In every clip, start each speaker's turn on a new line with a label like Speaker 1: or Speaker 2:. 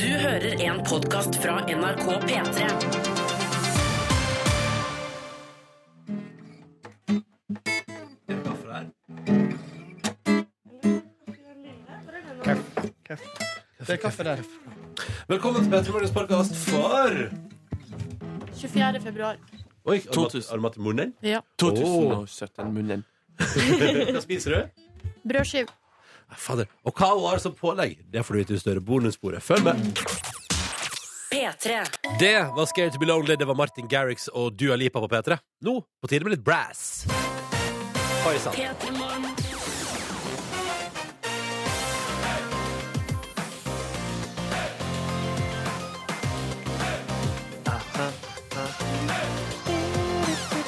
Speaker 1: Du hører en podkast fra NRK P3.
Speaker 2: Det er kaffe der.
Speaker 3: Velkommen til Petter Morgens podkast for
Speaker 4: 24. februar.
Speaker 3: Oi, har du mat-
Speaker 2: 2000.
Speaker 3: har du mat i munnen?
Speaker 4: Ja.
Speaker 2: 2017, munnen.
Speaker 3: Hva spiser du?
Speaker 4: Brødskiv.
Speaker 3: Nei, Fader. Og hva hun har som pålegg, det får du vite i større bonussporet. Følg med.
Speaker 1: P3.
Speaker 3: Det var Scary to be lonely. Det var Martin Garrix og Dua Lipa på P3. Nå på tide med litt brass. Oi sann.
Speaker 1: P3 Morgen.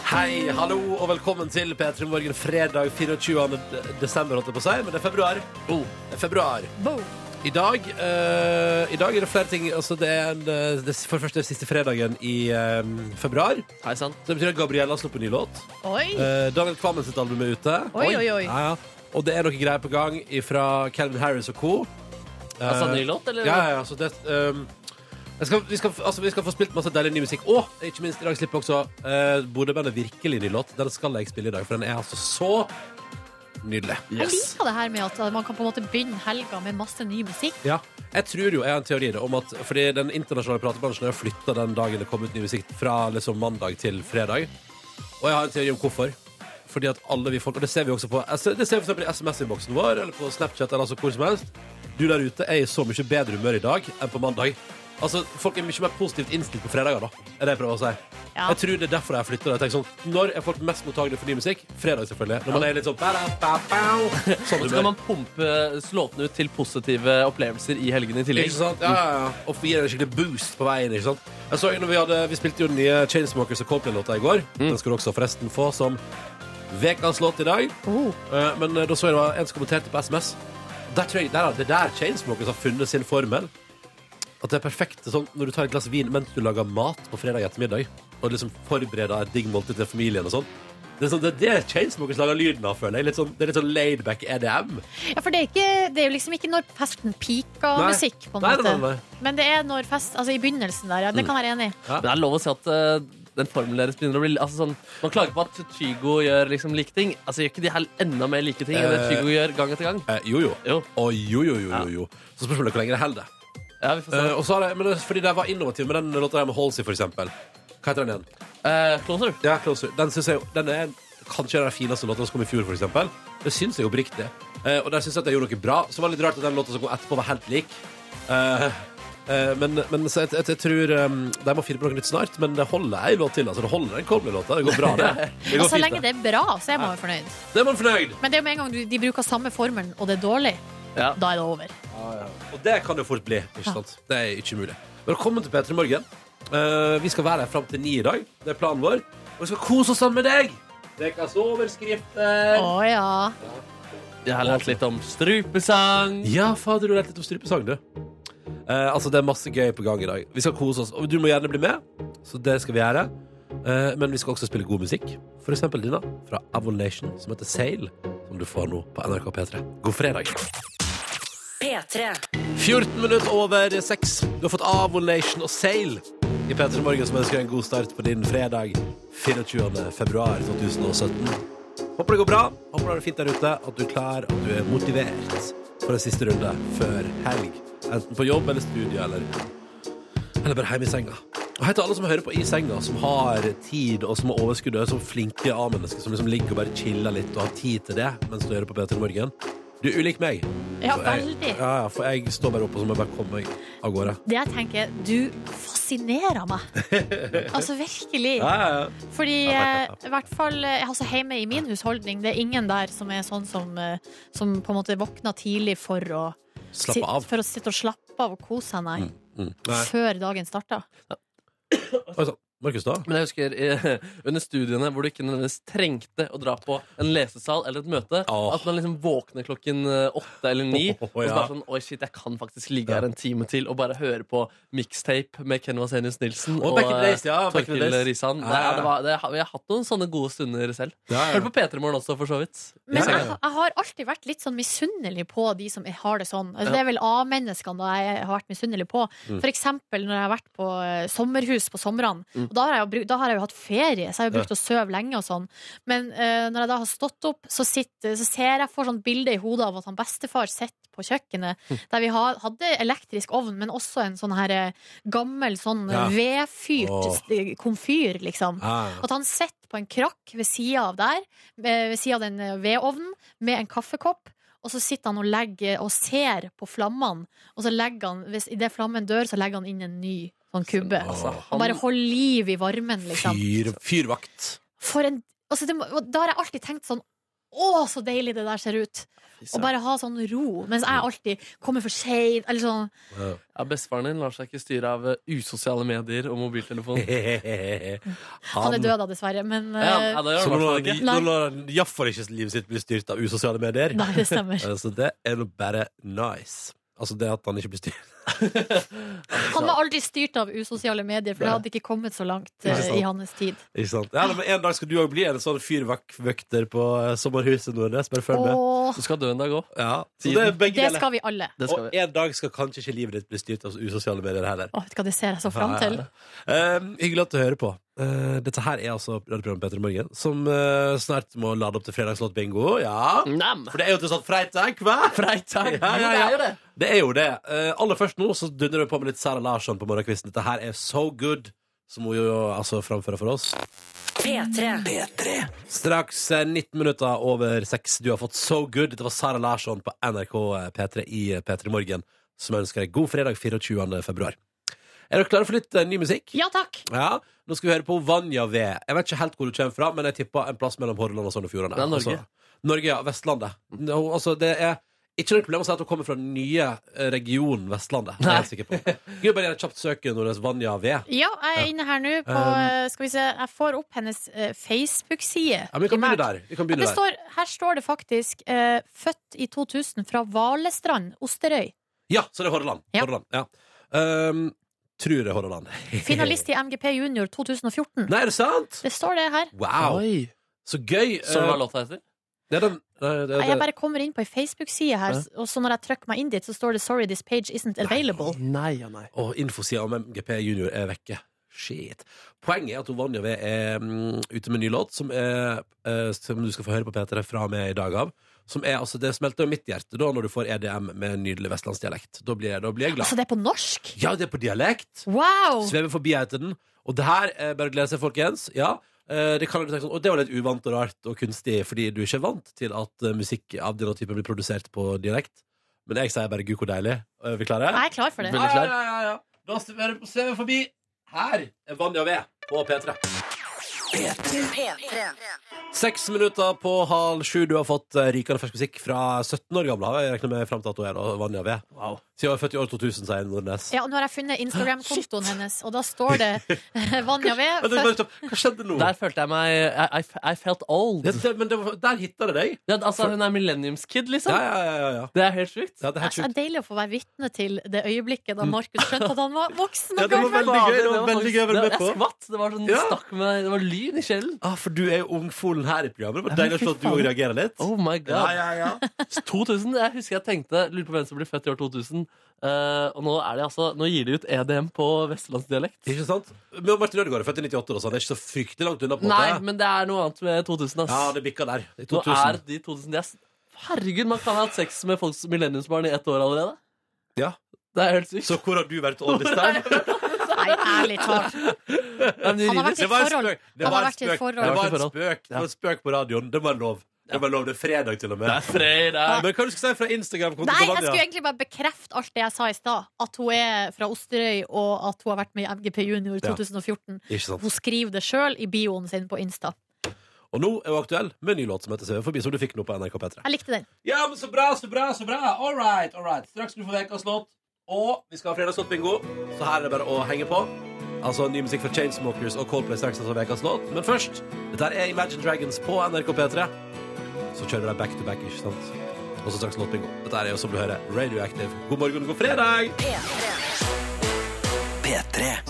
Speaker 3: Hei, hallo og velkommen til P3 Morgen fredag 24. desember, holdt jeg på å si. Men det er februar. Oh, det er februar.
Speaker 4: Boom.
Speaker 3: I dag, eh, I dag er det flere ting. Altså, det er en, eh, det, er for det første siste fredagen i eh, februar.
Speaker 2: Hei sann.
Speaker 3: Så det betyr at Gabriella har sluppet en ny låt.
Speaker 4: Oi!
Speaker 3: Eh, Daniel Kvammen sitt album er ute.
Speaker 4: Oi, oi, oi.
Speaker 3: Ja, ja. Og det er noe greier på gang fra Calvin Harris og co. Eh,
Speaker 2: Altså ny låt, eller?
Speaker 3: ja, ja, ja, så det, ehm, jeg skal, vi, skal, altså, vi skal få spilt masse deilig ny musikk. Og ikke minst, i dag slipper også uh, Bodø-bandet Virkelig ny låt. Den skal jeg spille i dag, for den er altså så nydelig.
Speaker 4: Jeg
Speaker 2: Yes.
Speaker 4: liker det her med at man kan på en måte begynne helga med masse ny musikk.
Speaker 3: Ja. Jeg tror jo, jeg har en teori da, om at fordi den internasjonale platebransjen har flytta den dagen det kom ut ny musikk, fra liksom mandag til fredag. Og jeg har en teori om hvorfor. Fordi at alle vi folk, og det ser vi også på altså, Det ser vi for eksempel i SMS-innboksen vår, eller på Snapchat, eller altså hvor som helst. Du der ute er i så mye bedre humør i dag enn på mandag. Altså, Folk er mye mer positivt innstilt på fredager, da. Er det jeg prøver å si.
Speaker 4: Ja.
Speaker 3: Jeg tror det er derfor jeg har flytta det. Jeg tenker Sånn, når er folk mest mottagelige for ny musikk? Fredag, selvfølgelig. Når man er litt sånn ba-da-ba-bau. Sånn
Speaker 2: Og så
Speaker 3: humør.
Speaker 2: kan man pumpe slåten ut til positive opplevelser i helgen i tillegg.
Speaker 3: Ikke sant? Ja, ja, ja. Og gir en skikkelig boost på veien. Ikke sant? Jeg så jo når vi, hadde, vi spilte jo den nye Chainsmokers og Coldplay-låta i går. Den skal du også forresten få som ukas låt i dag.
Speaker 4: Oh.
Speaker 3: Eh, Men eh, da så jeg det var en som kommenterte på SMS. Der tror jeg, der, er det der Chainsmokers har funnet sin formel. At det er perfekt sånn, når du tar et glass vin mens du lager mat på fredag ettermiddag. Og liksom forbereder et digg måltid til familien og sånn. Det er, sånn, det, er det Chainsmokers lager lyden av, føler jeg. Litt sånn, det er litt sånn laidback EDM.
Speaker 4: Ja, for det er, ikke, det er jo liksom ikke når festen peaker
Speaker 3: Nei.
Speaker 4: musikk, på en
Speaker 3: Nei, nei,
Speaker 4: måte.
Speaker 3: nei, nei.
Speaker 4: Men det er når fest Altså i begynnelsen der, ja.
Speaker 3: Mm.
Speaker 4: Det kan jeg være enig i.
Speaker 2: Men det er lov å si at eh, den formelen deres begynner å bli altså sånn, Man klager på at Tygo gjør liksom like ting. Altså Gjør ikke de her enda mer like ting enn det
Speaker 3: Eh.
Speaker 2: Tygo gjør gang etter gang?
Speaker 3: Eh, jo, jo.
Speaker 2: Jo.
Speaker 3: Å, jo, jo, jo,
Speaker 2: Ja.
Speaker 3: jo, jo. Så spørsmålet er hvor lenge det holder.
Speaker 2: Ja, vi får se.
Speaker 3: Eh, og så har jeg, men det, er fordi de var innovative med den låta der med Halsey, for eksempel. Hva heter den igjen?
Speaker 2: Eh, closer.
Speaker 3: Ja, Closer. Den synes jeg jo- Den er kanskje den fineste låta som kom i fjor, for eksempel. Det syns jeg oppriktig. Uh, og der syns jeg at jeg gjorde noe bra. Så var det litt rart at den låta som kom etterpå, var helt lik. Eh, eh, men men så jeg, jeg, jeg tror um, de må finne på noe nytt snart. Men det holder ei låt til. Altså, det holder en Coldplay-låt. Det går bra, det. det
Speaker 4: Og
Speaker 3: går
Speaker 4: så
Speaker 3: fint,
Speaker 4: lenge det er bra, så er man jo fornøyd.
Speaker 3: Det er man fornøyd.
Speaker 4: Men det er jo med en gang du, de bruker samme formelen, og det er dårlig,
Speaker 2: Ja.
Speaker 4: da er det over.
Speaker 3: Og det kan det fort bli. Ikke sant? Det er ikke umulig. Velkommen til P3 Morgen. Eh, vi skal være her fram til ni i dag. Det er planen vår. Og vi skal kose oss sammen med deg! Ukas overskrifter.
Speaker 4: Å ja.
Speaker 2: Jeg har lært litt om strupesang.
Speaker 3: Ja, fader, du lærte litt om strupesang, du. Eh, altså, det er masse gøy på gang i dag. Vi skal kose oss. Og du må gjerne bli med, så det skal vi gjøre. Eh, men vi skal også spille god musikk. For eksempel denne fra Avon Nation, som heter Sail, som du får nå på NRK P3. God fredag.
Speaker 1: P3.
Speaker 3: 14 minutter over 6. Du har fått Avon Nation og Sail i P3 Morgen, som ønsker deg en god start på din fredag 24. februar 2017. Håper det går bra, håper du har det fint der ute, at du er klar, at du er motivert for en siste runde før helg. Enten på jobb eller studie eller, eller bare hjemme i senga. Og hei til alle som hører på i senga, som har tid og som har overskudd, og er sånn flinke A-mennesker som liksom ligger og bare chiller litt og har tid til det mens du hører på P3 Morgen. Du er ulik meg.
Speaker 4: Ja,
Speaker 3: Så jeg-
Speaker 4: veldig.
Speaker 3: Ja, ja, for jeg står bare oppe og så må jeg bare komme meg av gårde.
Speaker 4: Det jeg tenker, du fascinerer meg. Altså virkelig.
Speaker 3: Ja, ja, ja.
Speaker 4: Fordi
Speaker 3: Ja, takk,
Speaker 4: eh, i hvert fall eh, altså hjemme i min husholdning, det er ingen der som er sånn som, eh, som på en måte våkner tidlig for å,
Speaker 3: Slapp
Speaker 4: sitt-
Speaker 3: av.
Speaker 4: for å sitte og slappe av og kose seg, nei.
Speaker 3: Mm. Nei.
Speaker 4: Før dagen starter.
Speaker 3: Oi, sånn. Markus, da?
Speaker 2: Men jeg husker eh, under studiene hvor du ikke nødvendigvis trengte å dra på en lesesal eller et møte.
Speaker 3: Åh.
Speaker 2: At man liksom våkner klokken eh, åtte eller ni
Speaker 3: Åh,
Speaker 2: og så
Speaker 3: ja.
Speaker 2: bare sånn Oi, shit, jeg kan faktisk ligge her en time til og bare høre på mixtape med Ken Vasenius Nilsen eh,
Speaker 3: Åh, back in the days, ja, back in the
Speaker 2: Torkil
Speaker 3: days.
Speaker 2: Risan.
Speaker 3: Ja, ja.
Speaker 2: Det, var, det, har- vi har hatt noen sånne gode stunder selv.
Speaker 3: Ja, ja.
Speaker 2: Hørte på P3 Morgen også, for så vidt. I
Speaker 4: Men
Speaker 3: Ja, ja,
Speaker 4: jeg,
Speaker 2: senga.
Speaker 4: jeg har alltid vært litt sånn misunnelig på de som har det sånn. Altså,
Speaker 2: Ja.
Speaker 4: Det er vel A-menneskene da jeg har vært misunnelig på.
Speaker 3: Mm.
Speaker 4: For eksempel når jeg har vært på eh, sommerhus på somrene.
Speaker 3: Mm.
Speaker 4: Og da, har jeg jo, bru- da har jeg jo hatt ferie, så jeg har jo brukt å sove lenge og sånn. Men eh, når jeg da har stått opp, så, sitter, så ser jeg for sånn bilde i hodet av at han bestefar sitter på kjøkkenet,
Speaker 3: Hm.
Speaker 4: der vi ha- hadde elektrisk ovn, men også en sånn her eh, gammel sånn
Speaker 3: Ja.
Speaker 4: vedfyrt
Speaker 3: Åh.
Speaker 4: eh, komfyr, liksom.
Speaker 3: Ah.
Speaker 4: At han sitter på en krakk ved sida av der, eh, ved sida av den eh, vedovnen, med en kaffekopp. Og så sitter han og, legger, og ser på flammene, og så legger han, hvis idet flammen dør, så legger han inn en ny sånn kubbe.
Speaker 2: Altså,
Speaker 4: Og bare
Speaker 2: han,
Speaker 4: holder liv i varmen, liksom.
Speaker 3: Fyr, fyrvakt.
Speaker 4: For en, altså det, må- og da har jeg alltid tenkt sånn Å, så deilig det der ser ut! Og bare ha sånn ro. Mens jeg alltid kommer for seint, eller sånn.
Speaker 2: ja, Bestefaren din lar seg ikke styre av eh, usosiale medier og mobiltelefon.
Speaker 4: Han er død da, dessverre, men
Speaker 2: Ja,
Speaker 4: eh,
Speaker 2: ja, det gjør
Speaker 3: Så
Speaker 2: han
Speaker 3: nå
Speaker 2: i hvert fall
Speaker 3: lar
Speaker 2: ikke.
Speaker 4: Nei.
Speaker 3: nå lar han iallfall ikke livet sitt bli styrt av usosiale medier.
Speaker 4: Nei, det stemmer.
Speaker 3: Eh, Så det er jo bare nice. Altså det at han ikke blir styrt.
Speaker 4: Han var aldri styrt av usosiale medier, for det hadde ikke kommet så langt eh,
Speaker 3: Ikke sant.
Speaker 4: i hans tid.
Speaker 3: Ikke sant? Ja, men En dag skal du òg bli en sånn fyrvaktvøkter på eh, sommerhuset Nordnes. Bare følg med.
Speaker 4: Åh,
Speaker 2: Du skal dø en dag òg.
Speaker 3: Ja, så det er begge
Speaker 4: det
Speaker 3: deler.
Speaker 4: skal vi alle.
Speaker 2: Det skal
Speaker 3: Og
Speaker 2: vi.
Speaker 3: en dag skal kanskje ikke livet ditt bli styrt av usosiale medier heller.
Speaker 4: Åh, vet du hva, det ser jeg så fram
Speaker 3: Ja, ja,
Speaker 4: til.
Speaker 3: ja. Um, hyggelig at du hører på. Eh, dette her er altså radioprogrammet Petter i Morgen, som eh, snart må lade opp til fredagslåtbingo. Ja.
Speaker 2: Nam.
Speaker 3: For det er jo til sånn freitag, hva?
Speaker 2: Freitag.
Speaker 3: Ja, ja,
Speaker 2: Mm. Det er jo
Speaker 3: ja.
Speaker 2: det.
Speaker 3: Det er jo det. Eh, aller først nå så dundrer vi på med litt Sara Larsson på morgenkvisten. Dette her er So Good, som hun jo altså framfører for oss.
Speaker 1: P3.
Speaker 3: Straks eh, 19 minutter over 6. Du har fått So Good. Dette var Sara Larsson på NRK P3 i P3 Morgen, som ønsker deg god fredag 24. februar. Er dere klare for litt eh, ny musikk?
Speaker 4: Ja takk!
Speaker 3: Ja, Nå skal vi høre på Vanja V. Jeg vet ikke helt hvor du kommer fra, men jeg tipper en plass mellom Hordaland og Sogn og Fjordane.
Speaker 2: Det er Norge.
Speaker 3: Altså, Norge, ja. Vestlandet. Nå, altså, det er ikke noe problem å si at hun kommer fra den nye eh, regionen Vestlandet. Det er jeg helt sikker på. Gud, bare gjør et kjapt søk når Vanja V.
Speaker 4: Ja, jeg er inne her nå på
Speaker 3: Um,
Speaker 4: eh, Skal vi se, jeg får opp hennes eh, Facebook-side.
Speaker 3: Ja, men vi kan
Speaker 4: primært.
Speaker 3: begynne der. Vi kan
Speaker 4: Ja,
Speaker 3: begynne
Speaker 4: det
Speaker 3: der.
Speaker 4: står, her står det faktisk eh, 'født i 2000' fra Valestrand, Osterøy.
Speaker 3: Ja, så det er Hordaland.
Speaker 4: Ja.
Speaker 3: Hordaland. Ja. Um, tror det er Hordaland.
Speaker 4: Finalist i MGP Junior 2014.
Speaker 3: Nei, er det sant?
Speaker 4: Det står det her.
Speaker 3: Wow,
Speaker 2: Oi.
Speaker 3: så gøy. Eh,
Speaker 2: Så hva låta heter?
Speaker 3: det er den, nei, det, det,
Speaker 4: Nei, Jeg bare kommer inn på ei Facebook-side her, s- og så når jeg trykker meg inn dit, så står det 'Sorry, this page isn't available'.
Speaker 2: Nei ja, nei.
Speaker 3: Og infosida om MGP Junior er vekke. Shit. Poenget er at hun Vanja V er mm, ute med en ny låt, som, er, eh, som du skal få høre på P3 fra og med i dag av. Som er, altså, det smelter jo mitt hjerte da når du får EDM med en nydelig vestlandsdialekt. Da blir, jeg- da blir jeg glad.
Speaker 4: Altså, det er på norsk!
Speaker 3: Ja, det er på dialekt!
Speaker 4: Wow!
Speaker 3: Svever forbi heter den. Og det her, eh, bare glede seg, folkens. Ja, eh, det kan du tenke sånn, og det var litt uvant og rart og kunstig, fordi du er ikke vant til at eh, musikk av denne typen blir produsert på dialekt. Men jeg sier bare gud, hvor deilig. Er vi klare?
Speaker 4: Jeg er klar for det.
Speaker 2: Veldig klar.
Speaker 3: Ja, ja, ja, ja. Da ser vi- ser vi forbi. Her er Vanja V på P3.
Speaker 1: P3.
Speaker 3: Seks minutter på halv sju. Du har fått eh, rykende fersk musikk fra 17 år gamle. har Jeg regner med frem til at hun er da, Vanja V.
Speaker 2: Wow.
Speaker 3: Siden hun er født i år 2000, sier Nordnes.
Speaker 4: Ja, og nå har jeg funnet Instagram-kontoen hennes, og da står det eh, Vanja V.
Speaker 3: Men det-
Speaker 4: født-
Speaker 3: men stopp. Hva skjedde nå?
Speaker 2: Der følte jeg meg I, I, I felt old.
Speaker 3: Ja, det- men det var, der hitta det deg.
Speaker 2: Ja, altså, hun er millenniumskid, liksom.
Speaker 3: Ja, ja, ja. ja, ja.
Speaker 2: Det er helt sjukt.
Speaker 3: ja det er helt
Speaker 4: Det er
Speaker 3: sjukt.
Speaker 4: deilig å få være vitne til det øyeblikket da Markus skjønte at han var voksen.
Speaker 3: Ja,
Speaker 4: og
Speaker 3: det var
Speaker 4: gammel.
Speaker 3: veldig gøy. Det var
Speaker 2: faktisk-
Speaker 3: veldig gøy å være med
Speaker 2: det-
Speaker 3: på.
Speaker 2: Jeg skvatt. Det var sånn
Speaker 3: Ja.
Speaker 2: stakk med Det var lyn i kjelen.
Speaker 3: Ah, for du er jo ungfolen her i programmet. Det var
Speaker 2: Ja, men
Speaker 3: deilig å
Speaker 2: fy
Speaker 3: se at du
Speaker 2: faen.
Speaker 3: òg reagerer litt.
Speaker 2: Oh my
Speaker 3: Ja,
Speaker 2: god.
Speaker 3: ja, ja.
Speaker 2: 2000, Jeg husker jeg tenkte Lurer på hvem som blir født i år 2000. eh, og nå, er det altså, nå gir de ut EDM på vestlandsdialekt.
Speaker 3: Ikke sant? Men Martin Ødegaard er født i 98, da, så han er ikke så fryktelig langt unna. på en
Speaker 2: Nei,
Speaker 3: måte.
Speaker 2: men det er noe annet med 2000, ass.
Speaker 3: Ja, det bikka der. I
Speaker 2: Nå
Speaker 3: 2000.
Speaker 2: er de 2000 de er s- Herregud, man kan ha hatt sex med folks millenniumsbarn i ett år allerede.
Speaker 3: Ja.
Speaker 2: Det er helt sykt.
Speaker 3: Så hvor har du vært all this time?
Speaker 4: Nei, ærlig talt.
Speaker 2: Ja, men de
Speaker 4: Han har
Speaker 2: rider.
Speaker 4: vært i
Speaker 3: Det
Speaker 4: et
Speaker 3: var en
Speaker 4: forhold.
Speaker 3: spøk. Det var en spøk. Det
Speaker 4: Han har vært i et forhold.
Speaker 2: har
Speaker 3: var
Speaker 2: vært i
Speaker 3: en
Speaker 2: forhold.
Speaker 3: spøk. Det var en spøk på radioen. Det var lov. Det var lov. Det er fredag, til og med.
Speaker 2: Det er fredag.
Speaker 3: Men hva du skal si fra Instagram-kontoen
Speaker 4: Nei,
Speaker 3: til
Speaker 4: jeg skulle
Speaker 3: Vanja?
Speaker 4: egentlig bare bekrefte alt det jeg sa i stad. At hun er fra Osterøy, og at hun har vært med i MGP Junior
Speaker 3: Ja.
Speaker 4: 2014.
Speaker 3: Ikke sant.
Speaker 4: Hun skriver det sjøl i bioen sin på Insta.
Speaker 3: Og nå er hun aktuell med en ny låt som heter Sveve forbi, som du fikk nå på NRK P3.
Speaker 4: Jeg likte den.
Speaker 3: Ja, men så bra, så bra, så bra. All right, all right. Straks skal du få ukas låt. Og vi skal ha fredagslåtbingo, så her er det bare å henge på. Altså ny musikk fra Chainsmokers og Coldplay straks etter ukas låt. Men først, dette er Imagine Dragons på NRK P3. Så kjører de back to back, ikke sant? Og så straks låtbingo. Dette er jo som du hører, Radioactive. God morgen, god fredag!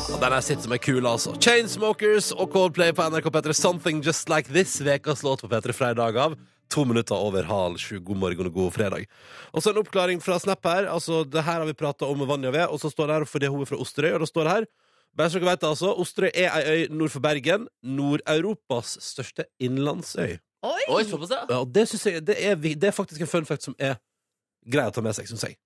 Speaker 3: Og den her sitter som er kul, altså. Chainsmokers og Coldplay på NRK P3. Something Just Like This, vekas låt på P3 fra i dag av. To minutter over halv sju. God morgen og god fredag. Og så en oppklaring fra Snap her. Altså, det her har vi prata om med Vanja ved, og så står det her fordi hun er fra Osterøy, og da står det her bare så dere vet det, altså, Osterøy er ei øy nord for Bergen. Nord-Europas største innlandsøy.
Speaker 2: Oi, såpass, ja.
Speaker 3: Ja, og det, synes jeg, det, er, vi- det er faktisk en fun fact som er grei å ta med seg, syns jeg.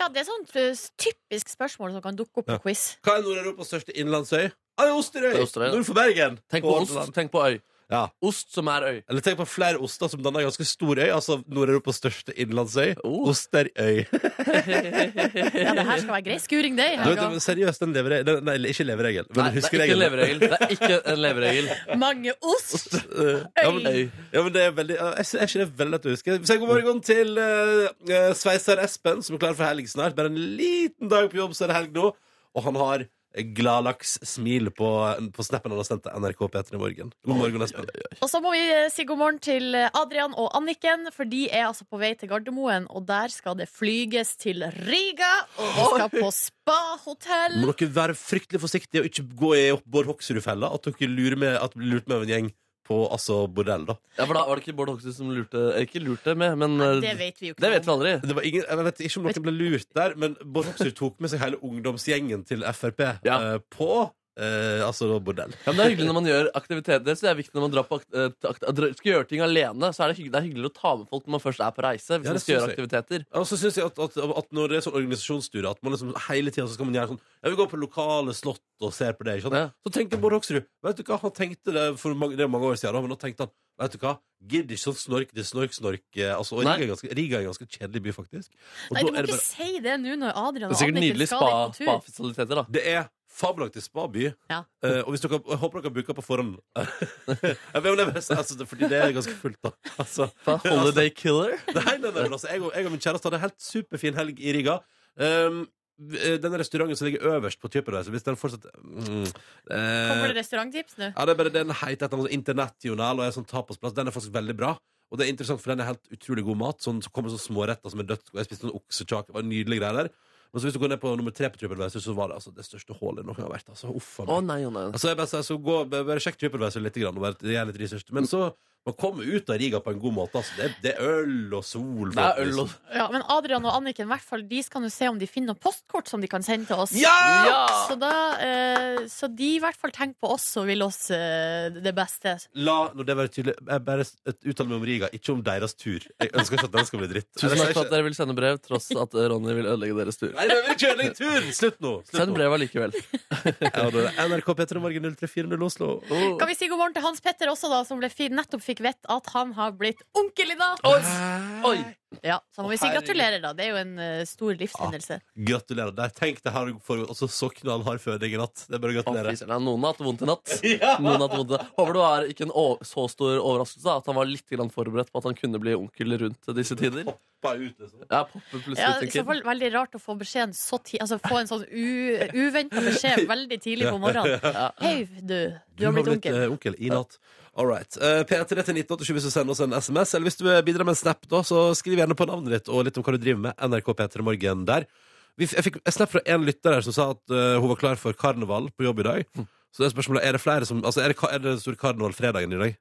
Speaker 4: Ja, det er sånt eh, typisk spørsmål som kan dukke opp på
Speaker 3: Ja.
Speaker 4: quiz.
Speaker 3: Hva er Nord-Europas største innlandsøy? Ja, det er Osterøy!
Speaker 2: Det er Osterøy, ja.
Speaker 3: Nord for Bergen.
Speaker 2: Tenk
Speaker 3: På
Speaker 2: på ost,
Speaker 3: Hordaland.
Speaker 2: tenk på øy.
Speaker 3: Ja.
Speaker 2: Ost som er øy.
Speaker 3: Eller tenk på flere oster som danner en ganske stor øy. Altså Nord-Europas største innlandsøy.
Speaker 2: Oh.
Speaker 3: Osterøy.
Speaker 4: Ja, det her skal være grei skuring, det. i
Speaker 3: Du vet,
Speaker 4: helga.
Speaker 3: seriøst, den lever, den, nei, ikke leveregel. Men
Speaker 2: Nei, det er ikke en leveregel. Det er ikke en leveregel.
Speaker 4: Mange ost!
Speaker 3: Ja, men, ja, men det er veldig ja, Jeg sy- jeg synes det er veldig lett å huske. Si god morgen til eh, eh, sveiser Espen, som er klar for helg snart. Bare en liten dag på jobb, så er det helg nå. Og han har gladlaks-smil på, på snappen han har sendt til NRK P3 i morgen. God morgen, Espen.
Speaker 4: Og så må vi eh, si god morgen til eh, Adrian og Anniken, for de er altså på vei til Gardermoen. Og der skal det flyges til Riga, og de skal på spahotell.
Speaker 3: Må dere være fryktelig forsiktige og ikke gå i Bård Hoksrud-fella. At dere lurer med, at blir lurt med av en gjeng på altså, bordell, da.
Speaker 2: Ja, for da var det ikke Bård Hoksrud som lurte eh, Ikke lurte med, men eh,
Speaker 4: Det vet vi jo
Speaker 2: Det
Speaker 4: ikke.
Speaker 2: vet vi
Speaker 4: om.
Speaker 2: aldri.
Speaker 3: Det var ingen, jeg vet ikke om noen ble lurt der, men Bård Hoksrud tok med seg hele ungdomsgjengen til Frp
Speaker 2: Ja.
Speaker 3: eh, på eh, altså bordell.
Speaker 2: Ja, men Det er hyggelig når man gjør aktiviteter. Så det er viktig når man drar på akt eh, til akt dra- Skal gjøre ting alene, så er det, hyggelig, det er hyggelig å ta med folk når man først er på reise. Hvis
Speaker 3: Ja, det
Speaker 2: man skal gjøre
Speaker 3: synes jeg.
Speaker 2: aktiviteter
Speaker 3: Ja, Og så synes jeg at, at, at når det er sånn organisasjonsstudie, at man liksom hele tida skal man gjøre sånn Jeg vil gå på lokale slott og se på det. Ikke sant?
Speaker 2: Ja.
Speaker 3: Så tenker Bård Hoksrud Vet du hva, han tenkte det for mange, det er mange år siden, da, men nå tenkte han Vet du hva, gidd ikke sånn snork til snork, snork. eh, Altså, og
Speaker 2: Nei.
Speaker 3: Riga er, ganske, Riga er en ganske kjedelig by, faktisk. Og da
Speaker 4: Nei, du må
Speaker 3: er det,
Speaker 4: ikke
Speaker 3: bare,
Speaker 4: si det nå når Adrian
Speaker 2: Det er
Speaker 4: og
Speaker 2: sikkert
Speaker 4: Anniken
Speaker 2: nydelige
Speaker 4: skal litt på tur.
Speaker 2: spa-fasiliteter. da
Speaker 3: det er fabelaktig spaby.
Speaker 4: Ja.
Speaker 3: Eh, og hvis dere, jeg håper dere booker på forhånd. jeg vet om det er best, altså, fordi det er ganske fullt, da. Altså,
Speaker 2: Fra Holiday Killer.
Speaker 3: Nei, nei, nei, men altså, jeg og, jeg og min kjæreste hadde en helt superfin helg i Riga. Um, den restauranten som ligger øverst på Typerreise, hvis den fortsetter mm, eh,
Speaker 4: Kommer det restauranttips nå?
Speaker 3: ja, det er bare Den heter et eller annet international og er sånn tapasplass. Den er faktisk veldig bra. Og det er interessant, for den er helt utrolig god mat. Sånn, så kommer sånne småretter som er dødt. Og jeg spiste sånn oksekjake. Det var nydelige greier der. Men så hvis du går ned på nummer tre på TripAdvisor, så var det altså det største hullet noen gang har vært. Altså, uff, a meg.
Speaker 2: Å nei, å nei.
Speaker 3: Altså, jeg bare, sier, så gå, bare bare sjekk TripAdvisor litt, grann, og bare, gjør litt research. Men så man kommer ut av Riga på en god måte. Altså. Det, er- det er øl og sol.
Speaker 2: Det er øl og
Speaker 4: Ja, men Adrian og Anniken i hvert fall, de skal nå se om de finner noen postkort som de kan sende til oss.
Speaker 3: Ja!
Speaker 4: Så, da, eh, så de i hvert fall tenker på oss og vil oss eh, det beste.
Speaker 3: La nå det være tydelig. Jeg bare s- uttaler meg om Riga, ikke om deres tur. Jeg ønsker ikke at den skal bli dritt.
Speaker 2: Tusen
Speaker 3: Eller,
Speaker 2: takk for at
Speaker 3: jeg-
Speaker 2: dere vil sende brev, tross at eh, Ronny vil ødelegge deres tur.
Speaker 3: Nei, det blir ikke ødelegg tur! Slutt nå. Slutt
Speaker 2: Send
Speaker 3: nå.
Speaker 2: brev allikevel.
Speaker 3: Ja, da er det NRK P3 Morgen 0340 Oslo.
Speaker 2: Oh.
Speaker 4: Kan vi si god morgen til Hans Petter også, da, som ble fi, nettopp fikk vett at han har blitt onkel i dag?
Speaker 2: Oi!
Speaker 4: Ja, så må vi si
Speaker 2: Å, herregud. Ah,
Speaker 4: gratulerer, da. Det er jo en eh, stor livshendelse.
Speaker 3: Gratulerer. Der. Tenk, det her har foregått. Og så så knallhard føding i natt. Det er bare å
Speaker 2: Å, fy
Speaker 3: gratulere.
Speaker 2: søren. Nei, Noen har hatt vondt i natt. Noen har hatt vondt i natt. Håper det var ikke en o- så stor overraskelse da, at han var litt grann forberedt på at han kunne bli onkel rundt disse tider.
Speaker 3: Hoppa ut, liksom.
Speaker 2: Ja, popper plutselig
Speaker 4: Ja,
Speaker 2: ut
Speaker 4: I
Speaker 2: en
Speaker 4: så
Speaker 2: kid.
Speaker 4: fall veldig rart å få beskjeden så ti altså få en sånn u uventa beskjed veldig tidlig på morgenen.
Speaker 2: Ja.
Speaker 4: Hei, du. Du har blitt onkel.
Speaker 3: eh, onkel i natt. All right. Eh, P3 til 1987 hvis du sender oss en SMS, eller hvis du eh, bidrar med en snap, da, så skriv gjerne på navnet ditt og litt om hva du driver med. NRK P3 Morgen der. Vi, f- jeg fikk en snap fra en lytter her som sa at eh, hun var klar for karneval på jobb i
Speaker 4: Hm.
Speaker 3: dag. Så det er spørsmålet er det flere som Altså, er det, ka- er det stor karneval fredagen i dag?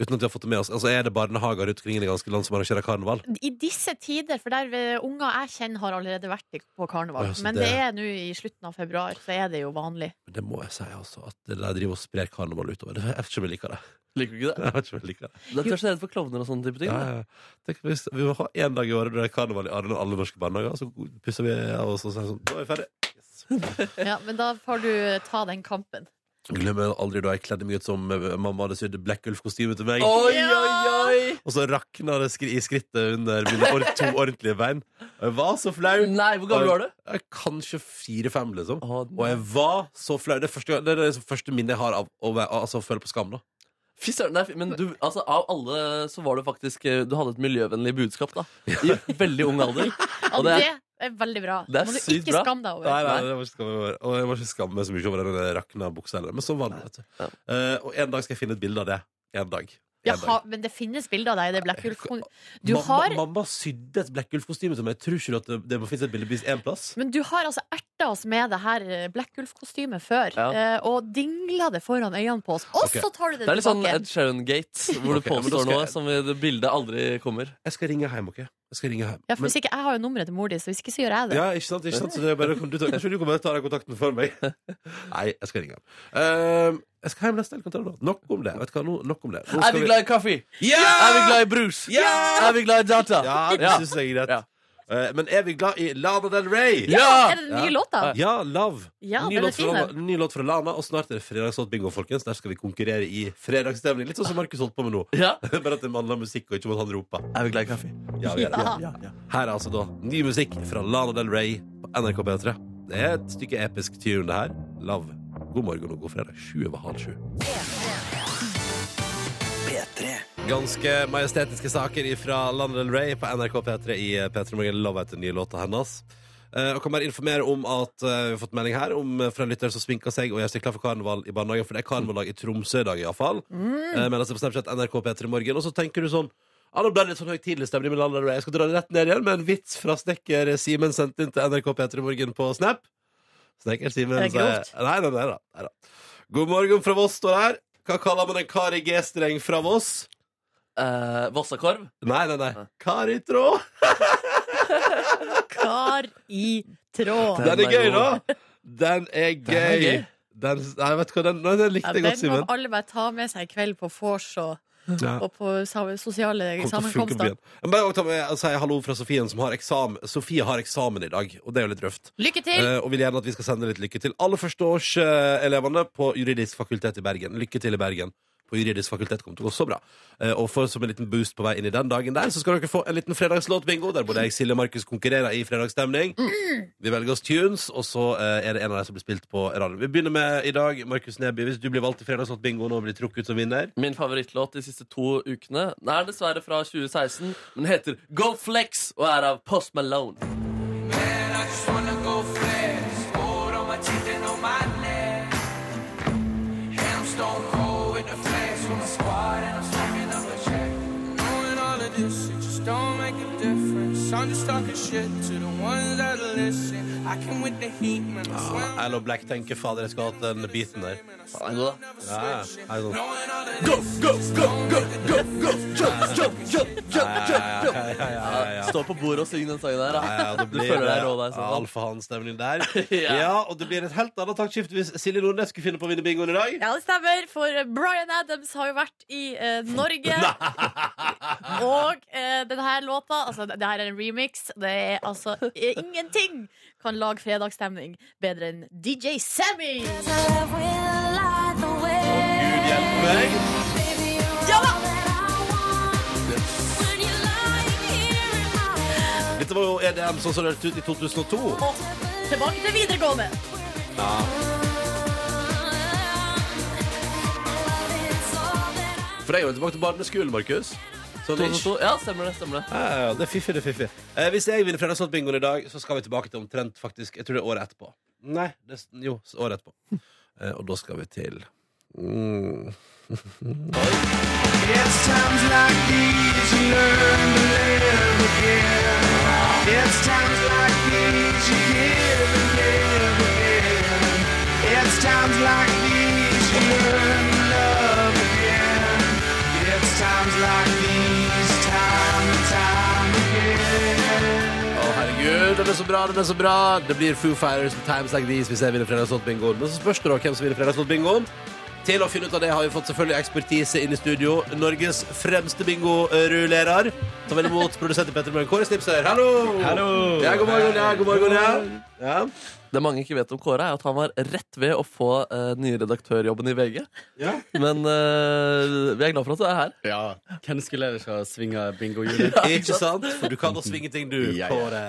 Speaker 3: Uten at vi har fått det med oss. Altså, er det barnehager rundt omkring i det ganske land som arrangerer karneval?
Speaker 4: I disse tider, for der eh, unger jeg kjenner har allerede vært i- på karneval.
Speaker 3: Ja, så
Speaker 4: Men
Speaker 3: det-
Speaker 4: det er nå i slutten av februar, så er det jo vanlig.
Speaker 3: Men det må jeg si, altså. At de driver og sprer karneval utover. Jeg vet ikke om jeg liker det.
Speaker 2: Liker du ikke det?
Speaker 3: Jeg vet ikke om jeg liker det.
Speaker 2: Du er så redd for klovner og sånne type ting.
Speaker 3: Ja,
Speaker 2: da.
Speaker 3: ja. Tenk hvis vi må ha én dag i året når det er karneval i alle, alle norske barnehager. Så pusser vi av oss og sier sånn Da er vi ferdig.
Speaker 4: Ja, men da får du ta den kampen.
Speaker 3: Glemmer aldri da jeg kledde meg ut som eh, mamma hadde sydd Black Ulf-kostyme til meg.
Speaker 2: Oi,
Speaker 4: Ja!
Speaker 2: oi, oi!
Speaker 3: Og så rakna det skri i skrittet under mine or to ordentlige bein. Og jeg var så flau.
Speaker 2: Nei, hvor gammel var du?
Speaker 3: Jeg er Kanskje fire-fem, liksom.
Speaker 2: Å,
Speaker 3: Og jeg var så flau. Det er første, gang- det er det liksom første minnet jeg har av å være- altså, å føle på skam. da
Speaker 2: Fy søren, nei, men du, altså, av alle så var du faktisk eh, Du hadde et miljøvennlig budskap, da. I veldig ung alder.
Speaker 4: Og
Speaker 2: det
Speaker 4: det,
Speaker 2: er-
Speaker 4: er veldig bra.
Speaker 2: Det er
Speaker 4: må du
Speaker 2: sykt
Speaker 4: ikke
Speaker 2: bra.
Speaker 4: skamme deg over.
Speaker 3: Nei, nei, det var ikke skamme over. Og jeg må ikke skamme meg så mye over den rakna buksa heller. Men så var det. Vet du.
Speaker 2: Ja.
Speaker 3: Eh, og en dag skal jeg finne et bilde av det. En dag. En
Speaker 4: Ja,
Speaker 3: dag.
Speaker 4: ha, men det finnes bilder av deg i det Black Wolf. Du
Speaker 3: mamma,
Speaker 4: har,
Speaker 3: mamma sydde et Black Ulf-kostyme til meg. Tror ikke du at det, det må finnes et bilde på én plass?
Speaker 4: men du har altså erta oss med det her eh, Black Wolf-kostymet før,
Speaker 2: Ja.
Speaker 4: eh, og dingla det foran øynene på oss. Og
Speaker 3: Ok.
Speaker 4: så tar du det,
Speaker 2: Det er litt sånn
Speaker 4: tilbake.
Speaker 2: Ed Sheeran-gate, hvor
Speaker 3: Ok,
Speaker 2: du
Speaker 3: men da
Speaker 2: påstår
Speaker 3: skal
Speaker 2: noe
Speaker 3: jeg-
Speaker 2: som i det bildet aldri kommer.
Speaker 3: Jeg skal ringe hjem, OK? Jeg skal ringe hjem.
Speaker 4: ja, for
Speaker 3: Men-
Speaker 4: hvis ikke, jeg har jo nummeret til mor di, så hvis ikke så gjør jeg det.
Speaker 3: ja, ikke sant? Ikke sant? Så det er bare, du, tar- kanskje du kommer og tar den kontakten for meg? Nei, jeg skal ringe hjem. Eh, jeg skal hjem neste helg. kan jeg ta det da. Nok om det. Vet du hva, nå, nok om det. Nå
Speaker 2: Er vi glad i kaffe?
Speaker 3: Ja!
Speaker 2: Er vi glad i brus?
Speaker 3: Ja!
Speaker 2: Er vi glad i data?
Speaker 3: Ja, det synes jeg er greit.
Speaker 2: Ja.
Speaker 3: Eh, men er vi glad i Lana Del Rey?
Speaker 2: Ja!
Speaker 4: Er det den
Speaker 3: Ja.
Speaker 4: nye låta?
Speaker 3: Ja, Love.
Speaker 4: Ja,
Speaker 3: ny,
Speaker 4: den er
Speaker 3: låt fra
Speaker 4: fin,
Speaker 3: Lana,
Speaker 4: den.
Speaker 3: ny låt fra Lana, og snart er det fredagslåt bingo, folkens. Der skal vi konkurrere i fredagsstemning. Litt sånn som Markus holdt på med nå.
Speaker 2: Ja.
Speaker 3: Bare at det mangler musikk, og ikke måtte han rope.
Speaker 2: Er vi glad i kaffe?
Speaker 3: Ja, vi gjør det. Her er altså da ny musikk fra Lana Del Rey på NRK P3. Det er et stykke episk tune, det her. Love. God morgen og god fredag. Sju over halv sju. Ganske majestetiske saker fra Lana Del Rey på NRK P3 i P3 Morgen. Love heter den nye låta hennes. Eh, og kan bare informere om at eh, vi har fått melding her om, eh, fra en lytter som sminker seg og gjør seg klar for karneval i barnehagen, for det er karnevaldag i Tromsø i dag, iallfall. Mm. Melder seg på Snapchat NRK P3 Morgen. Og så tenker du sånn ja, nå ble det litt sånn høytidelig stemning med Lana Del Rey. Jeg skal dra det rett ned igjen med en vits fra snekker eh, Simen sendt inn til NRK P3 Morgen på Snap. Snekker Simen
Speaker 4: Er det
Speaker 3: sier
Speaker 4: grovt?
Speaker 3: Nei, nei, nei, da. nei da. God morgen fra Voss står her. Hva kaller man en kar i G-streng fra Voss?
Speaker 2: Eh, Vossakorv?
Speaker 3: Nei, nei, nei. Kar i tråd.
Speaker 4: Kar i tråd.
Speaker 3: Den er
Speaker 2: er
Speaker 3: gøy, da.
Speaker 2: god.
Speaker 3: Den er
Speaker 2: er
Speaker 3: gøy.
Speaker 2: gøy.
Speaker 3: Den, nei, vet du hva, den, nei, den
Speaker 4: Ja,
Speaker 3: likte jeg
Speaker 4: den
Speaker 3: godt,
Speaker 4: må
Speaker 3: Simen.
Speaker 4: alle bare ta med seg i kveld på vors og,
Speaker 3: Ja.
Speaker 4: og på sa- sosiale
Speaker 3: Kommer til å funke på
Speaker 4: sammenkomster.
Speaker 3: byen. Men Bare ta med, si hallo fra Sofien, som har eksamen. Sofie har eksamen i dag, og det er jo litt røft.
Speaker 4: Lykke til!
Speaker 3: Eh, og vil gjerne at vi skal sende litt lykke til alle førsteårselevene eh, på juridisk fakultet i Bergen. Lykke til i Bergen. På juridisk fakultet kommer til å gå så bra. Eh, og for som en liten boost på vei inn i den dagen der, så skal dere få en liten fredagslåtbingo, der både jeg, Silje og Markus konkurrerer i fredagsstemning. Vi velger oss tunes, og så eh, er det en av de som blir spilt på radioen. Vi begynner med i dag, Markus Neby. Hvis du blir valgt til fredagslåtbingoen og blir trukket ut som vinner
Speaker 2: Min favorittlåt de siste to ukene Den er dessverre fra 2016, men heter Go Flex og er av Post Malone.
Speaker 5: Knowing all of this, it just don't make a difference. I'm just talking shit to the ones that listen. I can with the heat, man. I swear I'm
Speaker 3: Hello Black tenker fader, jeg skal ha hatt den biten der.
Speaker 2: Faen, den er god, da.
Speaker 5: never
Speaker 3: Ja, ja.
Speaker 5: switching.
Speaker 3: Her er sånn.
Speaker 5: Knowing all of
Speaker 2: Go, go, go, go, go, go, jump, jump, jump, jump, jump, jump.
Speaker 3: ja, ja, ja.
Speaker 2: Stå på bordet og syng den sangen der.
Speaker 3: Ja, ja,
Speaker 2: Da.
Speaker 3: det
Speaker 2: Du
Speaker 3: blir
Speaker 2: føler deg rå der. Sånn.
Speaker 3: alfahann-stemning der. ja.
Speaker 2: Ja.
Speaker 3: og det blir et helt annet taktskifte hvis Silje Nordnes skulle finne på å vinne bingoen i dag.
Speaker 4: Ja, det stemmer, for Bryan Adams har jo vært i eh, Norge. Og eh, denne låta altså, Det her er en remix. Det er altså eh, Ingenting kan lage fredagsstemning bedre enn DJ Sammy!
Speaker 3: Gud hjelpe meg.
Speaker 4: Ja da!
Speaker 3: Dette var jo EDM sånn som det hørtes ut i 2002.
Speaker 4: Og tilbake til videregående.
Speaker 3: For jeg går tilbake til barneskolen, Markus. Sånn ish.
Speaker 2: 2002. Ja, stemmer det. stemmer det
Speaker 3: Ja, ja, ja, det er fiffig, det er fiffig. Eh, hvis jeg vinner fredagslåtbingoen i dag, så skal vi tilbake til omtrent faktisk Jeg tror det er året etterpå. Nei, det, er s- jo, s- året etterpå. Eh, og da skal vi til mm.
Speaker 6: It's times like these you learn to live again. It's times like these you give and live again. It's times like these you learn to love again. It's times like these, time and time again.
Speaker 3: Å, herregud, den er så bra, den er så bra. Det blir Foo Fighters med Times Like These hvis jeg vinner fredagslåtbingoen. Men så spørs det da hvem som vinner fredagslåtbingoen. Til å finne ut av det har vi fått selvfølgelig ekspertise inn i studio. Norges fremste bingo-rullerer. Ta vel imot produsenten Petter Møhlen Kåre Snipser. Hallo! Ja, god morgen, ja, god morgen, ja. ja.
Speaker 2: Det mange ikke vet om Kåre, er at han var rett ved å få eh, nye redaktørjobben i VG.
Speaker 3: Ja.
Speaker 2: Men eh, vi er glad for at du er her.
Speaker 7: Ja, hvem skulle ellers ha svinga bingohjulet?
Speaker 3: Ikke sant? For du kan da svinge ting, du,
Speaker 7: Ja, ja.
Speaker 3: Kåre.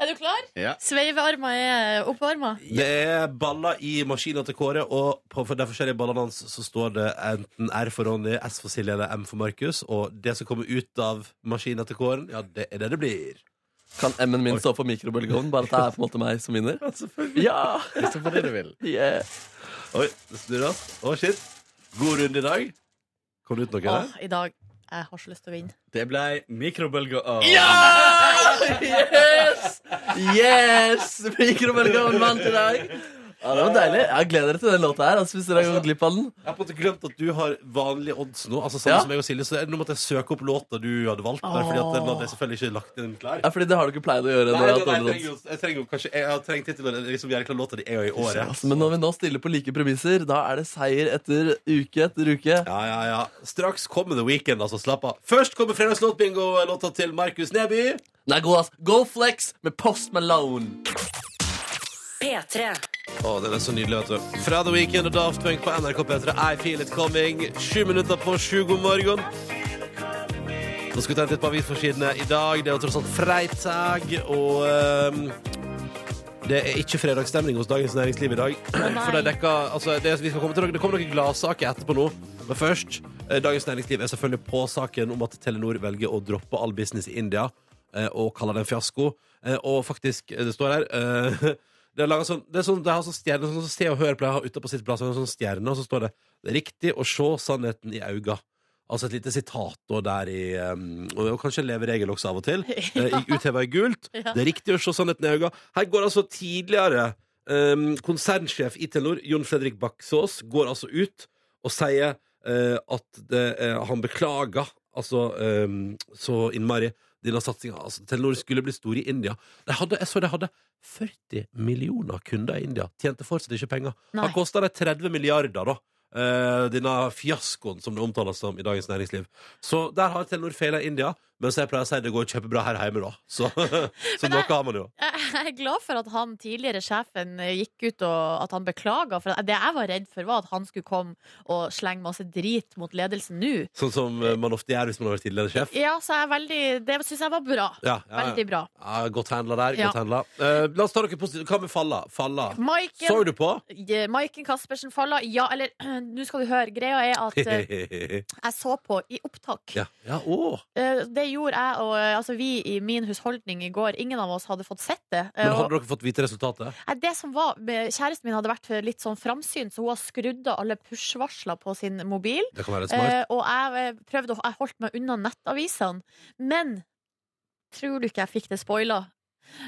Speaker 4: Er du klar?
Speaker 7: Ja.
Speaker 4: Sveivearma er opparma.
Speaker 3: Det er baller i maskina til Kåre, og på for de forskjellige ballene hans så står det enten R for Ronny, S for Silje eller M for Markus. Og det som kommer ut av maskina til Kåren, ja, det er det det blir.
Speaker 2: Kan M-en min stå på mikrobølgeovnen? Bare at det er på en måte meg som vinner? Ja!
Speaker 7: Hvis det er det du vil.
Speaker 2: Yeah.
Speaker 3: Oi, det snurres. Å, shit. God runde i dag. Kom det ut noe
Speaker 4: Åh,
Speaker 3: der?
Speaker 4: i dag. Jeg har så lyst til å vinne.
Speaker 7: Det ble mikrobølgeovn.
Speaker 2: Yes! Yes! Mikrobølgeovnen vant i dag. Ja, det var deilig. Jeg gleder dere til den låta her. Altså, hvis dere har gått glipp av den.
Speaker 3: Jeg har på en måte glemt at du har vanlige odds nå. Altså samme
Speaker 2: Ja.
Speaker 3: som jeg og Silje Så Nå måtte jeg søke opp låta du hadde valgt. Der, fordi at den hadde jeg selvfølgelig ikke lagt inn klar.
Speaker 2: Ja, fordi det har du ikke pleid å
Speaker 3: Nei,
Speaker 2: gjøre. når
Speaker 3: nei,
Speaker 2: jeg
Speaker 3: nei,
Speaker 2: har hatt
Speaker 3: jeg
Speaker 2: dårlig
Speaker 3: trenger jo- jeg trenger jo kanskje Jeg har trengt litt å liksom gjøre klar låta di en gang i
Speaker 2: odds.
Speaker 3: året.
Speaker 2: Altså, Men når vi nå stiller på like premisser, da er det seier etter uke etter uke.
Speaker 3: Ja, ja, ja. Straks kommer The Weekend, altså. Slapp av. Først kommer fredagslåtbingo-låta til Markus Neby.
Speaker 2: Den er god, ass. Go Flex med Post Malone.
Speaker 1: P3.
Speaker 3: Å, den er så nydelig, vet du. Fra The Weekend og Daft Punk på NRK P3. I feel it coming. Sju minutter på sju, god morgen. Så skal vi ta en titt på avisforsidene i dag. Det er jo tross alt fredag, og ehm, det er ikke fredagsstemning hos Dagens Næringsliv i dag. For det dekker, altså, det, vi skal komme til, noe- det kommer noen gladsaker etterpå nå. Men først, eh, Dagens Næringsliv er selvfølgelig på saken om at Telenor velger å droppe all business i India eh, og kaller det en fiasko. Eh, og faktisk, eh, det står her eh, det er laget sånn, det er sånn, det har sånn stjerne, sånn som Se og Hør pleier å ha ute på sitt plass, en sånn stjerne, og så står det Det er riktig å se sannheten i auga. Altså et lite sitat da der i um, Og kanskje en leveregel også av og til. Ja. Utheva i gult.
Speaker 4: Ja.
Speaker 3: Det er riktig å se sannheten i øynene. Her går altså tidligere um, konsernsjef i Telenor, Jon Fredrik Baksås, går altså ut og sier eh, at det, eh, han beklager altså um, så innmari denne satsinga. Altså, Telenor skulle bli store i India. De hadde, jeg så de hadde 40 millioner kunder i India. Tjente fortsatt ikke penger.
Speaker 4: Nei.
Speaker 3: Har kosta de 30 milliarder, da. Eh, denne fiaskoen som det omtales som i Dagens Næringsliv. Så der har Telenor feila India, mens jeg pleier å si det går kjempebra her hjemme, da. Så, så
Speaker 4: Men
Speaker 3: noe
Speaker 4: jeg-
Speaker 3: har man jo.
Speaker 4: Jeg jeg er glad for at han tidligere sjefen eh, gikk ut og at han beklaga. For det jeg var redd for, var at han skulle komme og slenge masse drit mot ledelsen nå.
Speaker 3: Sånn som eh, man ofte gjør hvis man har vært tidligere sjef.
Speaker 4: Ja, så jeg er veldig Det syns jeg var bra.
Speaker 3: Ja, ja, ja.
Speaker 4: Veldig bra.
Speaker 3: Ja, godt handla der.
Speaker 4: Ja.
Speaker 3: godt handla Eh, La oss ta noe positivt. Hva med Falla? Falla.
Speaker 4: Maiken,
Speaker 3: Så du på?
Speaker 4: Ja, Maiken Caspersen Falla. Ja, eller nå skal du høre. Greia er at eh,
Speaker 3: ja.
Speaker 4: jeg så på i opptak.
Speaker 3: ja, å!
Speaker 4: Eh, Det gjorde jeg og eh, altså, vi i min husholdning i går. Ingen av oss hadde fått sett det. Eh,
Speaker 3: Men
Speaker 4: og-
Speaker 3: hadde dere fått vite resultatet?
Speaker 4: Nei, det som var, Kjæresten min hadde vært litt sånn framsynt, så hun har skrudd av alle push-varsler på sin mobil.
Speaker 3: Det kan være litt smart.
Speaker 4: Eh, og jeg eh, prøvde å, jeg holdt meg unna nettavisene. Men tror du ikke jeg fikk det spoila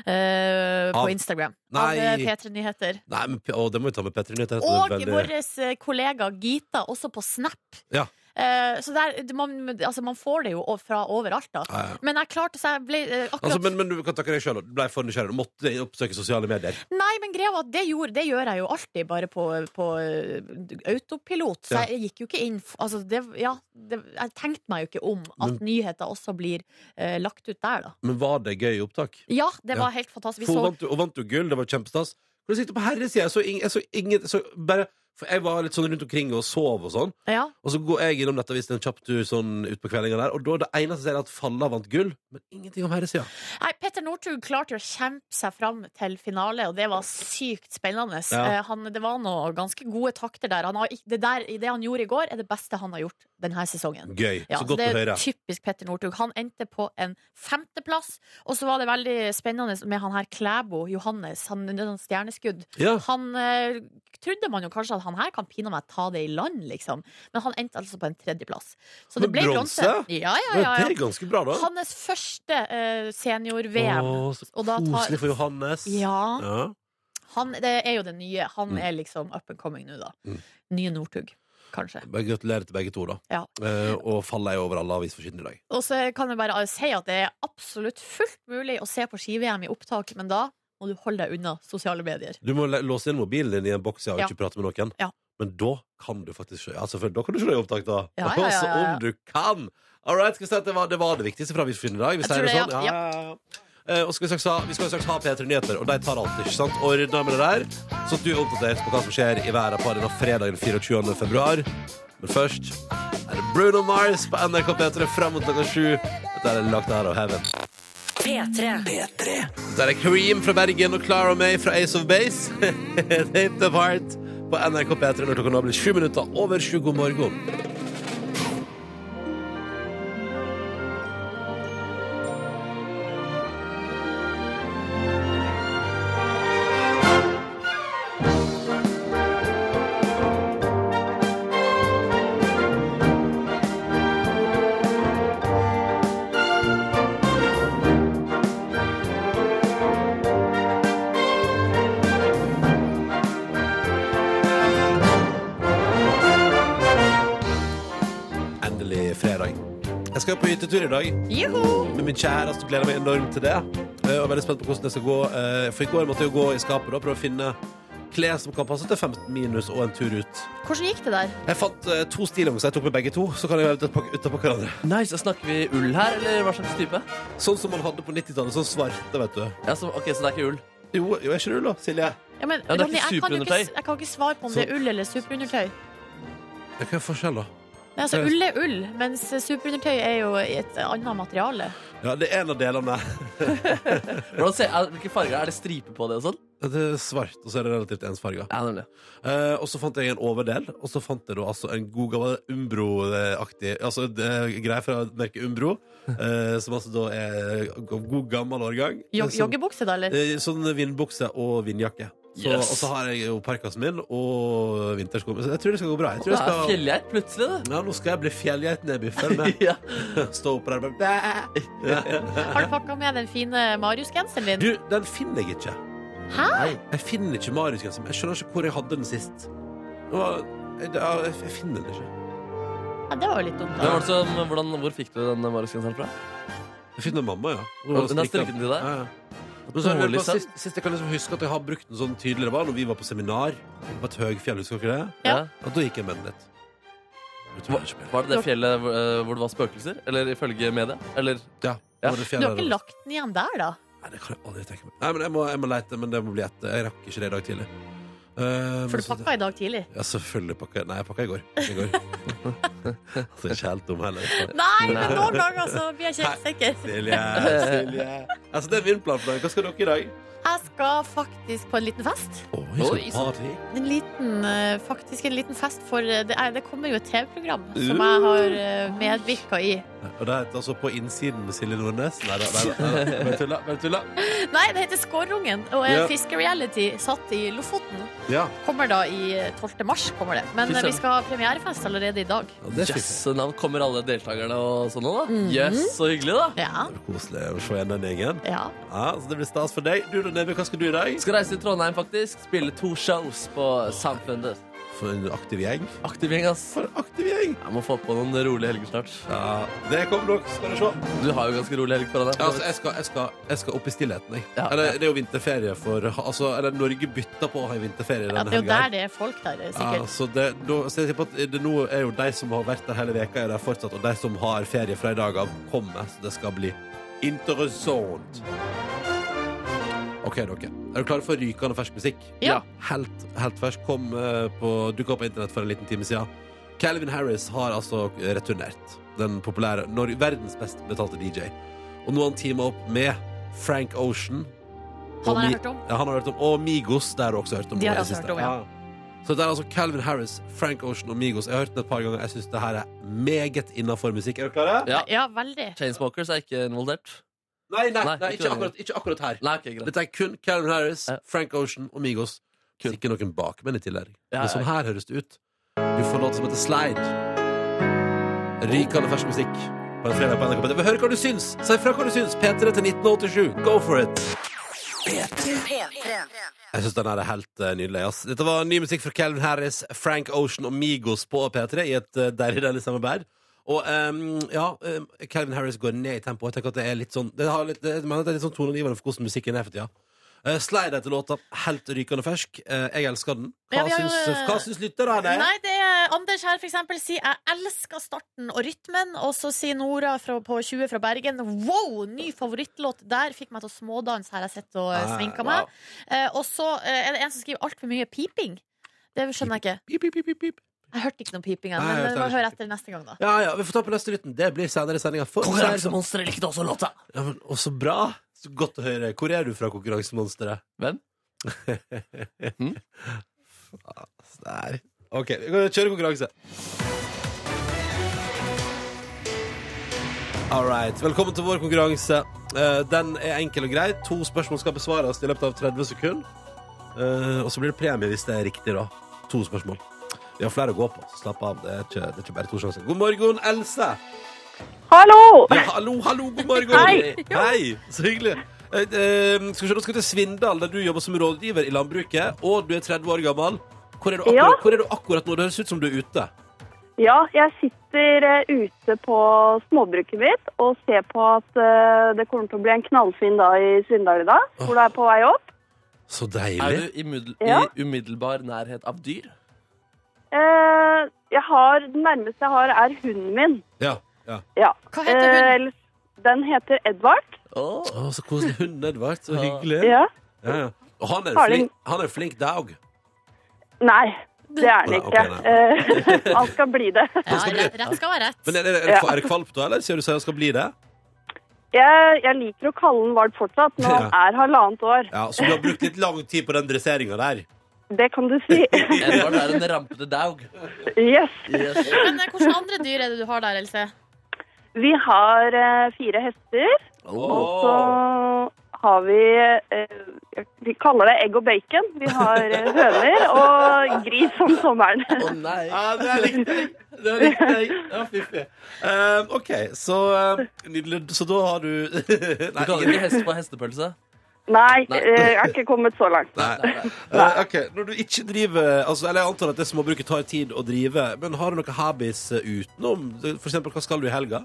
Speaker 4: eh, på
Speaker 3: Av-
Speaker 4: Instagram?
Speaker 3: Nei.
Speaker 4: Av eh, P3 Nyheter.
Speaker 3: Nei, men P- å, det må vi ta med Petter Nytt.
Speaker 4: Og vår eh, kollega Gita, også på Snap.
Speaker 3: Ja.
Speaker 4: Eh, så der, det- man, altså, man får det jo o- fra overalt, da.
Speaker 3: Ja, ja.
Speaker 4: Men jeg klarte så jeg ble, eh, akkurat
Speaker 3: Altså, men, men du kan takke deg sjøl. Du ble for nysgjerrig. Du måtte oppsøke sosiale medier.
Speaker 4: Nei, men greia var at det, gjorde, det gjør jeg jo alltid, bare på, på eh, autopilot. Så
Speaker 3: Ja.
Speaker 4: jeg gikk jo ikke inn f- altså det, ja, det, Jeg tenkte meg jo ikke om at
Speaker 3: Men-
Speaker 4: nyheter også blir eh, lagt ut der, da.
Speaker 3: Men var det gøy opptak?
Speaker 4: Ja, det
Speaker 3: Ja.
Speaker 4: var helt fantastisk. Vi
Speaker 3: For,
Speaker 4: så
Speaker 3: vant, du- og vant du gull? Det var kjempestas. Når jeg sitter på herresida, så, ing- jeg så ingen så bare, For jeg var litt sånn rundt omkring og sov og sånn.
Speaker 4: ja.
Speaker 3: Og så går jeg innom Nettavisen en kjapp tur sånn ut på kveldinga der, og da er det eneste jeg ser, er at Falla vant gull, men ingenting om herresida.
Speaker 4: Nei, Petter Northug klarte jo å kjempe seg fram til finale, og det var sykt spennende.
Speaker 3: Ja.
Speaker 4: Eh, Han, det var noe ganske gode takter der. Han har, ikk- det der. Det han gjorde i går, er det beste han har gjort denne sesongen.
Speaker 3: Gøy.
Speaker 4: Ja,
Speaker 3: så godt
Speaker 4: det
Speaker 3: å
Speaker 4: er
Speaker 3: høre.
Speaker 4: Typisk Petter Northug. Han endte på en femteplass. Og så var det veldig spennende med han her Klæbo, Johannes, han det er sånn stjerneskudd.
Speaker 3: Ja.
Speaker 4: Han eh, trodde man jo kanskje at han her kan pine meg ta det i land, liksom. Men han endte altså på en tredjeplass. Så det
Speaker 3: Men
Speaker 4: ble
Speaker 3: bronse?
Speaker 4: bronse. Ja, ja, ja,
Speaker 3: Det er
Speaker 4: ja.
Speaker 3: ganske bra, da.
Speaker 4: Hans første eh, senior-VM.
Speaker 3: Å, så
Speaker 4: Og da tar-
Speaker 3: koselig for Johannes.
Speaker 4: Ja.
Speaker 3: Ja.
Speaker 4: Han det er jo det nye. Han er liksom up and coming nå, da.
Speaker 3: Mm.
Speaker 4: Nye Northug, kanskje.
Speaker 3: Bare Gratulerer til begge to, da.
Speaker 4: Ja.
Speaker 3: Eh, og Falla er over alle avisforsidene i dag.
Speaker 4: Og så kan jeg bare si at det er absolutt fullt mulig å se på ski-VM i opptak, men da må du holde deg unna sosiale medier.
Speaker 3: Du må la- låse inn mobilen din i en boks ja, og
Speaker 4: Ja.
Speaker 3: ikke prate med noen.
Speaker 4: Ja.
Speaker 3: Men da kan du faktisk se- ja, selvfølgelig, Da kan du se deg i opptak, da.
Speaker 4: Ja, ja, ja,
Speaker 3: Altså,
Speaker 4: ja, ja.
Speaker 3: om du kan! All right, skal vi si at det var det, var det viktigste fra Avisforsynet i dag. Vi
Speaker 4: Jeg
Speaker 3: sier
Speaker 4: tror
Speaker 3: det
Speaker 4: det,
Speaker 3: sånn. Ja,
Speaker 4: ja.
Speaker 3: ja, ja. Eh, og skal vi, straks ha, vi skal straks ha P3 Nyheter, og de tar alt, ikke sant? Ordner med det der, så at du er oppdatert på hva som skjer i verden på denne fredagen 24. februar. Men først er det Bruno Mars på NRK P3 fram mot klokka sju. Dette er lagt her av Heaven.
Speaker 1: P3.
Speaker 3: Der er Kareem fra Bergen og Clara May fra Ace of Base. Take the part på NRK P3 når klokka nå blir sju minutter over sju. God morgen. skal på hyttetur i dag
Speaker 4: Juhu!
Speaker 3: med min kjæreste. Gleder meg enormt til det. Eh, Og er veldig spent på hvordan det skal gå. Eh, For i går måtte jeg jo gå i skapet og prøve å finne klær som kan passe til 15 minus og en tur ut.
Speaker 4: Hvordan gikk det der?
Speaker 3: Jeg fant eh, to stillongs. Jeg tok med begge to. Så kan jeg ha dem utapå hverandre.
Speaker 2: Nice, Snakker vi ull her, eller hva slags type?
Speaker 3: Sånn som man hadde på 90-tallet. Sånn svarte, vet du.
Speaker 2: Ja, så, ok, så det er ikke ull.
Speaker 3: Jo, jo er ikke du, da, Silje?
Speaker 4: Ja, men,
Speaker 2: Ja, det er
Speaker 4: Ronny,
Speaker 2: ikke
Speaker 4: jeg, kan jo ikke,
Speaker 2: superundertøy.
Speaker 4: jeg kan ikke svare på om det er ull eller superundertøy.
Speaker 3: Ja, Hva er forskjellen, da?
Speaker 4: Nei, altså, ull er ull, mens superundertøy er jo i et annet materiale.
Speaker 3: Ja, det er en av delene.
Speaker 2: Hvordan ser, er, hvilke farger er det? striper på det og sånn?
Speaker 3: Det er svart, og så er det relativt ensfarga.
Speaker 2: Ja, nemlig.
Speaker 3: Eh, og så fant jeg en overdel, og så fant jeg da altså en god gammel Umbro-aktig Altså det er greier fra merket Umbro, eh, som altså da er av god gammel årgang.
Speaker 4: Jo-
Speaker 3: Som-
Speaker 4: Joggebukse, da, eller?
Speaker 3: eh, Sånn vindbukse og vindjakke. Så,
Speaker 2: Yes.
Speaker 3: Og så har jeg jo parkasen min og vintersko. Så jeg tror det skal gå bra. Jeg tror
Speaker 2: Det
Speaker 3: jeg
Speaker 2: er
Speaker 3: skal,
Speaker 2: fjellgeit plutselig, det.
Speaker 3: ja, nå skal jeg bli fjellgeit nedby. Følg med.
Speaker 2: Ja.
Speaker 3: Stå opp der og bare
Speaker 4: Har du pakka med den fine Marius-genseren din?
Speaker 3: Du, den finner jeg ikke.
Speaker 2: Nei.
Speaker 3: Jeg finner ikke Marius-genseren. Jeg skjønner ikke hvor jeg hadde den sist. Det var- Jeg, jeg, jeg finner den ikke.
Speaker 4: Ja, det var jo litt dumt.
Speaker 2: Men
Speaker 4: da.
Speaker 2: var det sånn, hvordan, hvor fikk du den mariusgenseren fra?
Speaker 3: Jeg finner mamma, ja.
Speaker 2: Og den har strikket den til deg?
Speaker 3: Ja, ja. Men så er det
Speaker 2: Dårlig
Speaker 3: bare
Speaker 2: søvn.
Speaker 3: sist, sist jeg kan liksom huske at jeg har brukt den sånn tydeligere var når vi var på seminar på et høgfjell, husker dere det?
Speaker 4: Ja.
Speaker 2: Ja.
Speaker 3: Og da gikk jeg med den litt. Jeg tror jeg ikke mer.
Speaker 2: Var det det fjellet hvor, eh, hvor det var spøkelser? Eller ifølge media? Eller
Speaker 3: Ja,
Speaker 2: Ja.
Speaker 3: var det
Speaker 4: Du
Speaker 3: fjellet
Speaker 4: har ikke
Speaker 3: der?
Speaker 4: lagt den igjen der, da?
Speaker 3: Nei, det kan jeg aldri tenke meg. Nei, men jeg må, jeg må lete, men det må bli etter. Jeg rakk ikke det i dag tidlig. Eh, men
Speaker 4: For du
Speaker 3: så-
Speaker 4: pakka i dag tidlig?
Speaker 3: Ja, selvfølgelig pakka jeg. Nei, jeg pakka i går. I går. altså, jeg er ikke helt dum heller.
Speaker 4: Nei, men noen ganger så blir jeg ikke helt sikker.
Speaker 3: Silje, Silje. Altså, det er min plan for dagen. Hva skal dere i dag?
Speaker 4: Jeg skal faktisk på en liten fest.
Speaker 2: Oi,
Speaker 3: Oi, så
Speaker 2: sant.
Speaker 3: party.
Speaker 4: En liten, eh, faktisk en liten fest for eh, Det, er, det kommer jo et TV-program som jeg har eh, medvirka i.
Speaker 3: Og det heter altså På innsiden med Silje Nordnes. Nei da, nei da. nei da. Bare tulla. Bare tulla.
Speaker 4: Nei, det heter Skårungen og er
Speaker 3: Ja.
Speaker 4: fiskereality satt i Lofoten.
Speaker 3: Ja.
Speaker 4: Kommer da i eh, 12. mars, kommer det.
Speaker 2: Fy
Speaker 4: Men eh,
Speaker 2: søren.
Speaker 4: vi skal ha premierefest allerede i dag.
Speaker 3: det er
Speaker 2: Jøss, yes, navn kommer alle deltakerne og sånn nå, da? Jøss, så hyggelig, da.
Speaker 4: Ja,
Speaker 3: Koselig å se igjen den gjengen.
Speaker 4: ja.
Speaker 3: Ja, så det blir stas for deg. Du, Neby, hva skal du i dag?
Speaker 2: Skal reise til Trondheim, faktisk. Spille to shows på Samfunnet.
Speaker 3: For en aktiv gjeng.
Speaker 2: Aktiv gjeng, ass.
Speaker 3: For en aktiv gjeng!
Speaker 2: Jeg må få på noen rolige helger snart.
Speaker 3: Ja, det kommer nok. Skal du se.
Speaker 2: Du har jo ganske rolig helg foran deg.
Speaker 3: Ja, altså, jeg, skal, jeg, skal, jeg skal opp i stillheten, jeg.
Speaker 2: Ja.
Speaker 3: Eller, det er jo vinterferie for altså, Eller Norge bytter på å ha en vinterferie
Speaker 4: ja.
Speaker 3: denne
Speaker 4: Det er jo
Speaker 3: helgen.
Speaker 4: der det er folk der,
Speaker 3: Ja,
Speaker 4: eh, sikkert.
Speaker 3: så det, da, så jeg sier på at det nå er jo de som har vært der hele veka, er der fortsatt, og de som har ferie fra i dag av, kommer. Så det skal bli interessant. OK, dere. Er du klare for rykende fersk musikk?
Speaker 4: Ja.
Speaker 3: Helt, helt fersk. Kom eh, på, dukka opp på internett for en liten time siden. Calvin Harris har altså returnert. Den populære Nor verdens best betalte DJ. Og nå har han teama opp med Frank Ocean. og
Speaker 4: Han har jeg
Speaker 3: Mi-
Speaker 4: hørt om.
Speaker 3: Ja, han har hørt om. Og Migos, der har du også hørt om.
Speaker 4: De har
Speaker 3: i det
Speaker 4: også
Speaker 3: siste.
Speaker 4: hørt om, ja.
Speaker 3: Så det er altså Calvin Harris, Frank Ocean og Migos. Jeg har hørt den et par ganger. Jeg syns det her er meget innafor musikk. Er dere klare?
Speaker 2: Ja.
Speaker 4: Ja, veldig.
Speaker 2: Chainsmokers er ikke involvert.
Speaker 3: Nei, nei, nei,
Speaker 2: Nei,
Speaker 3: ikke,
Speaker 2: ikke
Speaker 3: akkurat, ikke akkurat her.
Speaker 2: Nei, ok, greit.
Speaker 3: Dette er kun Calvin Harris,
Speaker 2: Ja.
Speaker 3: Frank Ocean og Migos.
Speaker 2: Kun.
Speaker 3: Ikke noen bakmenn i tillegg.
Speaker 2: Ja,
Speaker 3: Men sånn her høres det ut. Du får låt som heter Slide. Rykende fersk musikk. På en fredag på NRK P3. Hør hva du syns! Si fra hva du syns! P3 til 1987. Go for it! Jeg syns den her er helt eh, nydelig. Ass. Dette var ny musikk fra Calvin Harris, Frank Ocean og Migos på P3 i et eh, deilig deilig samarbeid. Og ehm, ja, ehm, Calvin Harris går ned i tempo. Jeg tenker at det er litt sånn Det, har litt, det, jeg mener at det er litt sånn toneangivende for hvordan musikken er for tida. Uh, Slide heter låta. Helt rykende fersk. Eh, jeg elsker den. Hva
Speaker 4: Ja, vi har jo,
Speaker 3: syns,
Speaker 4: eh,
Speaker 3: hva syns lytterne?
Speaker 4: Nei, det er Anders her for eksempel sier Jeg elsker starten og rytmen Og så sier Nora fra, på 20 fra Bergen Wow, ny favorittlåt Der fikk meg til å smådans her jeg sitter og eh,
Speaker 3: Ah,
Speaker 4: sminker
Speaker 3: wow.
Speaker 4: meg eh, Og så eh, er det en som skriver alt for mye piping Det skjønner jeg ikke
Speaker 3: Pip, pip, pip, pip, pip.
Speaker 4: Jeg hørte ikke noen piping ennå,
Speaker 3: Nei, jeg
Speaker 4: Men
Speaker 3: hørte
Speaker 4: vi
Speaker 3: heller
Speaker 4: hører etter neste gang da
Speaker 8: Eh,
Speaker 3: Ja, ja, vi får ta på neste lytten. Det blir senere i sendinga.
Speaker 2: Konkurransemonsteret likte også låta.
Speaker 3: Ja, men, og så bra! Så godt å høre. Hvor er du fra, konkurransemonsteret?
Speaker 2: Hvem?
Speaker 3: Hm? Der. OK, vi kan kjøre konkurranse. All right. Velkommen til vår konkurranse. Eh, den er enkel og grei. To spørsmål skal besvares i løpet av 30 sekunder. Eh, og så blir det premie hvis det er riktig, da. To spørsmål. Vi har flere å gå på, så slapp av. Det er ikke, det er ikke bare to sjanser. God morgen, Else!
Speaker 8: Hallo!
Speaker 3: Ja, hallo, hallo, god morgen.
Speaker 8: Hei.
Speaker 3: Hei, så hyggelig. Eh, eh, skal vi se, nå skal vi til Svindal, der du jobber som rådgiver i landbruket, og du er 30 år gammel. Hvor er du akkurat,
Speaker 8: Ja.
Speaker 3: hvor er du akkurat nå? Det høres ut som du er ute.
Speaker 8: Ja, jeg sitter eh, ute på småbruket mitt og ser på at eh, det kommer til å bli en knallfin dag i Svindal i dag, hvor det er på vei opp.
Speaker 3: Så
Speaker 2: Er
Speaker 3: deilig.
Speaker 2: du i, muddel-
Speaker 8: Ja.
Speaker 2: i umiddelbar nærhet av dyr?
Speaker 8: Eh, Jeg har, den nærmeste jeg har, er hunden min.
Speaker 3: Ja. ja.
Speaker 8: Ja.
Speaker 4: Hva heter hun?
Speaker 8: Eh, ellers- Den heter Edvard.
Speaker 2: Åh.
Speaker 3: Å, så koselig. Hunden Edvard. Så hyggelig.
Speaker 8: Ja.
Speaker 3: Ja, ja. Og han er
Speaker 8: Har
Speaker 3: en
Speaker 8: den-
Speaker 3: flink, han er en flink dog.
Speaker 8: Nei, det er den
Speaker 3: Nei,
Speaker 8: ikke.
Speaker 3: ok,
Speaker 8: Eh, Han skal bli det.
Speaker 4: Ja, rett, rett skal være
Speaker 3: Men
Speaker 4: rett.
Speaker 3: er det, er det,
Speaker 8: Ja.
Speaker 3: er det kvalp, da, eller? Sier du sier han skal bli det?
Speaker 8: Jeg, jeg liker å kalle den valp fortsatt, men han
Speaker 3: Ja.
Speaker 8: er halvannet år.
Speaker 3: Ja, Så du har brukt litt lang tid på den dresseringa der?
Speaker 8: Det kan du si.
Speaker 2: Edvard er en rampete daug.
Speaker 8: Yes.
Speaker 4: Men eh, hvilke andre dyr er det du har der, Else?
Speaker 8: Vi har eh, fire hester, og så har vi eh, Vi kaller det egg og bacon. Vi har eh, høner og gris om sommeren.
Speaker 2: Å nei.
Speaker 3: Ja, det likte jeg. Det likte jeg. Det var fiffig. Eh, OK, så eh, Nydelig. Så da har du
Speaker 2: Du
Speaker 3: Nei,
Speaker 2: kaller ikke hest for hestepølse?
Speaker 8: Nei,
Speaker 2: Nei.
Speaker 8: eh, jeg har ikke kommet så langt.
Speaker 3: Nei. Eh, ok, Når du ikke driver altså, Eller jeg antar at det småbruket tar tid å drive, men har du noen habits eh, utenom? For eksempel, hva skal du i helga?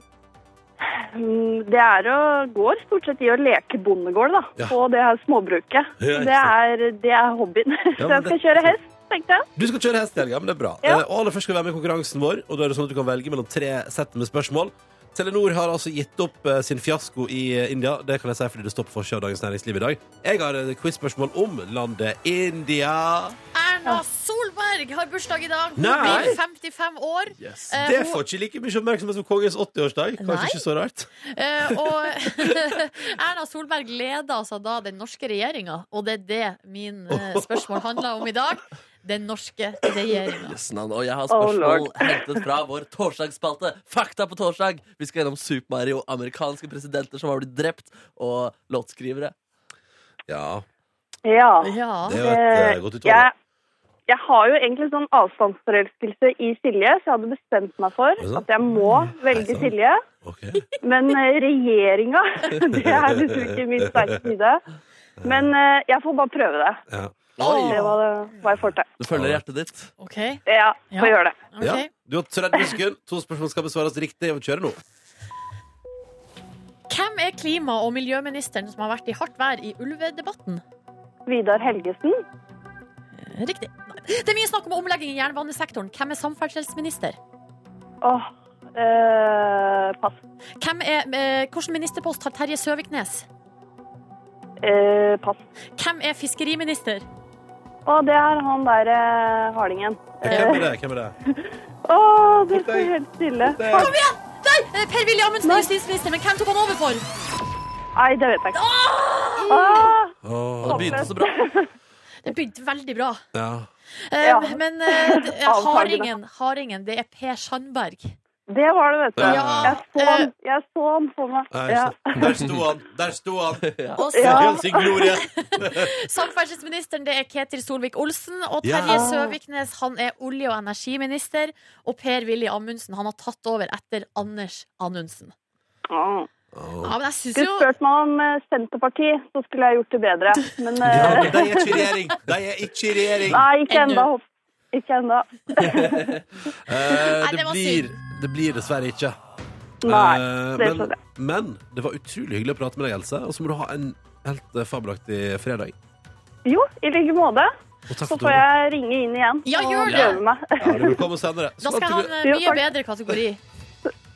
Speaker 8: Mm, Det er å går stort sett i å leke bondegård da,
Speaker 3: Ja.
Speaker 8: på det her småbruket.
Speaker 3: Ja, ikke
Speaker 8: Det er, det er hobbyen. Så
Speaker 3: men
Speaker 8: jeg skal
Speaker 3: det-
Speaker 8: kjøre hest, tenkte jeg.
Speaker 3: Du skal kjøre hest i helga, men det er bra.
Speaker 8: Ja.
Speaker 3: Eh, Og aller først skal du være med i konkurransen vår, og da er det sånn at du kan velge mellom tre sett med spørsmål. Telenor har altså gitt opp eh, sin fiasko i eh, India. Det kan jeg si fordi det står på forsida av Dagens Næringsliv i dag. Jeg har et quiz-spørsmål om landet India.
Speaker 4: Erna Solberg har bursdag i dag. Hun
Speaker 3: Nei.
Speaker 4: blir 55 år. Eh,
Speaker 3: Det
Speaker 4: hun-
Speaker 3: får ikke like mye oppmerksomhet som kongens 80-årsdag. Kanskje
Speaker 4: Nei.
Speaker 3: ikke så rart.
Speaker 4: Eh, og Erna Solberg leda altså da den norske regjeringa, og det er det min eh, spørsmål handler om i dag. Den norske regjeringa.
Speaker 2: Yes, navn. Og jeg har
Speaker 8: Oh,
Speaker 2: spørsmål
Speaker 8: lord.
Speaker 2: hentet fra vår torsdagsspalte. Fakta på torsdag! Vi skal gjennom Super Mario, amerikanske presidenter som har blitt drept, og låtskrivere.
Speaker 3: Ja,
Speaker 8: Ja.
Speaker 4: Ja.
Speaker 3: det er jo et eh, godt utvalg.
Speaker 8: jeg, jeg har jo egentlig sånn avstandsforelskelse i Silje, så jeg hadde bestemt meg for
Speaker 3: det sant? Mm.
Speaker 8: at jeg må velge
Speaker 3: sant?
Speaker 8: Silje.
Speaker 3: Ok.
Speaker 8: Men eh, regjeringa, det er liksom ikke min sterke side. Men eh, jeg får bare prøve det.
Speaker 3: Ja.
Speaker 8: Det var hva jeg får til.
Speaker 2: Du følger hjertet ditt.
Speaker 4: OK.
Speaker 8: Ja,
Speaker 4: Ja.
Speaker 8: får gjøre det.
Speaker 4: ok.
Speaker 3: Ja. Du har 30 sekunder. To spørsmål skal besvares riktig. Vi kjører nå.
Speaker 4: Hvem er klima- og miljøministeren som har vært i hardt vær i ulvedebatten? Eh,
Speaker 8: Vidar Helgesen.
Speaker 4: Riktig. Nei. Det er mye snakk om omlegging i jernbanesektoren. Hvem er samferdselsminister?
Speaker 8: Åh, eh, pass.
Speaker 4: Hvem er, eh, hvilken ministerpost har Terje Søviknes?
Speaker 8: Eh, pass.
Speaker 4: Hvem er fiskeriminister?
Speaker 8: Å, det er han der eh, hardingen.
Speaker 3: Ja, Hvem er det? Hvem er det?
Speaker 8: Å, det står helt stille.
Speaker 4: Kom igjen! Nei! eh, Per-Willy Amundsen er justisminister, men hvem tok han over for?
Speaker 8: Nei, det vet jeg ikke. Åh!
Speaker 2: Og det begynte så bra.
Speaker 4: Det begynte veldig bra.
Speaker 3: Ja.
Speaker 4: Eh,
Speaker 8: Ja.
Speaker 4: Men eh, d-
Speaker 8: Avtagende.
Speaker 4: hardingen, hardingen, det er Per Sandberg.
Speaker 8: Det var det, vet du.
Speaker 3: Ja. Eh.
Speaker 8: Jeg så han, jeg så han for meg.
Speaker 3: Nei,
Speaker 8: Ja.
Speaker 3: så- Der sto han! Der sto han!
Speaker 4: Og
Speaker 8: Ja.
Speaker 3: Helt sin glorie.
Speaker 4: samferdselsministeren, det er Ketil Solvik-Olsen. Og
Speaker 3: Ja.
Speaker 4: Terje Søviknes, han er olje- og energiminister. Og Per-Willy Amundsen, han har tatt over etter Anders Anundsen.
Speaker 8: Åh.
Speaker 4: Ja, men jeg synes
Speaker 8: Skulle
Speaker 4: jo
Speaker 8: spurt meg om eh, Senterpartiet, så skulle jeg gjort det bedre. Men eh,
Speaker 3: Ja, men de er ikke i regjering! De er ikke i regjering!
Speaker 8: nei, ikke
Speaker 4: Ennå.
Speaker 8: enda. håp- Ikke enda.
Speaker 3: Eh,
Speaker 4: Nei,
Speaker 3: det,
Speaker 4: det var
Speaker 3: blir,
Speaker 4: synd.
Speaker 3: det blir dessverre ikke.
Speaker 8: Nei,
Speaker 3: Eh,
Speaker 8: det
Speaker 3: men,
Speaker 8: skjønner jeg.
Speaker 3: men det var utrolig hyggelig å prate med deg, Else. Og så må du ha en helt eh, fabelaktig fredag.
Speaker 8: Jo, i like måte.
Speaker 3: Og takk
Speaker 8: Så
Speaker 3: for at du
Speaker 8: får
Speaker 3: var med.
Speaker 8: jeg ringe inn igjen
Speaker 4: Ja,
Speaker 8: og
Speaker 4: gjør det.
Speaker 8: prøve meg.
Speaker 3: Ja, du er velkommen senere.
Speaker 4: Da skal jeg ha en eh,
Speaker 8: Jo,
Speaker 4: mye
Speaker 8: takk.
Speaker 4: bedre kategori.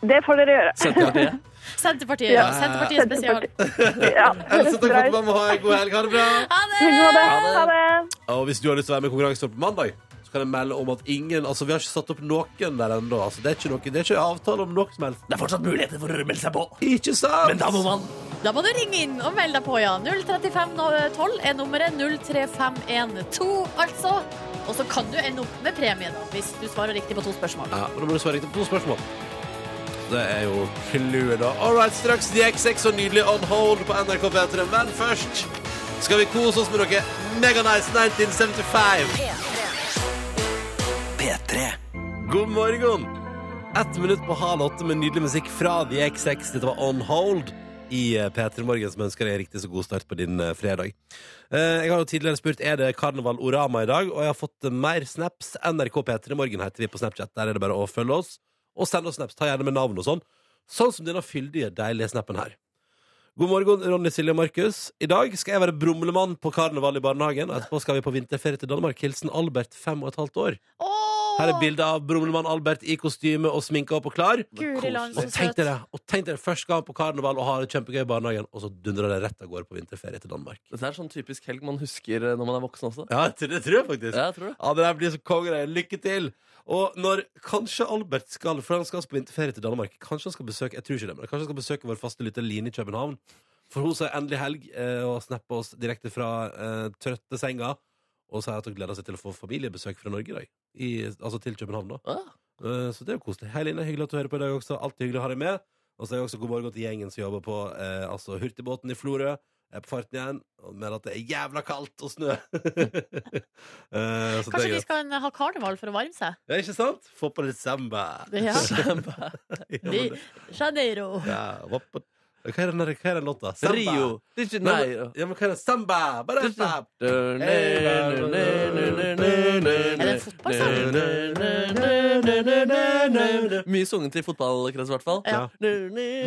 Speaker 8: Det får dere gjøre.
Speaker 2: Senterpartiet.
Speaker 4: Senterpartiet, ja. Senterpartiet spesial.
Speaker 8: Ja,
Speaker 3: Else, takk for at du
Speaker 8: bra.
Speaker 3: var med. Ha en god helg. Ha det bra.
Speaker 4: Ha
Speaker 8: I
Speaker 4: det!
Speaker 8: like måte. Ha det.
Speaker 3: Og hvis du har lyst til å være med i konkurransen på mandag, så kan jeg melde om at ingen Altså, vi har ikke satt opp noen der ennå. Altså, det, er ikke noe- det er ikke avtale om noe som helst.
Speaker 2: Det er fortsatt muligheter for å melde seg på.
Speaker 3: Ikke sant?
Speaker 2: Men da må man
Speaker 4: Da må du ringe inn og melde deg på, ja. 03512 er nummeret. 03512, altså. Og så kan du ende opp med premie, da, hvis du svarer riktig på to spørsmål.
Speaker 3: Ja, men Da må du svare riktig på to spørsmål. Det er jo clouet, da. All right, straks DX6 og nydelig On Hold på NRK P3. Men først skal vi kose oss med noe Meganice 1975.
Speaker 6: P3
Speaker 3: God morgen. Ett minutt på halv åtte med nydelig musikk fra The X6. Dette var On Hold. i eh, P3 Morgen som ønsker deg en riktig så god start på din eh, fredag. Eh, Jeg har jo tidligere spurt er det karneval Orama i dag, og jeg har fått eh, mer snaps. NRK P3 Morgen heter vi på Snapchat. Der er det bare å følge oss. Og send oss snaps. Ta gjerne med navn og sånn. Sånn som denne fyldige, deilige snappen her. God morgen, Ronny, Silje og Markus. I dag skal jeg være brumlemann på karneval i barnehagen. og Etterpå skal vi på vinterferie til Danmark. Hilsen Albert, fem og et halvt år.
Speaker 4: Åh!
Speaker 3: Her er bilde av brumlemann Albert i kostyme og sminka opp og klar.
Speaker 4: Guri land, så
Speaker 3: Og tenk
Speaker 4: søt.
Speaker 3: dere, og tenk dere først skal han på karneval og ha det kjempegøy i barnehagen, og så dundrer det rett av gårde på vinterferie til Danmark.
Speaker 2: Dette er sånn typisk helg man husker eh, når man er voksen også.
Speaker 3: Ja, det det tror jeg faktisk.
Speaker 2: Ja, jeg tror det.
Speaker 3: Ja, det der blir så kongere. Lykke til! Og når kanskje Albert skal For han skal på vinterferie til Danmark. Kanskje han skal besøke Jeg tror ikke det, men kanskje han skal besøke vår faste lytter Line i København. For hun sier endelig helg eh, og snapper oss direkte fra eh, trøtte senga. Og sier at hun gleder seg til å få familiebesøk fra Norge i dag. I, altså til København, da.
Speaker 2: Ah.
Speaker 3: Eh, så det er jo koselig. Hei, Line. Hyggelig at du hører på i dag også. Alltid hyggelig å ha deg med. Og så er jeg også god morgen til gjengen som jobber på eh, altså hurtigbåten i Florø. Jeg er på farten igjen, og mener at det er jævla kaldt og snø. Eh, så det er
Speaker 4: Kanskje de
Speaker 3: greit.
Speaker 4: skal ha karneval for å varme seg?
Speaker 3: Ja, ikke sant? Få på litt samba.
Speaker 4: Ja.
Speaker 3: Samba. Ja, men
Speaker 4: De,
Speaker 3: det-
Speaker 4: Janeiro.
Speaker 3: ja, hva på- Hva er den, der- hva er den låta? Samba.
Speaker 2: Rio.
Speaker 3: Nei,
Speaker 2: Nei,
Speaker 3: men- ja, men hva er den? Samba! Bare samba!
Speaker 4: Er det
Speaker 2: Er
Speaker 4: en fotballsang?
Speaker 2: Mye sunget i fotballkrets, i hvert fall.
Speaker 4: Ja.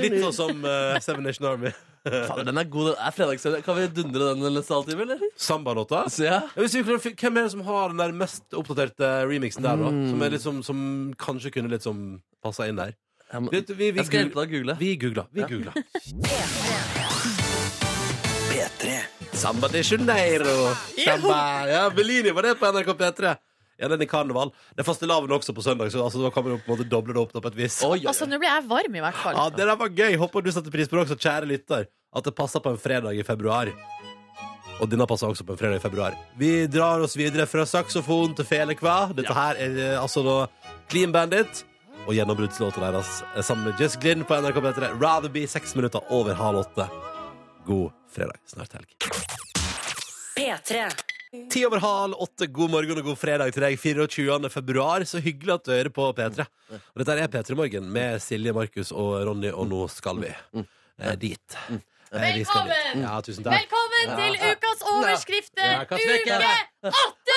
Speaker 3: Litt sånn som eh, Seven Nation Army.
Speaker 2: Fader, den er god. Den er fredagssøndag. Kan vi dundre den en neste halvtime, eller?
Speaker 3: Samba-låta?
Speaker 2: Så ja.
Speaker 3: Ja, hvis vi klarer å fin- Hvem er det som har den der mest oppdaterte remixen der, da? Som, er liksom, som kanskje kunne liksom passa inn der?
Speaker 2: Jeg, må,
Speaker 3: Vet du, vi, vi,
Speaker 2: jeg skal hjelpe
Speaker 3: googler-
Speaker 2: deg å google.
Speaker 3: Vi googla. Vi
Speaker 2: Ja.
Speaker 3: googla. P3. Samba de Janeiro. Samba. Ja, Bellini var det på NRK P3. Ja, den i karneval. Det er fastelavn også på søndag, så altså, da kan man jo på en måte doble det opp da på et vis.
Speaker 2: Oi, oi,
Speaker 4: Altså,
Speaker 2: oi.
Speaker 4: nå blir jeg varm, i hvert fall.
Speaker 3: Ja, Det der var gøy. Håper du setter pris på det også, kjære lytter. At det passer på en fredag i februar. Og denne passer også på en fredag i februar. Vi drar oss videre fra saksofon til felekva. Dette her er eh, altså da Clean Bandit. Og gjennombruddslåta deres eh, sammen med Just Glynn på NRK P3. Rather Be seks minutter over halv åtte. God fredag. Snart helg.
Speaker 1: P3.
Speaker 3: Ti over halv åtte, god morgen og god fredag til deg. 24. februar, så hyggelig at du hører på P3. Og dette er P3 Morgen med Silje, Markus og Ronny, og nå skal vi eh, dit. Eh, vi skal dit.
Speaker 4: Velkommen!
Speaker 3: Ja, tusen takk.
Speaker 4: Velkommen til
Speaker 3: Ja,
Speaker 4: ukas overskrifter,
Speaker 3: hva
Speaker 4: uke
Speaker 3: smekker?
Speaker 4: åtte!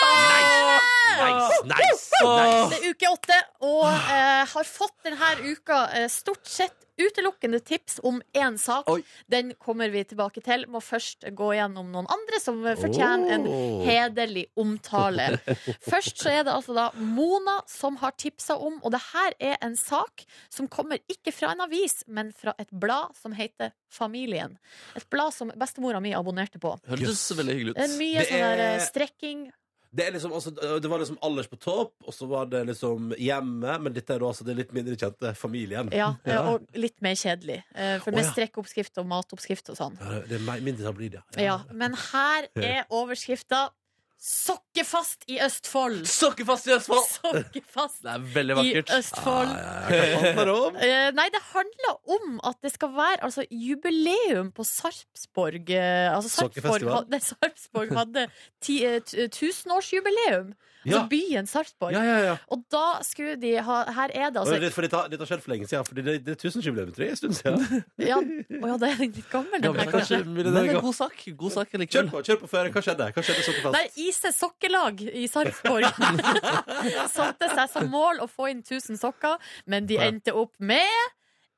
Speaker 3: Nice, nice, nice.
Speaker 4: Det er uke åtte, og eh, har fått denne uka eh, stort sett utelukkende tips om én sak.
Speaker 2: Oi.
Speaker 4: Den kommer vi tilbake til. Må først gå gjennom noen andre som eh, fortjener en
Speaker 3: Oh.
Speaker 4: hederlig omtale. Først så er det altså da Mona som har tipsa om, og det her er en sak som kommer ikke fra en avis, men fra et blad som heter Familien. Et blad som bestemora mi abonnerte på.
Speaker 2: Hørtes veldig hyggelig
Speaker 4: Det er
Speaker 2: ut.
Speaker 4: mye
Speaker 3: Det
Speaker 4: sånn her eh,
Speaker 3: er-
Speaker 4: strekking.
Speaker 3: Det, er liksom, altså, det var liksom alders på topp, og så var det liksom hjemme, men dette er da altså det litt mindre kjente familien.
Speaker 4: Ja, eh, og litt mer kjedelig. eh, For
Speaker 3: Å,
Speaker 4: med
Speaker 3: ja.
Speaker 4: strekkoppskrift og matoppskrift og sånn.
Speaker 3: Ja, Det er mer- mindre som blir det.
Speaker 4: Ja, men her er overskrifta 'Sokkefast i Østfold'.
Speaker 2: Sokkefast i Østfold!
Speaker 4: Sokkefast
Speaker 2: Det er veldig
Speaker 4: i
Speaker 2: vakkert.
Speaker 4: Østfold.
Speaker 3: Eh, Ah, Hva handler det om?
Speaker 4: Eh, nei, det handler om at det skal være altså, jubileum på Sarpsborg. eh, altså, Sarpsborg,
Speaker 3: Sokkefestival.
Speaker 4: hadde, Sarpsborg hadde ti, eh, t- eh, tusenårsjubileum.
Speaker 3: Ja.
Speaker 4: Altså byen Sarpsborg.
Speaker 3: Ja, ja, ja.
Speaker 4: Og da skulle de ha Her er det
Speaker 3: Og
Speaker 4: altså
Speaker 3: det, for dette, dette har skjedd for lenge siden, for det, det er tusenjubileum, tror jeg, en stund siden.
Speaker 4: ja, Å ja, det er litt gammel, den
Speaker 2: Gammel
Speaker 4: her,
Speaker 2: sak,
Speaker 4: kanskje.
Speaker 2: Men det er en god sak. God sak jeg liker
Speaker 3: Kjør
Speaker 2: den.
Speaker 3: på, kjør på før. Hva skjedde? Hva skjedde så fast?
Speaker 4: Der Ise sokkelag i Sarpsborg satte seg som mål å få inn 1000 sokker, men de endte opp med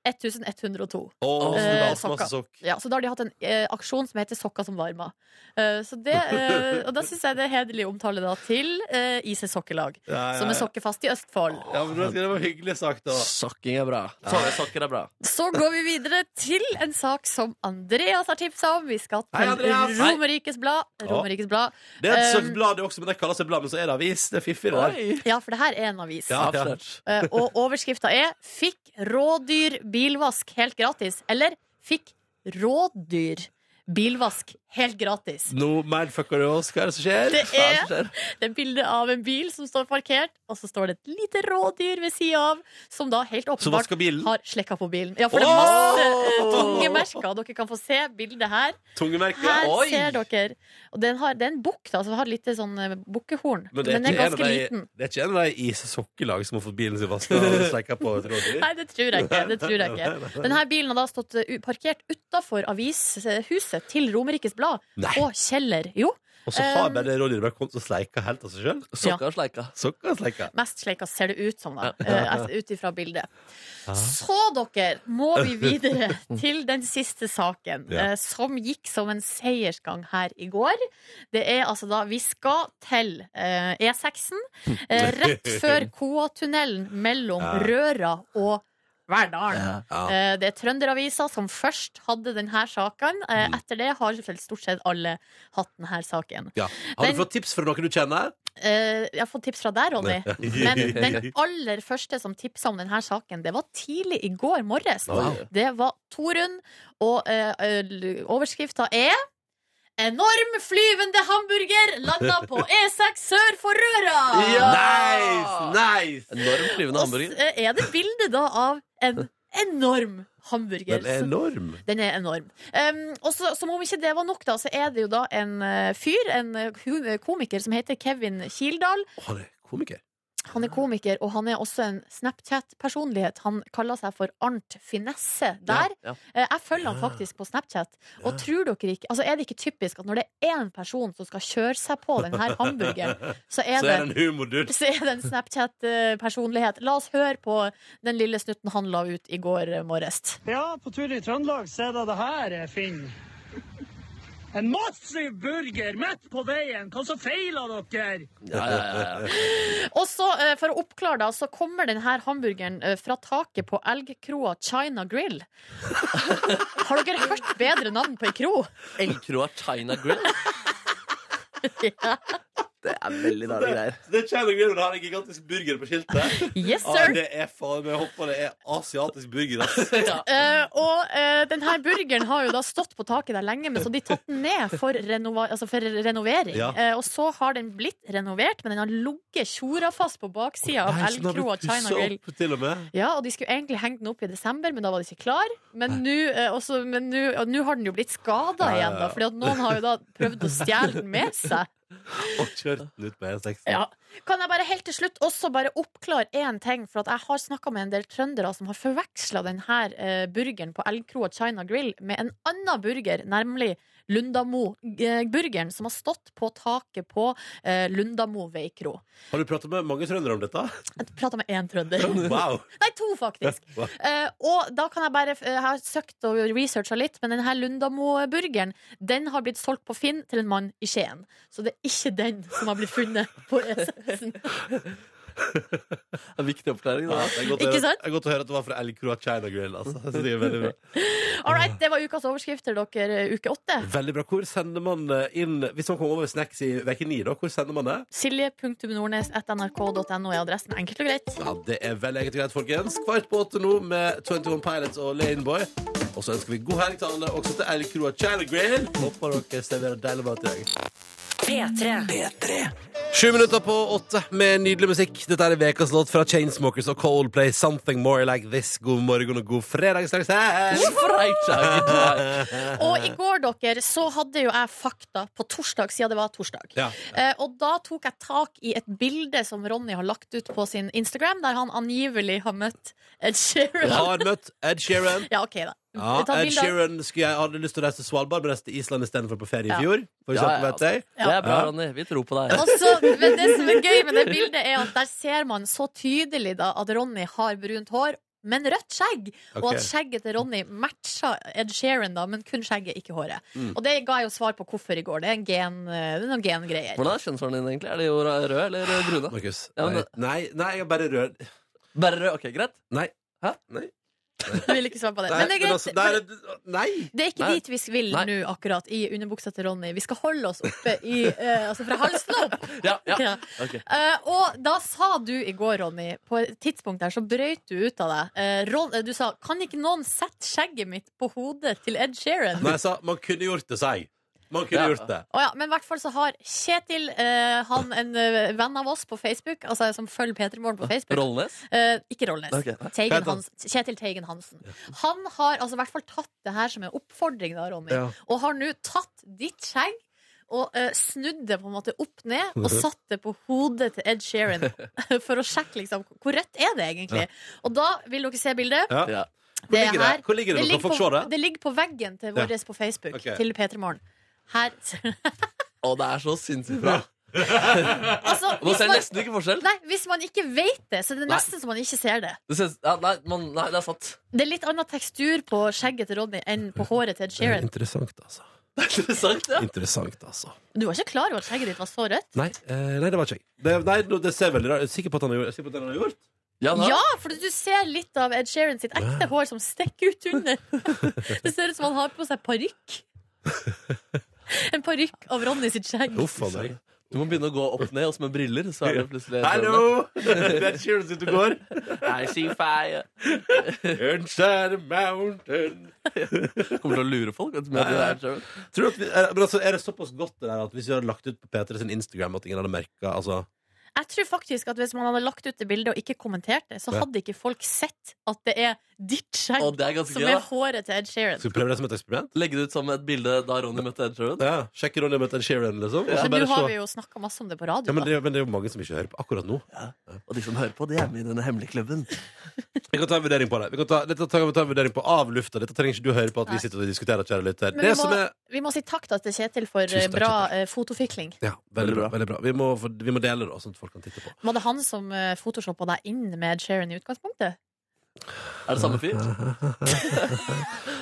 Speaker 4: 1102.
Speaker 3: Åh, så
Speaker 4: Eh,
Speaker 3: det var alt
Speaker 4: sokker.
Speaker 3: masse sokk.
Speaker 4: Ja, så da har de hatt en eh, aksjon som heter Sokker som varmer. Eh, så det, eh, og da syns jeg det er hederlig omtale da til eh, Ise sokkelag,
Speaker 3: Ja, ja,
Speaker 4: som er
Speaker 3: ja.
Speaker 4: sokkefast i Østfold.
Speaker 3: Ja, men det var hyggelig sagt, da.
Speaker 2: Sokking er bra. Sånne sokker er bra.
Speaker 4: Så går vi videre til en sak som Andreas har tipsa om. Vi skal
Speaker 3: Hei,
Speaker 4: til
Speaker 3: Andreas! Hei.
Speaker 4: Romerikes Blad. Romerikes Blad.
Speaker 3: Det er et
Speaker 4: Um,
Speaker 3: slags blad, det også, men det kaller seg blad, men så er det avis. Det er fiffig, det der.
Speaker 4: Ja, for det her er en avis.
Speaker 3: Ja, ja.
Speaker 2: Avslørt.
Speaker 4: Eh, Og overskrifta er 'Fikk rådyr bilvask helt gratis'. Eller 'Fikk rådyr bilvask helt gratis.
Speaker 3: Nå mindfucker du oss. Hva er det som skjer?
Speaker 4: Det
Speaker 3: Hva det
Speaker 4: er-
Speaker 3: som skjer?
Speaker 4: Det er bilde av en bil som står parkert, og så står det et lite rådyr ved sida av, som da helt
Speaker 3: Så
Speaker 4: åpenbart
Speaker 3: vasker bilen.
Speaker 4: har slekka på bilen. Ja, for det er masse eh, tungemerker. Dere kan få se bildet her. Her
Speaker 3: Tungemerket. Oi!
Speaker 4: ser dere. Og den har, det er en bukk, da, så den har litt sånn eh, bukkehorn. Men,
Speaker 3: det er
Speaker 4: den er
Speaker 3: ikke en av
Speaker 4: ganske
Speaker 3: de-
Speaker 4: liten.
Speaker 3: Det er ikke en av de i sokkelag som har fått bilen sin vasket og sleika på et rådyr?
Speaker 4: Nei, det tror jeg ikke. Det tror jeg ikke. Denne bilen har da stått eh, u- parkert utafor avishuset til Romerikes Blad
Speaker 3: Nei.
Speaker 4: på Kjeller. Jo,
Speaker 3: Og så har
Speaker 4: Um,
Speaker 3: bare rådyret bare kommet og sleika helt av seg sjøl?
Speaker 2: Sokka og sleika.
Speaker 3: Sokker og sleika.
Speaker 4: mest sleika ser det ut som, da. eh, Ut ifra bildet.
Speaker 3: Ah.
Speaker 4: Så, dere, må vi videre til den siste saken,
Speaker 3: Ja.
Speaker 4: eh, som gikk som en seiersgang her i går. Det er altså da Vi skal til eh, E6-en, eh, rett før Koatunnelen mellom
Speaker 3: Ja.
Speaker 4: Røra og Verdalen.
Speaker 3: Ja.
Speaker 4: Eh, Det er Trønderavisa som først hadde denne saken. Eh,
Speaker 3: Mm.
Speaker 4: Etter det har selvfølgelig stort sett alle hatt denne saken.
Speaker 3: Ja. Har
Speaker 4: Den-
Speaker 3: du fått tips fra noen du kjenner?
Speaker 4: Eh, Jeg har fått tips fra deg, Ronny. Men den aller første som tipsa om denne saken, det var tidlig i går morges.
Speaker 3: Wow.
Speaker 4: Det var Torunn, og uh, overskrifta er Enorm flyvende hamburger landa på E6 sør for Røra!
Speaker 3: Nice! Nice!
Speaker 2: Enorm flyvende
Speaker 4: Og
Speaker 2: hamburger.
Speaker 4: s- eh, er det bilde da av en enorm hamburger.
Speaker 3: Den er enorm.
Speaker 4: Den er enorm. Um, og så, som om ikke det var nok, da, så er det jo da en eh, fyr, en eh, hu- komiker, som heter Kevin Kildahl.
Speaker 3: Å, Han er komiker.
Speaker 4: Han er komiker, og han er også en Snapchat-personlighet. Han kaller seg for Arnt Finesse der.
Speaker 2: Ja, ja.
Speaker 4: Eh, Jeg følger han faktisk på Snapchat. Og tror dere ikke Altså, er det ikke typisk at når det er én person som skal kjøre seg på den her hamburgeren, så
Speaker 3: Så
Speaker 4: er det
Speaker 3: er det en humordude.
Speaker 4: så er det en Snapchat-personlighet. La oss høre på den lille snutten han la ut i går eh, morges.
Speaker 9: Ja, på tur i Trøndelag så er det det her jeg finner. En massiv burger midt på veien! Hva så feiler dere?
Speaker 2: Ja, ja, ja, ja.
Speaker 4: Og så, eh, for å oppklare det, så kommer denne hamburgeren eh, fra taket på elgkroa China Grill. Har dere hørt bedre navn på ei kro?
Speaker 2: Elgkroa China Grill.
Speaker 4: Ja.
Speaker 2: Det er veldig dårlige greier.
Speaker 3: Det kjenner jeg når du har en gigantisk burger på skiltet.
Speaker 4: Yes,
Speaker 3: Ah,
Speaker 4: sir!
Speaker 3: det er faen meg hoppa, det er asiatisk burger. ass.
Speaker 4: Eh, og eh, denne burgeren har jo da stått på taket der lenge, men så har de tatt den ned for, renova altså for renovering.
Speaker 3: Ja.
Speaker 4: Eh, og så har den blitt renovert, men den har ligget tjora fast på baksida av
Speaker 3: Nei, så den har
Speaker 4: elgkroa
Speaker 3: blitt
Speaker 4: China
Speaker 3: pusset
Speaker 4: Grill.
Speaker 3: opp Til og med.
Speaker 4: Ja, og de skulle egentlig henge den opp i desember, men da var de ikke klar. Men nå eh, også- men nå- og nå har den jo blitt
Speaker 3: Ja, ja,
Speaker 4: skada
Speaker 3: ja.
Speaker 4: igjen, da, fordi at noen har jo da prøvd å stjele den med seg.
Speaker 3: Og kjørt den ut på E6.
Speaker 4: Ja. Kan jeg bare helt til slutt også bare oppklare én ting? For at jeg har snakka med en del trøndere som har forveksla denne eh, burgeren på Elgkroa China Grill med en annen burger, nemlig Lundamo-burgeren, eh, som har stått på taket på eh, Lundamo veikro.
Speaker 3: Har du prata med mange trøndere om dette?
Speaker 4: Jeg prata med én trønder.
Speaker 3: Wow!
Speaker 4: Nei, to, faktisk.
Speaker 3: Hva?
Speaker 4: Eh, og da kan jeg bare eh, Jeg har søkt og researcha litt, men denne Lundamo-burgeren Den har blitt solgt på Finn til en mann i Skien. Så det er ikke den som har blitt funnet på E6-en.
Speaker 2: Det er en viktig oppklaring.
Speaker 3: Ja,
Speaker 2: Da.
Speaker 3: det er godt å
Speaker 4: Ikke
Speaker 3: høre-
Speaker 4: sant?
Speaker 3: Det er godt å høre at det var fra Elkroa China Grill. Altså. Så det er veldig bra.
Speaker 4: All right, det var ukas overskrifter, dere, eh, uke åtte.
Speaker 3: Veldig bra. Hvor sender man eh, inn Hvis man kommer over snacks i uke ni, da, hvor sender man det?
Speaker 4: Silje.nordnes.nrk.no er adressen. Enkelt og greit.
Speaker 3: Ja, Det er veldig eget og greit, folkens. Kvart på åtte nå med 21 Pilots og Laneboy. Og så ønsker vi god helg til alle, også til Elkroa China Grill. Håper dere serverer deilig mat i dag.
Speaker 1: P3.
Speaker 3: Sju minutter på åtte med nydelig musikk. Dette er ukas låt fra Chainsmokers og Coldplay. Something more like this. God morgen og god fredag straks her.
Speaker 4: Og i går, dere, så hadde jo jeg fakta på torsdag, siden det var torsdag.
Speaker 3: Ja.
Speaker 4: Eh, og da tok jeg tak i et bilde som Ronny har lagt ut på sin Instagram, der han angivelig har møtt Ed Sheeran.
Speaker 3: Har møtt Ed Sheeran.
Speaker 4: Ja, ok da.
Speaker 3: Ja,
Speaker 4: Ta
Speaker 3: Ed
Speaker 4: bilde av-
Speaker 3: Sheeran skulle jeg hadde lyst til å reise til Svalbard, men reiste til Island istedenfor på ferie i
Speaker 4: Ja.
Speaker 3: fjor. For
Speaker 2: Ja,
Speaker 3: eksempel,
Speaker 2: ja,
Speaker 3: vet jeg.
Speaker 2: Det er bra, Ronny. Vi tror på deg.
Speaker 4: Og så- men det som er gøy med det bildet, er at der ser man så tydelig da at Ronny har brunt hår. Men rødt skjegg, og
Speaker 3: Ok.
Speaker 4: at skjegget til Ronny matcha Ed Sheeran, da, men kun skjegget, ikke håret. Og det ga jeg jo svar på hvorfor i går. Det er, en gen, eh, det er noen gengreier.
Speaker 2: Hvordan er kjønnshårene dine, egentlig? Er de jo røde eller brune?
Speaker 3: Markus.
Speaker 2: Ja, men-
Speaker 3: Nei, nei, jeg er bare rød.
Speaker 2: Bare røde, ok, greit
Speaker 3: Nei.
Speaker 2: Hæ?
Speaker 3: Nei.
Speaker 4: Jeg vil ikke svare på det.
Speaker 3: Nei,
Speaker 4: Men det er
Speaker 3: men
Speaker 4: greit.
Speaker 3: altså, der er det- nei.
Speaker 4: Det er ikke
Speaker 2: Nei.
Speaker 4: dit vi vil
Speaker 2: Nei.
Speaker 4: nå akkurat i underbuksa til Ronny. Vi skal holde oss oppe i eh, Altså fra halsen opp!
Speaker 2: Ja, ja.
Speaker 4: Ja.
Speaker 2: ok.
Speaker 4: Eh, og da sa du i går, Ronny, på et tidspunkt der så brøyt du ut av deg. Eh, Ron, eh, du sa 'Kan ikke noen sette skjegget mitt på hodet til Ed Sheeran?'
Speaker 3: Nei, jeg sa man kunne gjort det, sa jeg. Man kunne
Speaker 2: Ja.
Speaker 3: gjort det.
Speaker 4: Å ja, men i hvert fall så har Kjetil, eh, han en eh, venn av oss på Facebook, altså som følger Peter Morgen på Facebook
Speaker 2: Rollnes?
Speaker 4: Eh, ikke Rollnes.
Speaker 2: Ok.
Speaker 3: Hva heter
Speaker 4: Teigen
Speaker 3: han?
Speaker 4: Hans, Kjetil Teigen Hansen. Han har altså i hvert fall tatt det her som en oppfordring, da, Ronny. Og har nå tatt ditt skjegg og eh, snudd det på en måte opp ned og
Speaker 3: Mhm.
Speaker 4: satt det på hodet til Ed Sheeran. for å sjekke liksom, hvor rødt er det egentlig. Og da vil dere se bildet.
Speaker 3: Ja.
Speaker 2: Ja.
Speaker 3: Hvor ligger det? Hvor ligger det? Kan
Speaker 4: ligger
Speaker 3: folk
Speaker 4: på,
Speaker 3: se det?
Speaker 4: det ligger på veggen til vår på Facebook.
Speaker 3: Ok.
Speaker 4: Til P3 Morgen. Her.
Speaker 2: Å, det er så sinnssykt bra.
Speaker 4: altså,
Speaker 2: Man
Speaker 4: hvis
Speaker 2: ser
Speaker 4: man,
Speaker 2: nesten ikke forskjell.
Speaker 4: nei, hvis man ikke vet det, så er det
Speaker 2: Nei.
Speaker 4: nesten så man ikke ser det.
Speaker 2: Det synes, ja, nei, man, nei, det er sant.
Speaker 4: Det er litt annen tekstur på skjegget til Rodney enn på håret til Ed Sheeran.
Speaker 3: Interessant, altså.
Speaker 2: Det er interessant, ja.
Speaker 3: Interessant, altså.
Speaker 4: Du var ikke klar over at skjegget ditt var så rødt?
Speaker 3: Nei, eh, nei det var ikke jeg. Det, nei, nå- det ser veldig rart Jeg er Sikker på at han har gjort- sikker på at han har gjort?
Speaker 2: Ja, da.
Speaker 4: Ja, for du ser litt av Ed Sheeran sitt ekte hår som stikker ut under. Det ser ut som han har på seg parykk. En parykk av Ronny sitt skjegg.
Speaker 3: Uff a meg.
Speaker 2: Du må begynne å gå opp ned, og så med briller. Så er det plutselig
Speaker 3: Hallo! Det er Sheeran sitt og går.
Speaker 2: I see fire.
Speaker 3: Inside the mountain
Speaker 2: Kommer til å lure folk. Vet du, med det der, tror jeg.
Speaker 3: Tror du at vi, er, men altså, er det såpass godt det der at hvis vi hadde lagt ut på P3 sin Instagram at ingen hadde merka altså,
Speaker 4: Jeg tror faktisk at Hvis man hadde lagt ut det bildet og ikke kommentert det, så hadde ikke folk sett at det er ditt skjegg
Speaker 2: Å, det er ganske
Speaker 4: som
Speaker 2: gøy.
Speaker 4: er
Speaker 2: da.
Speaker 4: håret til Ed Sheeran.
Speaker 3: Skal vi prøve det som et eksperiment?
Speaker 2: Legge det ut som et bilde da Ronny møtte Ed Sheeran.
Speaker 3: Ja, Sjekke Ronny møtte en Sheeran, liksom? og så
Speaker 4: Men
Speaker 3: bare
Speaker 4: nå har
Speaker 3: se.
Speaker 4: vi jo snakka masse om det på radio.
Speaker 3: ja, men,
Speaker 4: da.
Speaker 3: det, men det er jo mange som ikke hører på akkurat nå.
Speaker 2: Og de som hører på, de er med i denne hemmelige klubben.
Speaker 3: Vi kan ta en vurdering på det. Vi kan ta, dette tar vi ta en vurdering på av lufta. Dette trenger ikke du høre på at vi
Speaker 4: Nei.
Speaker 3: sitter og diskuterer, kjære lytter.
Speaker 4: Men
Speaker 3: Det
Speaker 4: vi,
Speaker 3: som
Speaker 4: må,
Speaker 3: er
Speaker 4: vi må si takk da til Kjetil for eh,
Speaker 3: Tusen takk,
Speaker 4: bra eh, fotofikling.
Speaker 3: ja, veldig bra. Veldig bra. Vi, må, få- vi må dele det, da, sånn at folk kan titte på.
Speaker 4: Var det han som eh, photoshoppa deg inn med Ed Sheeran i utgangspunktet?
Speaker 2: Er det samme fyr?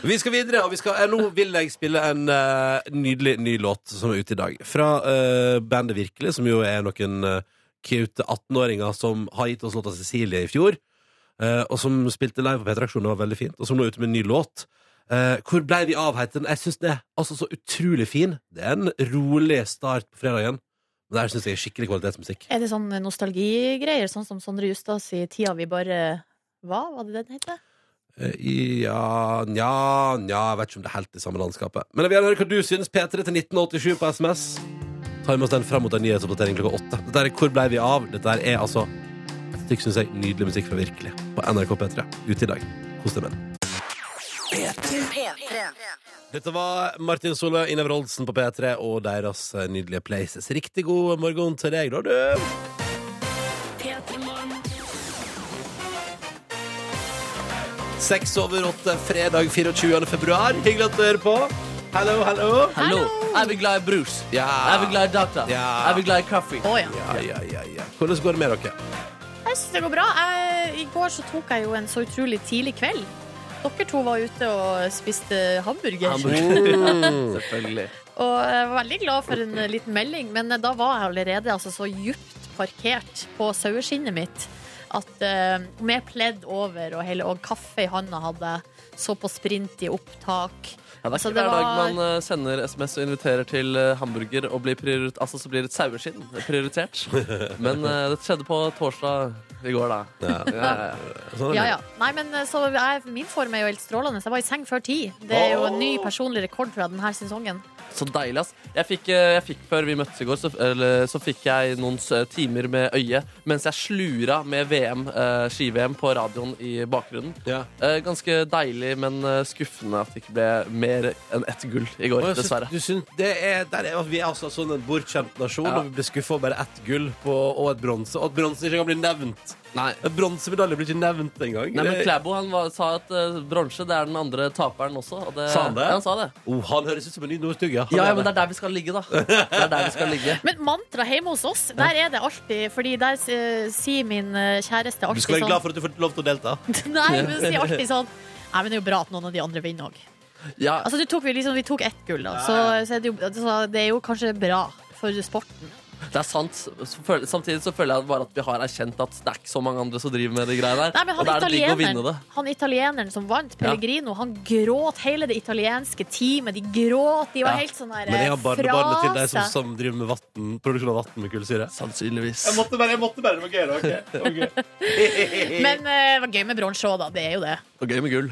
Speaker 3: Vi skal videre, og vi skal, eh, nå vil jeg spille en eh, nydelig ny låt som er ute i dag. Fra eh, bandet Virkelig, som jo er noen eh, cute 18-åringer som har gitt oss låta Cecilie i fjor. eh, og som spilte live på P3-aksjonen, det var veldig fint. Og som nå er ute med en ny låt. Eh, hvor blei vi av, heter den. Jeg syns den er altså så utrolig fin. Det er en rolig start på fredagen. Men det her syns jeg er skikkelig kvalitetsmusikk.
Speaker 4: Er det sånn nostalgigreier, sånn som Sondre Justad i tida vi bare Hva var det den het?
Speaker 3: Eh, i- ja, nja, nja Jeg vet ikke om det er helt i samme landskapet. Men jeg vil gjerne høre hva du syns. P3 til 1987 på SMS. Ta med oss den fram mot en nyhetsoppdatering klokka åtte. Dette er Hvor blei vi av? Dette her er altså et stykke, synes jeg, nydelig musikk fra virkelig på NRK P3 ute i dag. Kos deg med den. Dette var Martin Solø, Inever Oldsen på P3 og deres eh, nydelige Places. Riktig god morgen til deg, da, du. Seks over åtte, fredag 24. februar. Hyggelig at du hører på. Hallo, hallo.
Speaker 2: Hallo! Er vi glad i brus?
Speaker 3: Ja.
Speaker 2: Er vi glad i data?
Speaker 3: Ja.
Speaker 2: Er vi glad i kaffe?
Speaker 4: Å ja.
Speaker 3: Ja, ja, ja, ja. Hvordan går det med dere?
Speaker 4: Jeg syns det går bra. Jeg, I går så tok jeg jo en så utrolig tidlig kveld. Dere to var ute og spiste hamburger.
Speaker 2: Selvfølgelig.
Speaker 4: Og jeg var veldig glad for en eh, liten melding, men da var jeg allerede altså, så djupt parkert på saueskinnet mitt at eh, med pledd over og, hele, og kaffe i handa hadde jeg, så på sprint i opptak.
Speaker 2: Ja, det er ikke
Speaker 4: Så Altså, det
Speaker 2: hver dag
Speaker 4: var-
Speaker 2: man eh, sender SMS og inviterer til eh, hamburger, og blir priori- altså, så blir et saueskinn prioritert. Men eh, det skjedde på torsdag i går, da. Ja, ja, ja.
Speaker 3: Sånn er det.
Speaker 4: Ja, ja. Nei, men eh, så jeg, min form er jo helt strålende. så Jeg var i seng før ti. Det er jo en ny personlig rekord fra denne sesongen.
Speaker 2: Så deilig, ass. Jeg fikk, eh, jeg fikk før vi møttes i går, så, eller, så fikk jeg noen s- eh, timer med øye mens jeg slura med VM, eh, ski-VM på radioen i bakgrunnen.
Speaker 3: Ja.
Speaker 2: Eh, ganske deilig, men eh, skuffende at det ikke ble mer enn ett gull i
Speaker 3: Og
Speaker 2: går,
Speaker 3: jeg syns-
Speaker 2: dessverre.
Speaker 3: Du syns, det er, der er, vi er altså sånn en bortskjemt nasjon,
Speaker 2: Ja.
Speaker 3: og vi blir skuffa over bare ett gull på, og et bronse. Og at bronse ikke kan bli nevnt.
Speaker 2: Nei.
Speaker 3: En bronsemedalje blir ikke nevnt engang.
Speaker 2: Nei, men
Speaker 3: Det-
Speaker 2: Klæbo han var, sa at eh, bronse det er den andre taperen også. Og det,
Speaker 3: Sa han det?
Speaker 2: Ja, han sa det.
Speaker 3: oh, han høres ut som en ny nordstugge. Han
Speaker 2: Ja, ja,
Speaker 3: er
Speaker 2: men det er der vi skal ligge, da. Det er der vi skal ligge.
Speaker 4: Men mantra hjemme hos oss, der er det alltid Fordi der eh, sier min eh, kjæreste
Speaker 3: Du
Speaker 4: alltid
Speaker 3: skal være
Speaker 4: sånn
Speaker 3: glad for at du får lov til å delta.
Speaker 4: Nei, men hun sier alltid sånn Nei, men det er jo bra at noen av de andre vinner òg.
Speaker 2: Ja,
Speaker 4: Altså, det tok vi, liksom, vi tok ett gull, da. Så, så er det, jo, så det er jo kanskje bra for sporten.
Speaker 2: det er sant. Så føl- Samtidig så føler jeg bare at vi har erkjent at det er ikke så mange andre som driver med de greiene her.
Speaker 4: Nei, men
Speaker 2: og
Speaker 4: han,
Speaker 2: da er det digg å vinne
Speaker 4: italieneren,
Speaker 2: det.
Speaker 4: han italieneren som vant, Pellegrino, han gråt hele det italienske teamet. De gråt. De var
Speaker 2: Ja.
Speaker 4: helt sånn der
Speaker 3: Men jeg har
Speaker 4: eh,
Speaker 3: barnebarnet til deg som,
Speaker 4: seg.
Speaker 3: som driver med vatten, produksjon av vann med kullsyre.
Speaker 2: Sannsynligvis.
Speaker 3: måtte bare, jeg måtte bare det var gøy, da.
Speaker 4: Men eh, det var gøy med bronse òg, da. Det er jo det.
Speaker 2: Og gøy med gull.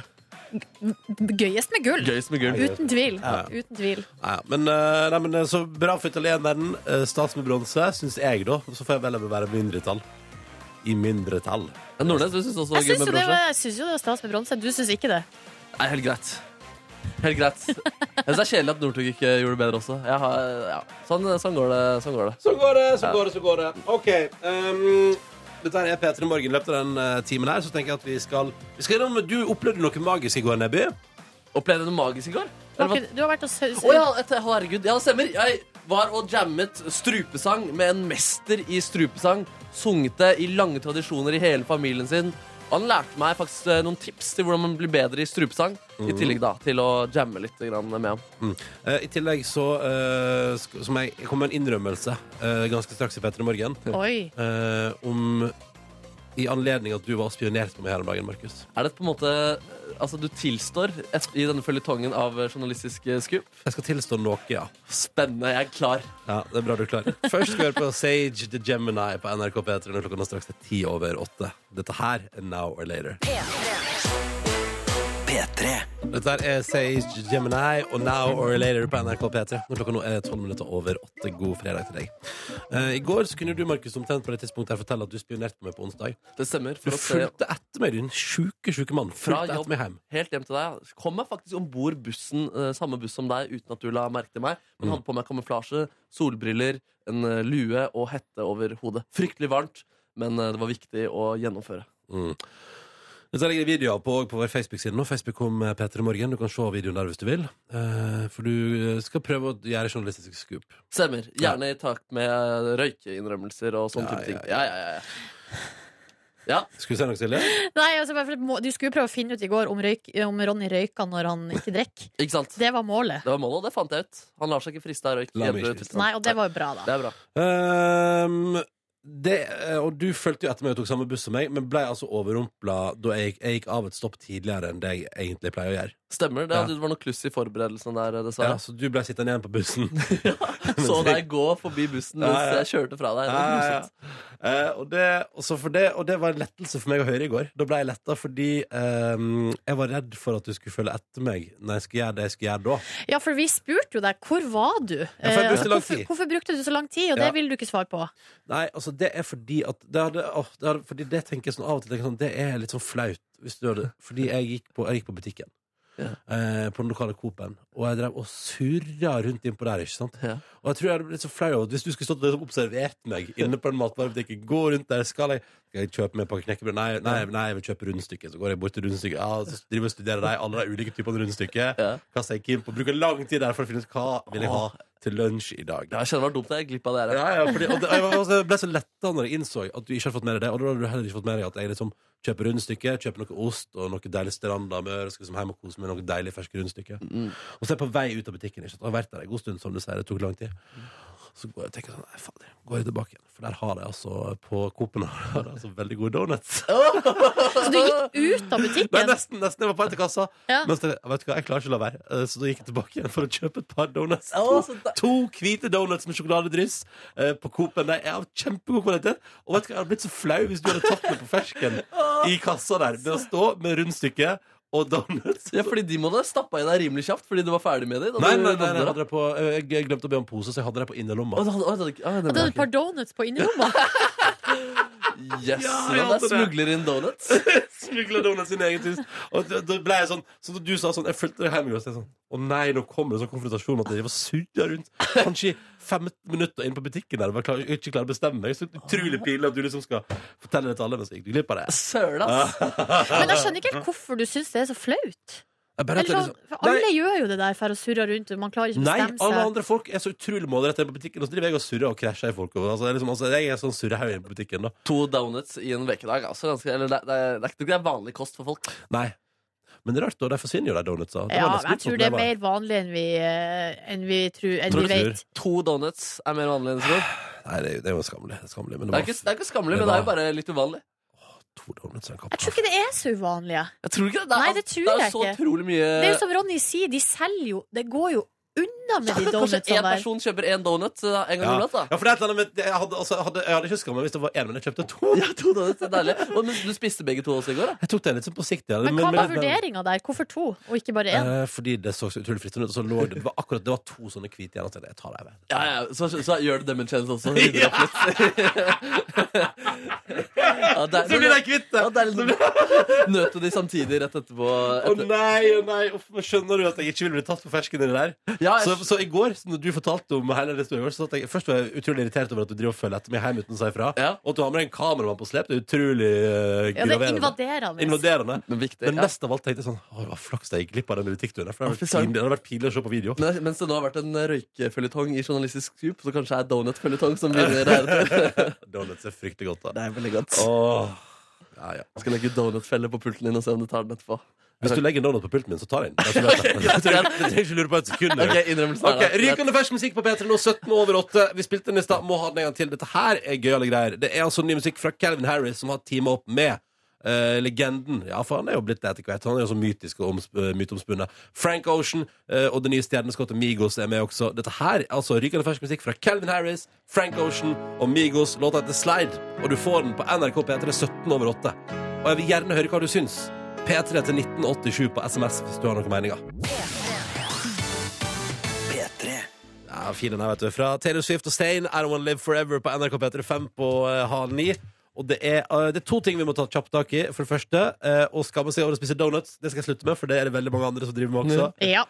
Speaker 4: gøyest med gull.
Speaker 2: Gøyest med gull.
Speaker 4: Uten tvil.
Speaker 3: Ja.
Speaker 4: Uten tvil.
Speaker 3: Ja, men, eh, nei, men eh, så bra for italieneren. Eh, Stas med bronse, syns jeg, da. Så får jeg vel være mindretall. I mindretall.
Speaker 2: Men Nordnes, du syns også det
Speaker 4: Jeg
Speaker 2: var gøy med
Speaker 4: syns jo det
Speaker 2: bronse?
Speaker 4: var, jeg syns jo det var stas med bronse. Du syns ikke det?
Speaker 2: Nei, helt greit. Helt greit. Jeg syns det er kjedelig at Northug ikke gjorde det bedre også. Jeg har, ja. sånn, sånn går det. Sånn går det.
Speaker 3: Så går det, så går det, så går det. OK. ehm, dette her er P3 Morgen. I løpet av den eh, timen her så tenker jeg at vi skal Vi skal innom Du opplevde noe magisk i går, Nebby.
Speaker 2: Opplevde du noe magisk i går?
Speaker 4: Du
Speaker 2: Eller
Speaker 4: har,
Speaker 2: hva-
Speaker 4: ikke, du har vært hos
Speaker 2: Å ja, et, herregud. Ja, det stemmer. Jeg var og jammet strupesang med en mester i strupesang. Sunget det i lange tradisjoner i hele familien sin. Og han lærte meg faktisk eh, noen tips til hvordan man blir bedre i strupesang. I tillegg da til å jamme litt grann med ham.
Speaker 3: Eh, I tillegg så eh, sk- som jeg, jeg kom med en innrømmelse eh, ganske straks i P3 Morgen
Speaker 4: Oi.
Speaker 3: eh, om I anledning at du var og spionerte på meg her om dagen, Markus.
Speaker 2: Er det på en måte Altså, du tilstår et, i denne føljetongen av eh, journalistisk eh, scoop.
Speaker 3: Jeg skal tilstå noe, ja.
Speaker 2: Spennende. Jeg er klar.
Speaker 3: Ja, det er bra du er klar. Først skal vi høre på Sage the Gemini på NRK P3 når klokka nå straks er ti over åtte. Dette her er Now or Later. Dette her er Sage Gemini og Now or Later på NRK P3 når klokka nå er tolv minutter over åtte. God fredag til deg. Eh, I går så kunne du Markus, omtrent på det tidspunktet her fortelle at du spionerte på meg på onsdag.
Speaker 2: Det stemmer.
Speaker 3: Du
Speaker 2: For å se
Speaker 3: fulgte etter meg, din sjuke, sjuke mann.
Speaker 2: fra
Speaker 3: Fulgte
Speaker 2: jobb
Speaker 3: etter meg hjem.
Speaker 2: helt hjem til deg. Kom meg faktisk om bord bussen, eh, samme buss som deg, uten at du la merke til meg.
Speaker 3: Mm.
Speaker 2: Men hadde på meg kamuflasje, solbriller, en eh, lue og hette over hodet. Fryktelig varmt, men eh, det var viktig å gjennomføre.
Speaker 3: Mm. Så legger jeg videoer på, på vår Facebook-side nå. Facebook om eh, P3 Morgen. Du kan se videoen der hvis du vil. Eh, for du skal prøve å gjøre journalistisk skup.
Speaker 2: Stemmer. Gjerne i takt med eh, røykeinnrømmelser og sånne
Speaker 3: Ja,
Speaker 2: type ting.
Speaker 3: ja,
Speaker 2: Ja, ja, ja, ja. ja.
Speaker 3: Skulle du si noe, Silje?
Speaker 4: Nei, altså, bare for, at må- du skulle jo prøve å finne ut i går om, røyk, om Ronny røyka når han ikke drikker.
Speaker 2: ikke sant?
Speaker 4: Det var målet.
Speaker 2: Det var målet, og det fant jeg ut. Han lar seg ikke friste av røyk.
Speaker 3: Lar meg ikke
Speaker 2: Edru
Speaker 3: friste.
Speaker 2: tilstand.
Speaker 4: Nei, og det var jo bra, da.
Speaker 2: Det er bra.
Speaker 3: Ehm, det, eh, og du fulgte jo etter meg og tok samme buss som meg, men ble altså overrumpla da jeg, gikk- jeg gikk av et stopp tidligere enn det jeg egentlig pleier å gjøre.
Speaker 2: Stemmer. Det,
Speaker 3: Ja.
Speaker 2: det var noe kluss i forberedelsen der, eh,
Speaker 3: Ja,
Speaker 2: dessverre.
Speaker 3: så du ble sittende igjen på bussen.
Speaker 2: Så deg gå forbi bussen mens
Speaker 3: Ja, ja.
Speaker 2: jeg kjørte fra deg. Det var
Speaker 3: Ja, ja,
Speaker 2: grusomt.
Speaker 3: ja. Eh, og, det, og så for det, og det var en lettelse for meg å høre i går. Da ble jeg letta fordi ehm, jeg var redd for at du skulle følge etter meg når jeg skulle gjøre det jeg skulle gjøre da.
Speaker 4: Ja, for vi spurte jo deg hvor var du
Speaker 3: for jeg
Speaker 4: Eh,
Speaker 3: brukte lang
Speaker 4: hvorfor,
Speaker 3: tid.
Speaker 4: hvorfor brukte du så lang tid, og
Speaker 3: Ja.
Speaker 4: det ville du ikke svare på.
Speaker 3: Nei, altså det er fordi at det hadde, åh, det hadde, Fordi det tenker jeg sånn av og til tenker jeg sånn, Det er litt sånn flaut hvis du hadde, Fordi jeg gikk på, jeg gikk på butikken eh, På den lokale Coop-en Og jeg drev og surra rundt innpå der, ikke sant?
Speaker 2: Ja.
Speaker 3: Og jeg tror jeg hadde blitt så flau over at Hvis du skulle stått og liksom observert meg Inne på en matvarebutikk Gå rundt der, skal jeg, skal jeg kjøpe meg en pakke knekkebrød? Nei, nei, nei, jeg vil kjøpe rundstykker Så går jeg bort til rundstykket Ja, så driver jeg og studerer deg Alle de ulike typene rundstykker
Speaker 2: Ja.
Speaker 3: Kaster jeg kim på Bruker lang tid der for å finne ut Hva vil jeg ha til lunsj i dag
Speaker 2: Ja, jeg kjenner det var dumt. Jeg gikk glipp av det her.
Speaker 3: ja, ja, fordi, og det, jeg, var- altså, jeg ble så letta når jeg innså at du ikke hadde fått med deg det. Og da hadde du heller ikke fått med deg at jeg liksom kjøper rundstykke, kjøper noe ost og noe deilig strandamør, og skal liksom hjem og kose meg med noe deilig ferske rundstykke. Og så er jeg på vei ut av butikken. Ikke? sant? Og Jeg har vært der en god stund, som du sier. Det tok lang tid. Så går jeg og tenker sånn Nei, fader, går jeg tilbake igjen? For der har de altså på Coop-en har de altså veldig gode donuts.
Speaker 4: Så du gikk ut av
Speaker 3: Nei,
Speaker 4: butikken.
Speaker 3: nesten, nesten. Jeg var på vei til kassa.
Speaker 4: Ja.
Speaker 3: Men så tenkte jeg, vet du hva, jeg klarer ikke å la være. Eh, Så da gikk jeg tilbake igjen for å kjøpe et par donuts.
Speaker 2: Å,
Speaker 3: To,
Speaker 2: så da-
Speaker 3: to hvite donuts med sjokoladedryss eh, på Coop-en. De er av kjempegod kvalitet. Og vet du hva, jeg hadde blitt så flau hvis du hadde tatt meg på fersken i kassa der. Ved å stå med rundstykke og donuts.
Speaker 2: Ja, fordi de må da stappe i deg rimelig kjapt fordi du var ferdig med det. da
Speaker 3: Nei,
Speaker 2: du
Speaker 3: nei, nei,
Speaker 2: vandret.
Speaker 3: jeg, hadde det på, eh, jeg glemte å be om pose, så jeg hadde det på
Speaker 2: Å,
Speaker 3: innerlomma.
Speaker 2: det hadde- å, det hadde ikke- å, det
Speaker 4: Og da
Speaker 2: var
Speaker 4: hadde du et par donuts på innerlomma.
Speaker 2: ikke- Yes,
Speaker 3: Ja, jeg
Speaker 2: ja,
Speaker 3: hadde
Speaker 2: det er smugler inn donuts.
Speaker 3: Smugla donuts i sin egen tus. Og da- da ble jeg sånn Så da du sa sånn, jeg fulgte deg hjem i går, så jeg sånn Å nei, nå kommer det en sånn konfrontasjon med at jeg var surra rundt kanskje i 15 minutter inn på butikken der og bare klar, ikke klarer å bestemme meg. Så utrolig pinlig at du liksom skal fortelle det til alle, men så gikk du glipp av det.
Speaker 2: Søren, ass.
Speaker 4: Men jeg skjønner ikke helt hvorfor du syns det er så flaut.
Speaker 3: Jeg bare at jeg
Speaker 4: Eller sånn,
Speaker 3: liksom,
Speaker 4: for alle gjør jo det der for å surre rundt, og man klarer ikke å
Speaker 3: Nei,
Speaker 4: bestemme
Speaker 3: alle
Speaker 4: seg.
Speaker 3: andre folk er så utrolig målrettet inn på butikken, og så driver jeg og surrer og krasjer i folk. Og, altså, jeg er liksom, altså, jeg er en sånn surrehaug inne på butikken, da.
Speaker 2: To donuts i en ukedag. Altså, ganske- eller det, det, er- det er ikke det er vanlig kost for folk.
Speaker 3: Nei. Men det er rart, da. De forsvinner jo, de donutsa. Det
Speaker 4: Ja,
Speaker 3: var nesten
Speaker 4: jeg
Speaker 3: litt sånn
Speaker 4: tror det er
Speaker 3: problem,
Speaker 4: mer vanlig enn vi, eh, enn vi, tror, enn
Speaker 3: Tror du
Speaker 4: vi
Speaker 3: tror?
Speaker 4: vet.
Speaker 2: To donuts er mer vanlig enn du tror.
Speaker 3: da. Nei, det er jo- det er jo skammelig. Det er skammelig men
Speaker 2: Det er
Speaker 3: det
Speaker 2: ikke, det
Speaker 3: var
Speaker 2: er ikke skammelig,
Speaker 3: Det
Speaker 2: men det er jo
Speaker 3: var-
Speaker 2: bare litt uvanlig.
Speaker 3: to donuts og en
Speaker 4: Jeg
Speaker 3: kapp.
Speaker 4: tror ikke det er så uvanlig. jeg.
Speaker 2: Jeg tror ikke det.
Speaker 4: Nei, det tror
Speaker 2: det er
Speaker 4: jeg
Speaker 2: så
Speaker 4: ikke.
Speaker 2: utrolig mye
Speaker 4: Det er jo som Ronny sier, de selger jo Det går jo unna med de
Speaker 2: Kanskje
Speaker 4: donutsene
Speaker 2: én
Speaker 4: der.
Speaker 2: person kjøper én donut eh, en gang
Speaker 3: Ja.
Speaker 2: iblant. da
Speaker 3: ja, for det er et eller annet med Jeg hadde, altså, jeg hadde, jeg hadde ikke huska meg hvis det var én, men jeg kjøpte to.
Speaker 2: Ja, to donuts, det er deilig Og, Men du spiste begge to også i går? da
Speaker 3: Jeg tok den litt sånn på sikt. Ja.
Speaker 4: Men hva var vurderinga der? Hvorfor to, og ikke bare én?
Speaker 3: Eh, fordi det så så utrolig fristende ut. Og så lå det, det var akkurat det var to sånne hvite igjen. at jeg tenkte, Jeg tar dem. jeg.
Speaker 2: Ja, ja, så, så, gjør du det med en challenge også. Rydder opp litt. ja, det er-
Speaker 3: Så blir de kvitt det.
Speaker 2: Ja, det er litt- sånn, Nøt du de samtidig rett etterpå?
Speaker 3: Å nei, å nei, uff, men skjønner du at jeg ikke vil bli tatt på fersken i det der?
Speaker 2: Ja, jeg-
Speaker 3: Så, så i går, når du fortalte om hele det store, så satt jeg, først var jeg utrolig irritert over at du driver og følger etter meg hjem uten å si ifra.
Speaker 2: Ja.
Speaker 3: Og at du har med deg en kameramann på slep. Det er utrolig eh,
Speaker 4: Ja, det er
Speaker 3: graverende.
Speaker 4: invaderende.
Speaker 3: Invaderende.
Speaker 2: Men viktig,
Speaker 3: Men
Speaker 2: ja.
Speaker 3: mest av alt tenkte jeg sånn Å, det var flaks jeg gikk glipp av den butikkturen. der, For det hadde
Speaker 2: Fy
Speaker 3: vært
Speaker 2: søren.
Speaker 3: pinlig- det hadde vært pinlig å se på video.
Speaker 2: Men, mens det nå har vært en røykeføljetong i journalistisk scoop, så kanskje er donut-føljetong som begynner heretter.
Speaker 3: Donuts er fryktelig godt, da.
Speaker 2: Det er veldig godt.
Speaker 3: Åh. Ja, ja.
Speaker 2: Skal legge donutfelle på pulten din og se om du tar den etterpå.
Speaker 3: Hvis du legger en donut på pulten min, så tar jeg den. Jeg tror jeg- jeg trenger ikke lure på et sekund. jeg.
Speaker 2: Ok, innrømmelsen er
Speaker 3: Ok,
Speaker 2: der.
Speaker 3: Rykende fersk musikk på P3 nå, 17 over 8. Vi spilte den i stad, må ha den en gang til. Dette her er gøyale greier. Det er altså ny musikk fra Calvin Harris, som har teama opp med eh, legenden. Ja, for han er jo blitt det etter hvert. Han er jo så mytisk og oms- eh, myteomspunnet. Frank Ocean eh, og det nye stjerneskottet Migos er med også. Dette her er altså rykende fersk musikk fra Calvin Harris, Frank Ocean og Migos. Låta heter Slide, og du får den på NRK P3 17 over 8. Og jeg vil gjerne høre hva du syns. P3 til 1987 på SMS hvis du har noen meninger. Ja, fin den her, vet du. Fra Taylor Swift og Stain, I Don't Wanna Live Forever på NRK P3 5 på eh, halv ni. Og det er, eh, det er to ting vi må ta kjapt tak i. For det første, eh, å skamme seg over å spise donuts. Det skal jeg slutte med, for det er det veldig mange andre som driver med også.
Speaker 4: Ja.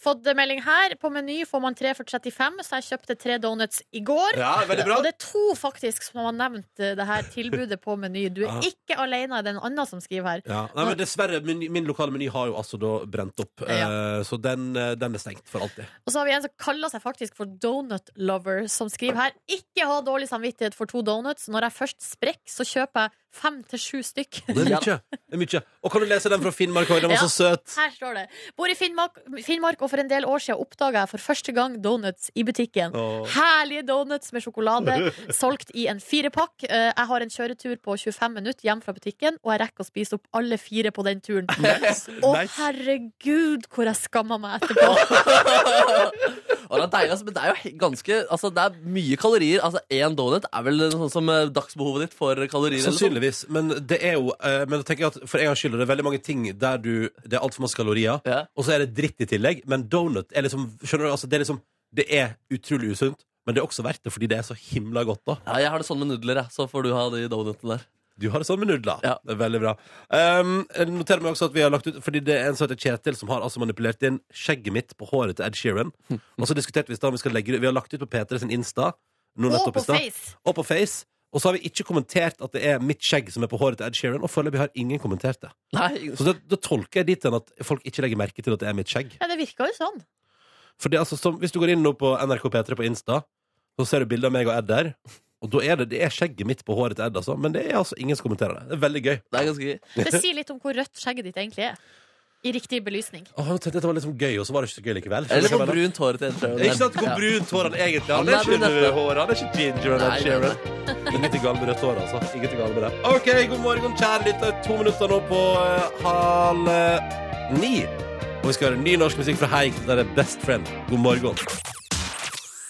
Speaker 4: Fått melding her. På Meny får man tre for 35, så jeg kjøpte tre donuts i går.
Speaker 3: Ja, veldig bra.
Speaker 4: Og det er to faktisk som har nevnt eh, det her tilbudet på Meny. Du er ikke alene, det er en annen som skriver her.
Speaker 3: Ja. Nei, men dessverre, min, min lokale meny har jo altså da brent opp. eh, Så den, eh, den er stengt for alltid.
Speaker 4: Og så har vi en som kaller seg faktisk for Donut Lover, som skriver her Ikke ha dårlig samvittighet for to donuts. Når jeg først sprekker, så kjøper jeg fem til sju stykk.
Speaker 3: Og Det er mye. Det er mye. Og kan du lese den fra Finnmark òg? Den var
Speaker 4: Ja.
Speaker 3: så søt.
Speaker 4: Her står det. Bor i Finnmark, Finnmark og for en del år siden oppdaga jeg for første gang donuts i butikken.
Speaker 3: Åh.
Speaker 4: Herlige donuts med sjokolade, solgt i en firepakk. Eh, Jeg har en kjøretur på 25 minutter hjem fra butikken, og jeg rekker å spise opp alle fire på den turen. Å,
Speaker 3: Nice.
Speaker 4: herregud, hvor jeg skamma meg etterpå.
Speaker 2: Og det er deilig, altså, men det er jo he- ganske Altså, det er mye kalorier. Altså, én donut er vel sånn som eh, dagsbehovet ditt for kalorier? eller sånn?
Speaker 3: Sannsynligvis. Men det er jo eh, Men da tenker jeg at for en gangs skyld er det veldig mange ting der du Det er altfor masse kalorier,
Speaker 2: Ja.
Speaker 3: og så er det dritt i tillegg. Men donut er liksom Skjønner du? Altså, det er liksom Det er utrolig usunt, men det er også verdt det fordi det er så himla godt, da.
Speaker 2: Ja, jeg har det sånn med nudler, jeg. Så får du ha de donutene der.
Speaker 3: Du har det sånn med nudler.
Speaker 2: Ja.
Speaker 3: Det er veldig bra. Um, jeg noterer meg også at vi har lagt ut Fordi det er en som heter Kjetil, som har altså manipulert inn skjegget mitt på håret til Ed Sheeran. Og så diskuterte vi i stad om vi skal legge det Vi har lagt ut på P3 sin Insta. nå
Speaker 4: Og
Speaker 3: nettopp i
Speaker 4: på
Speaker 3: stad.
Speaker 4: Face.
Speaker 3: og på Face. Og så har vi ikke kommentert at det er mitt skjegg som er på håret til Ed Sheeran. Og foreløpig har ingen kommentert det.
Speaker 2: Nei,
Speaker 3: Så da, da tolker jeg dit hen at folk ikke legger merke til at det er mitt skjegg.
Speaker 4: Ja, det virka jo sånn.
Speaker 3: For det er altså som, Hvis du går inn nå på NRK P3 på Insta, så ser du bilder av meg og Ed der. Og da er det, det er skjegget mitt på håret til Ed, altså. Men det er altså ingen som kommenterer det. Det er veldig gøy.
Speaker 2: det er ganske gøy.
Speaker 4: Det sier litt om hvor rødt skjegget ditt egentlig er. I riktig belysning.
Speaker 3: Åh, jeg tenkte dette var litt sånn gøy, og så var det ikke så gøy likevel. Skjønner
Speaker 2: Eller hvor
Speaker 3: du hva jeg mener?
Speaker 2: brunt håret til Ed Sheeran
Speaker 3: Det er Ikke sant hvor brunt hår han egentlig har. sånn Han er
Speaker 2: Han er
Speaker 3: ikke
Speaker 2: brunette.
Speaker 3: rødhåret, han er ikke ginger. Han
Speaker 2: Nei,
Speaker 3: er Sheeran. Det er litt galt med rødt hår, altså. Ingenting galt med det. OK, god morgen, kjære lytter. To minutter nå på eh, halv eh, ni. Og vi skal høre ny norsk musikk fra Heik. Der er Best Friend. God morgen.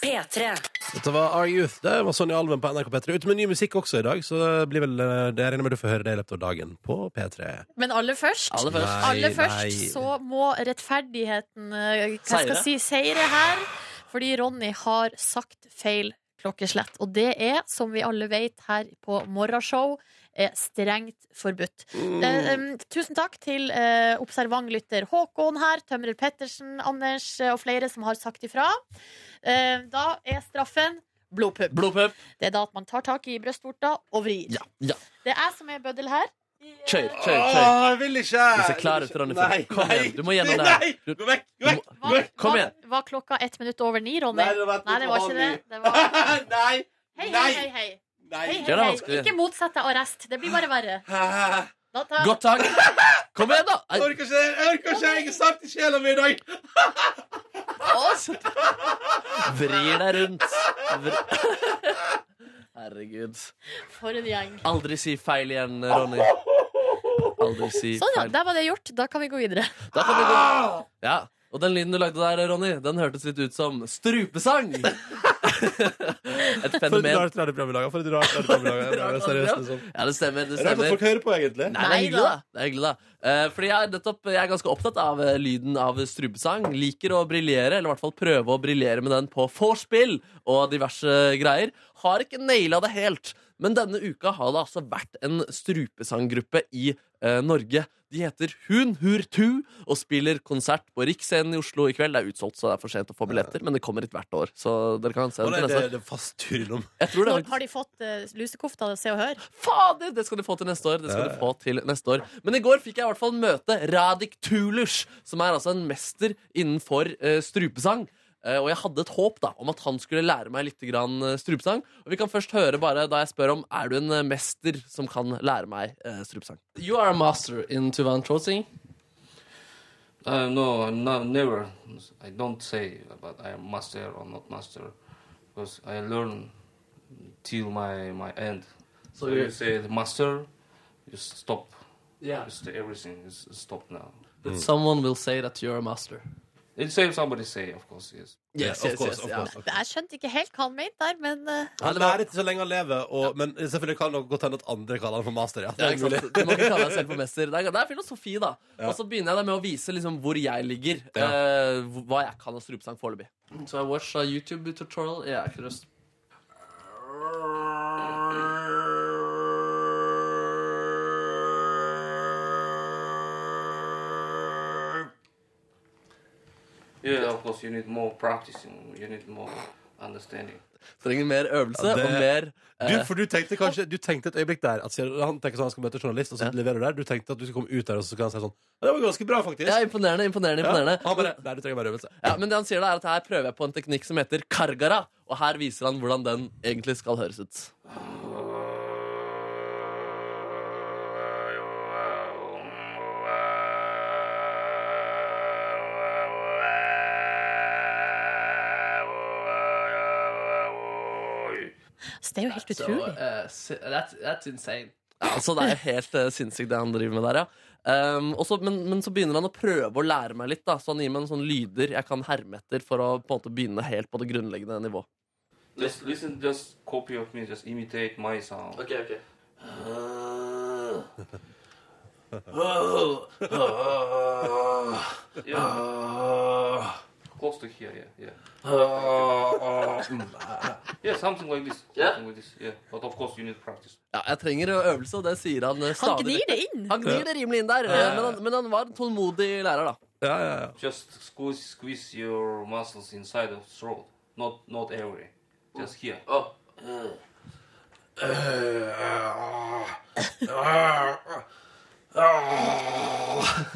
Speaker 1: P3.
Speaker 3: Dette var Our Youth. Det var Sonja Alven på NRK P3. Ute med ny musikk også i dag, så det blir vel eh, det regner jeg med du får høre det i løpet av dagen på P3.
Speaker 4: Men aller først
Speaker 2: Aller først.
Speaker 3: Nei,
Speaker 4: Aller først
Speaker 3: nei.
Speaker 4: så må rettferdigheten eh, hva skal
Speaker 2: Seire.
Speaker 4: jeg si, seire her, fordi Ronny har sagt feil klokkeslett. Og det er, som vi alle vet her på morgenshow, eh, strengt forbudt.
Speaker 2: Mm.
Speaker 4: Eh, em, tusen takk til eh, observant lytter Håkon her, Tømrer Pettersen, Anders eh, og flere som har sagt ifra. Eh, da er straffen blodpupp.
Speaker 2: Blodpupp.
Speaker 4: Det er da at man tar tak i brystvorta og vrir.
Speaker 2: Ja. ja.
Speaker 4: Det er jeg som er bøddel her.
Speaker 2: Kjør, kjør, kjør.
Speaker 3: jeg vil ikke!
Speaker 2: Du ser klar ut, Ronny. Kom igjen, du må gjennom det her. Du-
Speaker 3: Gå vekk!
Speaker 2: Du må-
Speaker 4: Var,
Speaker 2: Kom
Speaker 4: var-
Speaker 2: igjen.
Speaker 4: Var klokka ett minutt over ni, Ronny?
Speaker 3: det var,
Speaker 4: Nei, det var ikke det. det var...
Speaker 3: Nei!
Speaker 4: Hei, hei,
Speaker 3: Nei.
Speaker 4: hei, hei.
Speaker 3: Nei.
Speaker 4: hei,
Speaker 2: Det
Speaker 4: hei,
Speaker 2: er
Speaker 4: hei.
Speaker 2: vanskelig.
Speaker 4: Ikke motsett deg arrest. Det blir bare verre. Da tar...
Speaker 2: Godt tak. Kom igjen, da! Nei,
Speaker 3: orker ikke, jeg orker ikke, jeg er satt i sjela mi i dag.
Speaker 2: å, så- Vrir deg rundt. Vri... Herregud.
Speaker 4: For en gjeng.
Speaker 2: Aldri si feil igjen, Ronny. Aldri si
Speaker 4: Sånn, ja.
Speaker 2: feil.
Speaker 4: Der var det gjort. Da kan vi gå videre.
Speaker 2: Da kan vi gå. Ja. Og den lyden du lagde der, Ronny, den hørtes litt ut som strupesang. Et
Speaker 3: For et
Speaker 2: fenomen.
Speaker 3: rart radioprogram vi lager. For et rart radioprogram vi lager. Det er seriøst, liksom.
Speaker 2: Ja, det stemmer.
Speaker 3: Det
Speaker 2: det
Speaker 3: er Rart at
Speaker 2: stemmer.
Speaker 3: folk hører på, egentlig.
Speaker 2: Nei, det er
Speaker 4: Nei
Speaker 2: hyggelig,
Speaker 4: da.
Speaker 2: da. Det er hyggelig, da. Eh, fordi jeg er, nettopp, jeg er ganske opptatt av eh, lyden av strupesang. Liker å briljere, eller i hvert fall prøve å briljere med den på vorspiel og diverse greier. Har ikke naila det helt, men denne uka har det altså vært en strupesanggruppe i eh, Norge. De heter Hun Hurtu og spiller konsert på Riksscenen i Oslo i kveld. Det er utsolgt, så det er for sent å få billetter, men det kommer litt hvert år. Så dere kan se
Speaker 3: Å,
Speaker 2: det
Speaker 3: nei,
Speaker 2: til
Speaker 3: det,
Speaker 2: neste år.
Speaker 3: det er fast tur innom.
Speaker 2: Jeg tror det
Speaker 4: Når,
Speaker 2: er
Speaker 4: har de fått eh, lusekofta Se og Hør?
Speaker 2: Fader, det skal du få til neste år. Det skal du få til neste år Men i går fikk jeg i hvert fall møte Radik Tulus, som er altså en mester innenfor eh, strupesang. Eh, og jeg hadde et håp da om at han skulle lære meg litt grann, eh, strupesang. Og vi kan først høre bare da jeg spør om Er du en eh, mester som kan lære meg eh, strupesang.
Speaker 10: You are a master in Tuvan Trotsi? Uh, no, I'm not, never. I don't say about I am master or not master, because I learn till my my end. So, you say the master, you stop. Yeah. everything is stop now. That someone will say that you're a master. It says somebody say, of course, yes.
Speaker 2: Yes,
Speaker 3: Of course, of course.
Speaker 4: Jeg skjønte ikke helt hva han mente der, men eh,
Speaker 3: Han lærer ikke så lenge han lever, og, men selvfølgelig kan det godt hende at andre kaller han for master. Ja. Det
Speaker 2: Ja,
Speaker 3: er
Speaker 2: ikke
Speaker 3: mulig.
Speaker 2: sant? Du må ikke kalle deg selv for mester. Det er, det er filosofi, da. Og så begynner jeg da med å vise liksom, hvor jeg ligger.
Speaker 3: Ja.
Speaker 2: eh, hvor- hva jeg kan av strupesang foreløpig.
Speaker 10: So I watched a YouTube tutorial. Yeah, I could just.
Speaker 7: Yeah, of course, you need more practicing. You need more understanding.
Speaker 2: Trenger mer øvelse
Speaker 3: Ja, det-
Speaker 2: og mer eh,
Speaker 3: Du, for du tenkte kanskje Du tenkte et øyeblikk der at siden han tenker sånn han skal møte journalist, og så leverer du der. Du tenkte at du skulle komme ut der, og så kan han si sånn «Ja, Det var ganske bra, faktisk.
Speaker 2: Ja, imponerende, imponerende,
Speaker 3: Ja.
Speaker 2: imponerende.
Speaker 3: Han bare, Nei, du trenger bare øvelse.
Speaker 2: Ja, men det han sier da er at her prøver jeg på en teknikk som heter kargara, og her viser han hvordan den egentlig skal høres ut.
Speaker 4: så det er jo helt
Speaker 10: So
Speaker 4: utrolig.
Speaker 10: uh, si- that's that's insane.
Speaker 2: Altså, det er jo helt eh, sinnssykt det han driver med der, ja. Ehm, og så- men, men så begynner han å prøve å lære meg litt, da, så han gir meg noen sånne lyder jeg kan herme etter for å på en måte begynne helt på det grunnleggende nivå.
Speaker 7: Just listen, just copy of me, just imitate my sound.
Speaker 10: Okay, okay.
Speaker 7: Close to here, yeah, yeah. yeah, something like this.
Speaker 10: Yeah?
Speaker 7: Something like this, yeah. But of course, you need practice.
Speaker 2: Ja, jeg trenger øvelse, og det sier han eh,
Speaker 4: Han
Speaker 2: stadig.
Speaker 4: gnir det inn.
Speaker 2: Han gnir det rimelig inn der, eh, men han, men han var en tålmodig lærer, da.
Speaker 3: Ja, ja, ja.
Speaker 7: Just squeeze, squeeze your muscles inside of throat, not not every, just here.
Speaker 10: Oh.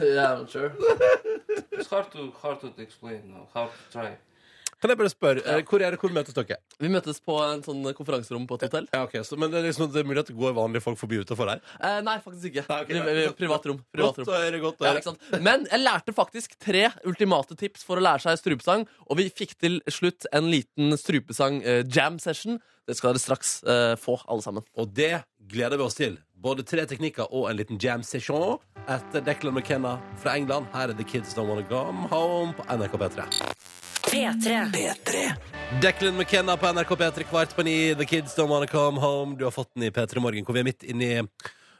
Speaker 10: yeah, I'm sure.
Speaker 7: It's hard to hard to explain now, hard to try.
Speaker 3: Kan jeg bare spørre, eh, hvor er det, hvor møtes dere?
Speaker 2: Vi møttes på en sånn konferanserom på et hotell.
Speaker 3: Ja, ok, så, Men det er, liksom, det er mulig at det går vanlige folk forbi utenfor der?
Speaker 2: Eh, nei, faktisk ikke.
Speaker 3: Nei, ok.
Speaker 2: Pri- eh, Privat rom. Privat
Speaker 3: Godt
Speaker 2: rom.
Speaker 3: å høre, godt å
Speaker 2: Ja,
Speaker 3: høre.
Speaker 2: ikke sant? Men jeg lærte faktisk tre ultimate tips for å lære seg strupesang, og vi fikk til slutt en liten strupesang-jam-session. Det skal dere straks eh, få, alle sammen.
Speaker 3: Og det gleder vi oss til. Både tre teknikker og en liten jam session etter Declan McKenna fra England. Her er The Kids Don't Wanna Come Home på NRK P3.
Speaker 1: P3.
Speaker 3: Declan McKenna på NRK P3 kvart på ni. The Kids Don't Wanna Come Home. Du har fått den i P3 Morgen, hvor vi er midt inni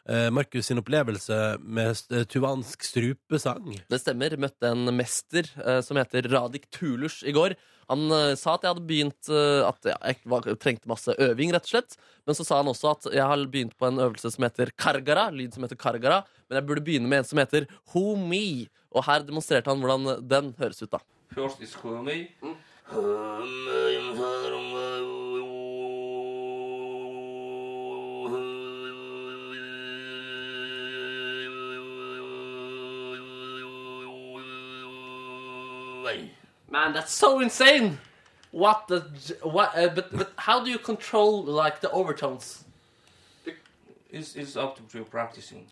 Speaker 3: eh, Markus sin opplevelse med st- tuvansk strupesang.
Speaker 2: Det stemmer. Møtte en mester eh, som heter Radik Tulus i går. Han eh, sa at jeg hadde begynt eh, At ja, jeg var, trengte masse øving, rett og slett. Men så sa han også at jeg har begynt på en øvelse som heter kargara. Lyd som heter kargara. Men jeg burde begynne med en som heter homi. Og her demonstrerte han hvordan den høres ut, da.
Speaker 7: First is Hermé.
Speaker 10: Man, that's so insane. What the? j- What? Uh, but but how do you control like the overtones?
Speaker 7: It's, it's up to you practicing.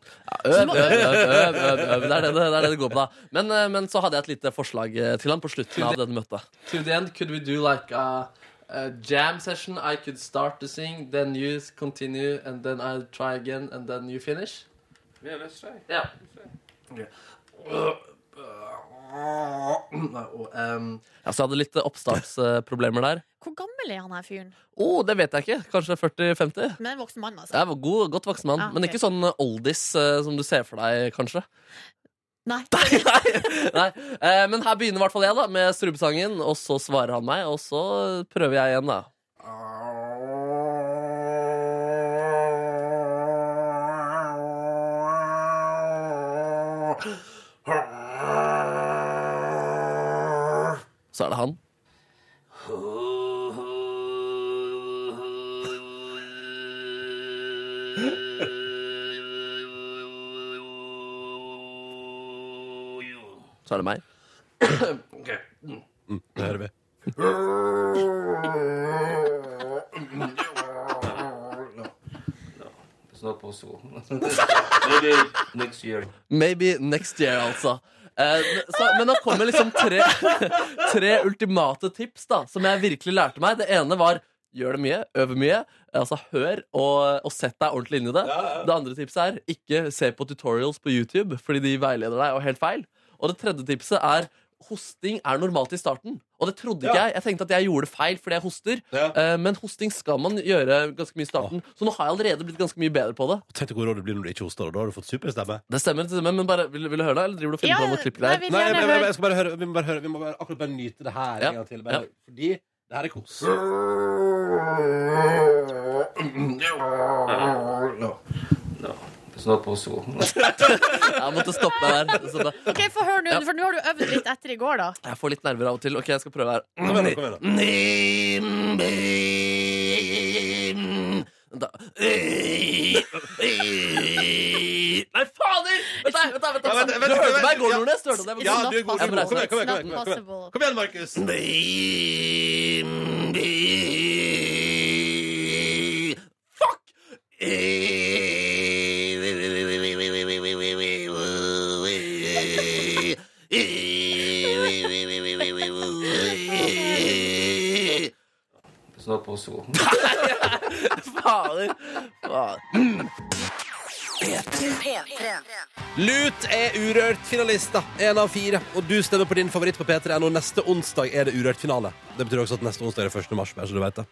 Speaker 2: Øv, øv, øv, øv, øv, øv. Det, er det, det det er det det går på, da. Men, eh, men så hadde jeg et lite forslag eh, til han på slutten av dette møtet.
Speaker 10: To the end, could we do like a, a jam session? I could start to sing, then you s- continue, and then I'll try again, and then you finish.
Speaker 7: Yeah, let's try.
Speaker 10: Yeah.
Speaker 2: Nei, og, ehm, altså, jeg hadde litt eh, oppstartsproblemer der.
Speaker 4: Hvor gammel er han her fyren?
Speaker 2: Å, det vet jeg ikke. Kanskje 40-50?
Speaker 4: Men en voksen mann, altså.
Speaker 2: Jeg var god, godt voksen mann,
Speaker 4: Ja,
Speaker 2: men
Speaker 4: ok.
Speaker 2: ikke sånn eh, oldies eh, som du ser for deg, kanskje.
Speaker 4: Nei.
Speaker 2: Nei, eh, Men her begynner i hvert fall jeg da med strupesangen, og så svarer han meg, og så prøver jeg igjen, da. Så er det han. Så er det meg.
Speaker 3: Mm, det hører vi.
Speaker 7: It's not possible. Maybe next year.
Speaker 2: Maybe next year, altså. Eh, så, men da kommer liksom tre, tre ultimate tips da som jeg virkelig lærte meg. Det ene var gjør det mye, øv mye. Altså hør og, og sett deg ordentlig inn i det. Det andre tipset er ikke se på tutorials på YouTube, fordi de veileder deg og helt feil. Og det tredje tipset er hosting er normalt i starten. Og det trodde ikke jeg. Jeg tenkte at jeg gjorde feil fordi jeg hoster. Eh, men hosting skal man gjøre ganske mye i starten. Så nå har jeg allerede blitt ganske mye bedre på det.
Speaker 3: Tenk deg hvor rå du blir når du ikke hoster, og da har du fått superstemme.
Speaker 2: Det stemmer, det stemmer men bare, vil, vil du høre det, eller driver du og finner
Speaker 4: Ja,
Speaker 2: på noe klipp
Speaker 4: nei,
Speaker 2: der?
Speaker 4: vi-
Speaker 3: Nei,
Speaker 4: gjerne
Speaker 3: jeg, jeg, jeg,
Speaker 4: høre.
Speaker 3: skal bare høre, vi må bare høre Vi må bare, akkurat bare nyte det her
Speaker 2: Ja.
Speaker 3: en gang til. Bare,
Speaker 2: Ja.
Speaker 3: Fordi det her er kos.
Speaker 7: No, it's not possible.
Speaker 2: Jeg måtte stoppe der. Så da-
Speaker 4: Ok, Få høre nå, for nå har du øvd litt etter i går, da.
Speaker 2: Jeg får litt nerver av og til. Ok, jeg skal prøve her.
Speaker 3: Kom igjen, da, kom igjen. da.
Speaker 2: Da. Nei, fader! Vent, da, vent, da, vent, da.
Speaker 3: Nei, vent, vent,
Speaker 2: Du
Speaker 3: vent,
Speaker 2: hørte
Speaker 3: vent,
Speaker 2: meg i går,
Speaker 3: ja.
Speaker 2: Nordnes. du hørte det.
Speaker 4: It's
Speaker 2: Jeg
Speaker 3: Ja,
Speaker 2: må-
Speaker 4: not
Speaker 3: du er god.
Speaker 2: Jeg må
Speaker 4: possible.
Speaker 2: reise
Speaker 3: Kom
Speaker 2: meg.
Speaker 3: igjen, kom igjen,
Speaker 4: It's
Speaker 3: kom igjen,
Speaker 4: not
Speaker 3: kom igjen.
Speaker 4: possible.
Speaker 3: Kom igjen, Markus.
Speaker 2: Fuck!
Speaker 7: It's not possible.
Speaker 2: Fader. Fader.
Speaker 3: Lut er urørt finalister. Én av fire. Og du stemmer på din favoritt på p3.no. Neste onsdag er det urørt-finale. Det betyr også at neste onsdag er det 1. mars. Bare så du vet det.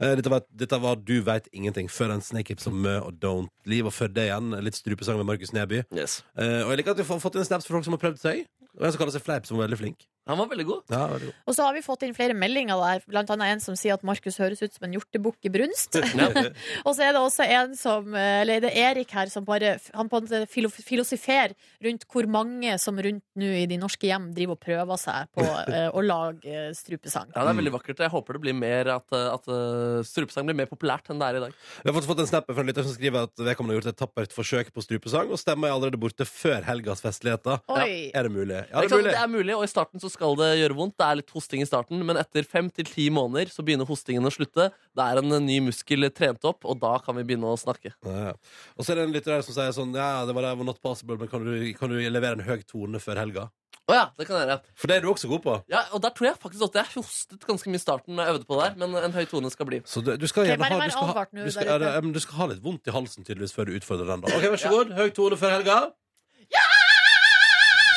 Speaker 3: Eh, Dette var, dette var Du veit ingenting. Før en Snakehip som Mø og Don't Leave. Og før det igjen litt strupesang med Markus Neby.
Speaker 2: Yes.
Speaker 3: Eh, og jeg liker at vi har fått inn snaps for folk som har prøvd seg. Og en som kaller seg Fleip, som var veldig flink.
Speaker 2: Han var veldig god.
Speaker 3: Ja, veldig god.
Speaker 4: Og så har vi fått inn flere meldinger der, blant annet en som sier at Markus høres ut som en hjortebukk i brunst. og så er det også en som, eh, eller det er Erik her, som bare han på en måte filo- filosoferer rundt hvor mange som rundt nå i de norske hjem driver og prøver seg på eh, å lage eh, strupesang.
Speaker 2: Ja, det er veldig vakkert. Jeg håper det blir mer at, eh, at eh, strupesang blir mer populært enn det er i dag.
Speaker 3: Vi har fått- fått en snap fra en lytter som skriver at vedkommende har gjort et tappert forsøk på strupesang, og stemmer er allerede borte før helgas festligheter.
Speaker 4: Oi.
Speaker 3: Er det mulig? Ja, det
Speaker 2: det, er
Speaker 3: er
Speaker 2: klart,
Speaker 3: mulig.
Speaker 2: det er mulig, og i starten så skal det gjøre vondt. Det er litt hosting i starten, men etter fem til ti måneder så begynner hostingen å slutte. Det er en eh, ny muskel trent opp, og da kan vi begynne å snakke.
Speaker 3: Ja, ja. Og så er det en lytter her som sier sånn Ja, det var det var not possible, men kan du, kan du levere en høy tone før helga?
Speaker 2: Å ja, det kan jeg gjøre.
Speaker 3: For det er du også god på.
Speaker 2: Ja, og der tror jeg faktisk at jeg hostet ganske mye i starten når jeg øvde på det her, men en høy tone skal bli.
Speaker 3: Så du, du skal
Speaker 4: Ok,
Speaker 3: gjerne ha
Speaker 4: bare vær
Speaker 3: du skal, ha-
Speaker 4: advart nå
Speaker 3: du, skal,
Speaker 4: der
Speaker 3: ja,
Speaker 4: ute.
Speaker 3: det- ja, men du skal ha litt vondt i halsen tydeligvis før du utfordrer den. da Ok, Vær så god. Høy tone før helga.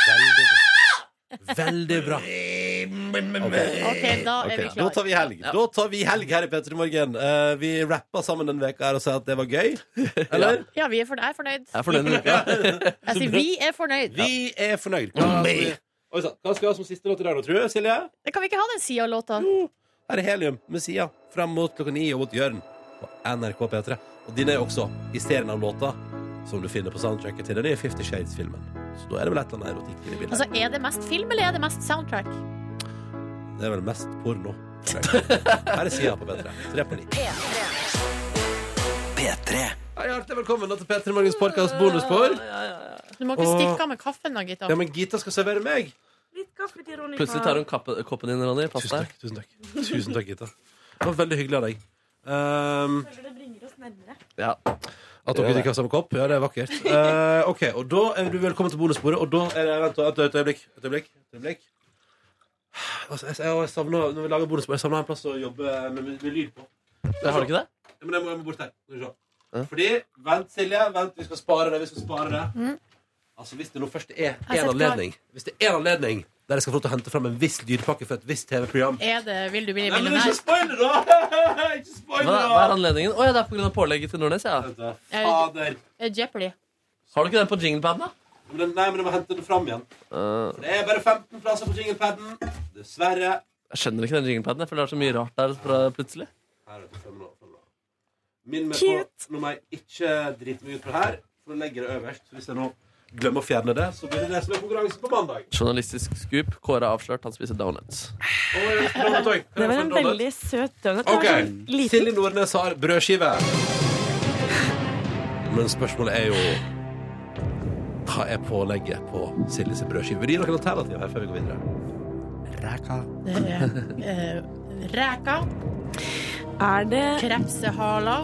Speaker 3: Veldig bra. Veldig bra. Ok.
Speaker 4: Ok, da er vi
Speaker 3: Ok, Da
Speaker 4: klar.
Speaker 3: tar vi helg. Da tar vi helg her i P3 Morgen. Eh, vi rappa sammen den veka her og sa at det var gøy. Eller?
Speaker 4: Ja, vi er fornøyd. Jeg
Speaker 2: Jeg
Speaker 4: er fornøyd.
Speaker 2: er fornøyd med uka.
Speaker 4: Jeg sier vi er fornøyd.
Speaker 3: Vi er fornøyd. Hva, altså, Oi, sann. Hva skal vi ha som siste låt i dag, da, tror du, Silje?
Speaker 4: Kan vi ikke ha den sida av låta?
Speaker 3: Her er Helium med Sia fram mot klokka ni og mot Jørn på NRK P3. Og din er jo også i serien av låta som du finner på soundtracket til den nye Fifty Shades-filmen. Så da er det vel et eller annet erotikk i bildet.
Speaker 4: Altså, er det mest film, eller er det mest soundtrack?
Speaker 3: Det er vel mest porno. tror jeg. Her er Sia på P3. Tre på ni. Hei, hjertelig velkommen da til P3 Morgens podkast bonusbord.
Speaker 4: Du må ikke
Speaker 3: Åh.
Speaker 4: stikke av med kaffen da, Gitta.
Speaker 3: Ja, men Gita skal servere meg.
Speaker 2: Plutselig tar hun kappe, koppen din, Ronny. Pass
Speaker 3: Tusen
Speaker 2: deg.
Speaker 3: takk, tusen takk. Tusen takk, Gita. Det var veldig hyggelig av deg. Um,
Speaker 2: Ja.
Speaker 3: At dere drikker av samme kopp? Ja, det er vakkert. Eh, ok, og Da er du velkommen til bonussporet, og da er det Vent, da, et, et øyeblikk. Et øyeblikk. Et øyeblikk. Altså, jeg, jeg, jeg savner, når vi lager bonusspor, jeg savner en plass å jobbe med, med, med lyd på.
Speaker 2: Har du ikke det?
Speaker 3: Ja, Men jeg må, jeg må bort her. Skal vi se. Fordi Vent, Silje. Vent, vi skal spare det. Vi skal spare det. Altså, hvis det nå først er
Speaker 4: Jeg
Speaker 3: én
Speaker 4: setter
Speaker 3: anledning Hvis det er en anledning der jeg skal få lov til å hente fram en viss lydpakke for et visst TV-program
Speaker 4: Er det Vil du bli
Speaker 3: men
Speaker 4: millionær?
Speaker 3: ikke spoil
Speaker 4: da!
Speaker 2: Hva, hva er anledningen? Å ja, det er pga. pålegget til Nordnes, ja.
Speaker 3: Fader.
Speaker 4: Jeopardy.
Speaker 2: Har du ikke den på jinglepaden, da?
Speaker 3: Men den- Nei, men jeg må hente den fram igjen.
Speaker 2: Eh.
Speaker 3: For det er bare 15 plasser på jinglepaden. Dessverre.
Speaker 2: Jeg skjønner ikke den jinglepaden. Jeg føler det er så mye rart der fra plutselig.
Speaker 3: Her er det fem nå, fem nå. Minn meg på Nå må jeg ikke drite meg ut på det her, for å legge det øverst. Så hvis jeg nå glemmer å fjerne det, så blir det det som er konkurransen på mandag.
Speaker 2: Journalistisk scoop. Kåre er avslørt. Han spiser donuts.
Speaker 11: Det var en veldig søt donut. Det var
Speaker 3: OK.
Speaker 11: sånn liten.
Speaker 3: Silje Nordnes har brødskive. Men spørsmålet er jo Hva er pålegget på Siljes brødskive? Vil du gi noen alternativ her før vi går videre? Ræka.
Speaker 4: Det er eh, reker.
Speaker 11: Er det
Speaker 4: Krepsehala.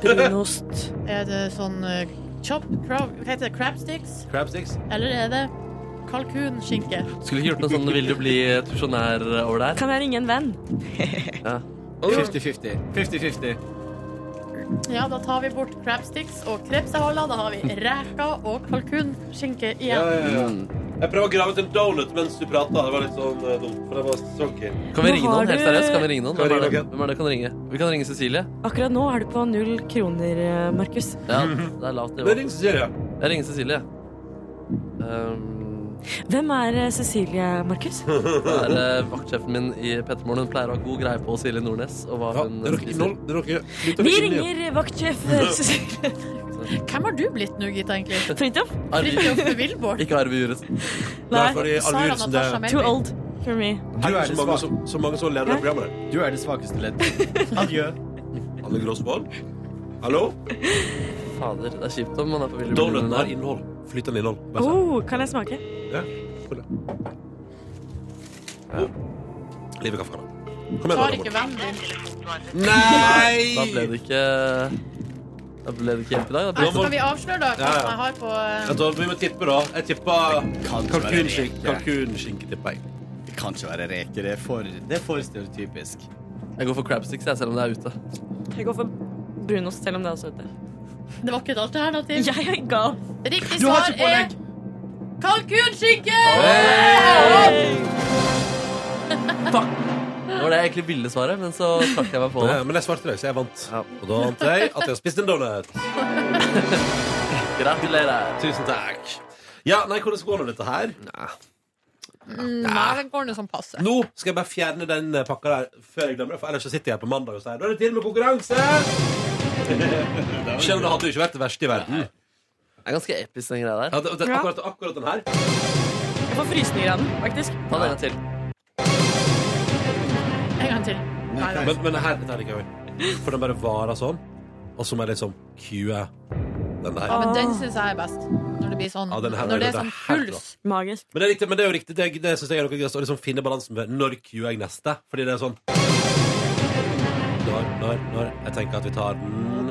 Speaker 11: Brunost.
Speaker 4: Er det sånn eh, chop crab, Hva heter det? Crab sticks?
Speaker 3: Crab sticks.
Speaker 4: Eller er det kalkunskinke?
Speaker 2: Skulle ikke gjort noe sånn vil du bli tusjonær over der?
Speaker 11: Kan jeg ringe en venn?
Speaker 2: Ja.
Speaker 12: 50-50. 50-50.
Speaker 4: Ja, da tar vi bort crab sticks og krepsehala. Da har vi reker og kalkunskinke
Speaker 3: Ja,
Speaker 4: igjen.
Speaker 3: ja, ja. Mm. Jeg prøver å grave ut en donut mens du prater. Det var litt sånn eh, dumt, for det var soggy.
Speaker 2: Kan vi ringe noen? Helt seriøst, kan vi ringe noen?
Speaker 3: Kan vi
Speaker 2: Hvem er
Speaker 3: ringe
Speaker 2: det, hvem er det kan ringe? Vi kan ringe Cecilie.
Speaker 11: Akkurat nå er du på null kroner, eh, Markus.
Speaker 2: Ja, det er lavt nivå.
Speaker 3: Men ring Cecilie.
Speaker 2: Jeg ringer Cecilie. Um,
Speaker 11: Hvem er eh, Cecilie, Markus?
Speaker 2: det er eh, vaktsjefen min i Pettermoren. Hun pleier å ha god greie på Silje Nordnes og hva hun spiser.
Speaker 11: Vi ringer vaktsjef eh, Cecilie
Speaker 4: Hvem har du blitt nå, Gita, egentlig?
Speaker 11: Fridtjof.
Speaker 4: Fridtjof Wilborg.
Speaker 2: Ikke Arve Juresen.
Speaker 11: Nei,
Speaker 4: Sara Natasha Melby.
Speaker 11: Too old for me.
Speaker 12: Du er det
Speaker 3: så, mange,
Speaker 12: svak-
Speaker 3: som- så mange som leder det programmet.
Speaker 12: Du er det svakeste ledd. Adjø.
Speaker 3: Anne Gråsvold? Hallo?
Speaker 2: Fader, det er kjipt om man er på Ville
Speaker 3: Donuten har innhold. Flytende innhold. Bare sånn.
Speaker 11: Oh, kan jeg smake?
Speaker 3: Ja. Skål, da. Livet kaffe, da. Kom igjen,
Speaker 4: Tar
Speaker 3: Anna
Speaker 4: ikke
Speaker 3: Morten.
Speaker 4: vennen din.
Speaker 3: Nei!
Speaker 2: Da ble det ikke Da ble det ikke hjelp i dag. Da
Speaker 4: Nei,
Speaker 2: ble
Speaker 4: skal vi avsløre da hva
Speaker 3: Ja, ja.
Speaker 4: man har på eh,
Speaker 3: Vent, da, vi må tippe, da. Jeg tippa kalkunskinke. Kalkunskinke, tipper jeg.
Speaker 12: Det kan ikke være reker. Det er for, det er for stereotypisk.
Speaker 2: Jeg går for crabsticks, jeg, selv om det er ute.
Speaker 11: Jeg går for brunost, selv om det er også heter.
Speaker 4: Det var ikke et alternativ.
Speaker 11: Jeg er gal.
Speaker 4: Riktig
Speaker 12: Du har
Speaker 4: svar er
Speaker 12: ikke pålegg.
Speaker 4: kalkunskinke!
Speaker 2: Det var det jeg egentlig ville svare, men så trakk jeg meg på det.
Speaker 3: Ja, men jeg svarte deg, så jeg vant. Og da vant jeg at jeg har spist en donut.
Speaker 2: Gratulerer.
Speaker 3: Tusen takk. Ja, nei, hvordan går nå dette her?
Speaker 4: Mm, Nei, den går nå som passe.
Speaker 3: Nå skal jeg bare fjerne den eh, pakka der før jeg glemmer det, for ellers så sitter jeg på mandag og sier Da er det til med konkurranse! Selv om det hadde jo ikke vært det verste i verden.
Speaker 2: Det er ganske episk, den greia der.
Speaker 3: Ja, det, det, akkurat, akkurat den her.
Speaker 11: Jeg får frysninger av den, faktisk.
Speaker 2: Ta den en til.
Speaker 4: En gang til. Nei, nei.
Speaker 3: Men, men det her, dette her er ikke gøy. For den bare varer sånn, og så må jeg liksom cue den der.
Speaker 4: Ja, men den syns jeg er best. Når det blir sånn
Speaker 3: Ja, den her er-
Speaker 4: Når det er
Speaker 3: den
Speaker 4: sånn
Speaker 3: er helt
Speaker 4: puls.
Speaker 11: Magisk.
Speaker 3: Men det er, riktig, men det er jo riktig. Det, er- det synes jeg er noe gøyest å liksom finne balansen med når cuer jeg neste. Fordi det er sånn Når, når, når. Jeg tenker at vi tar den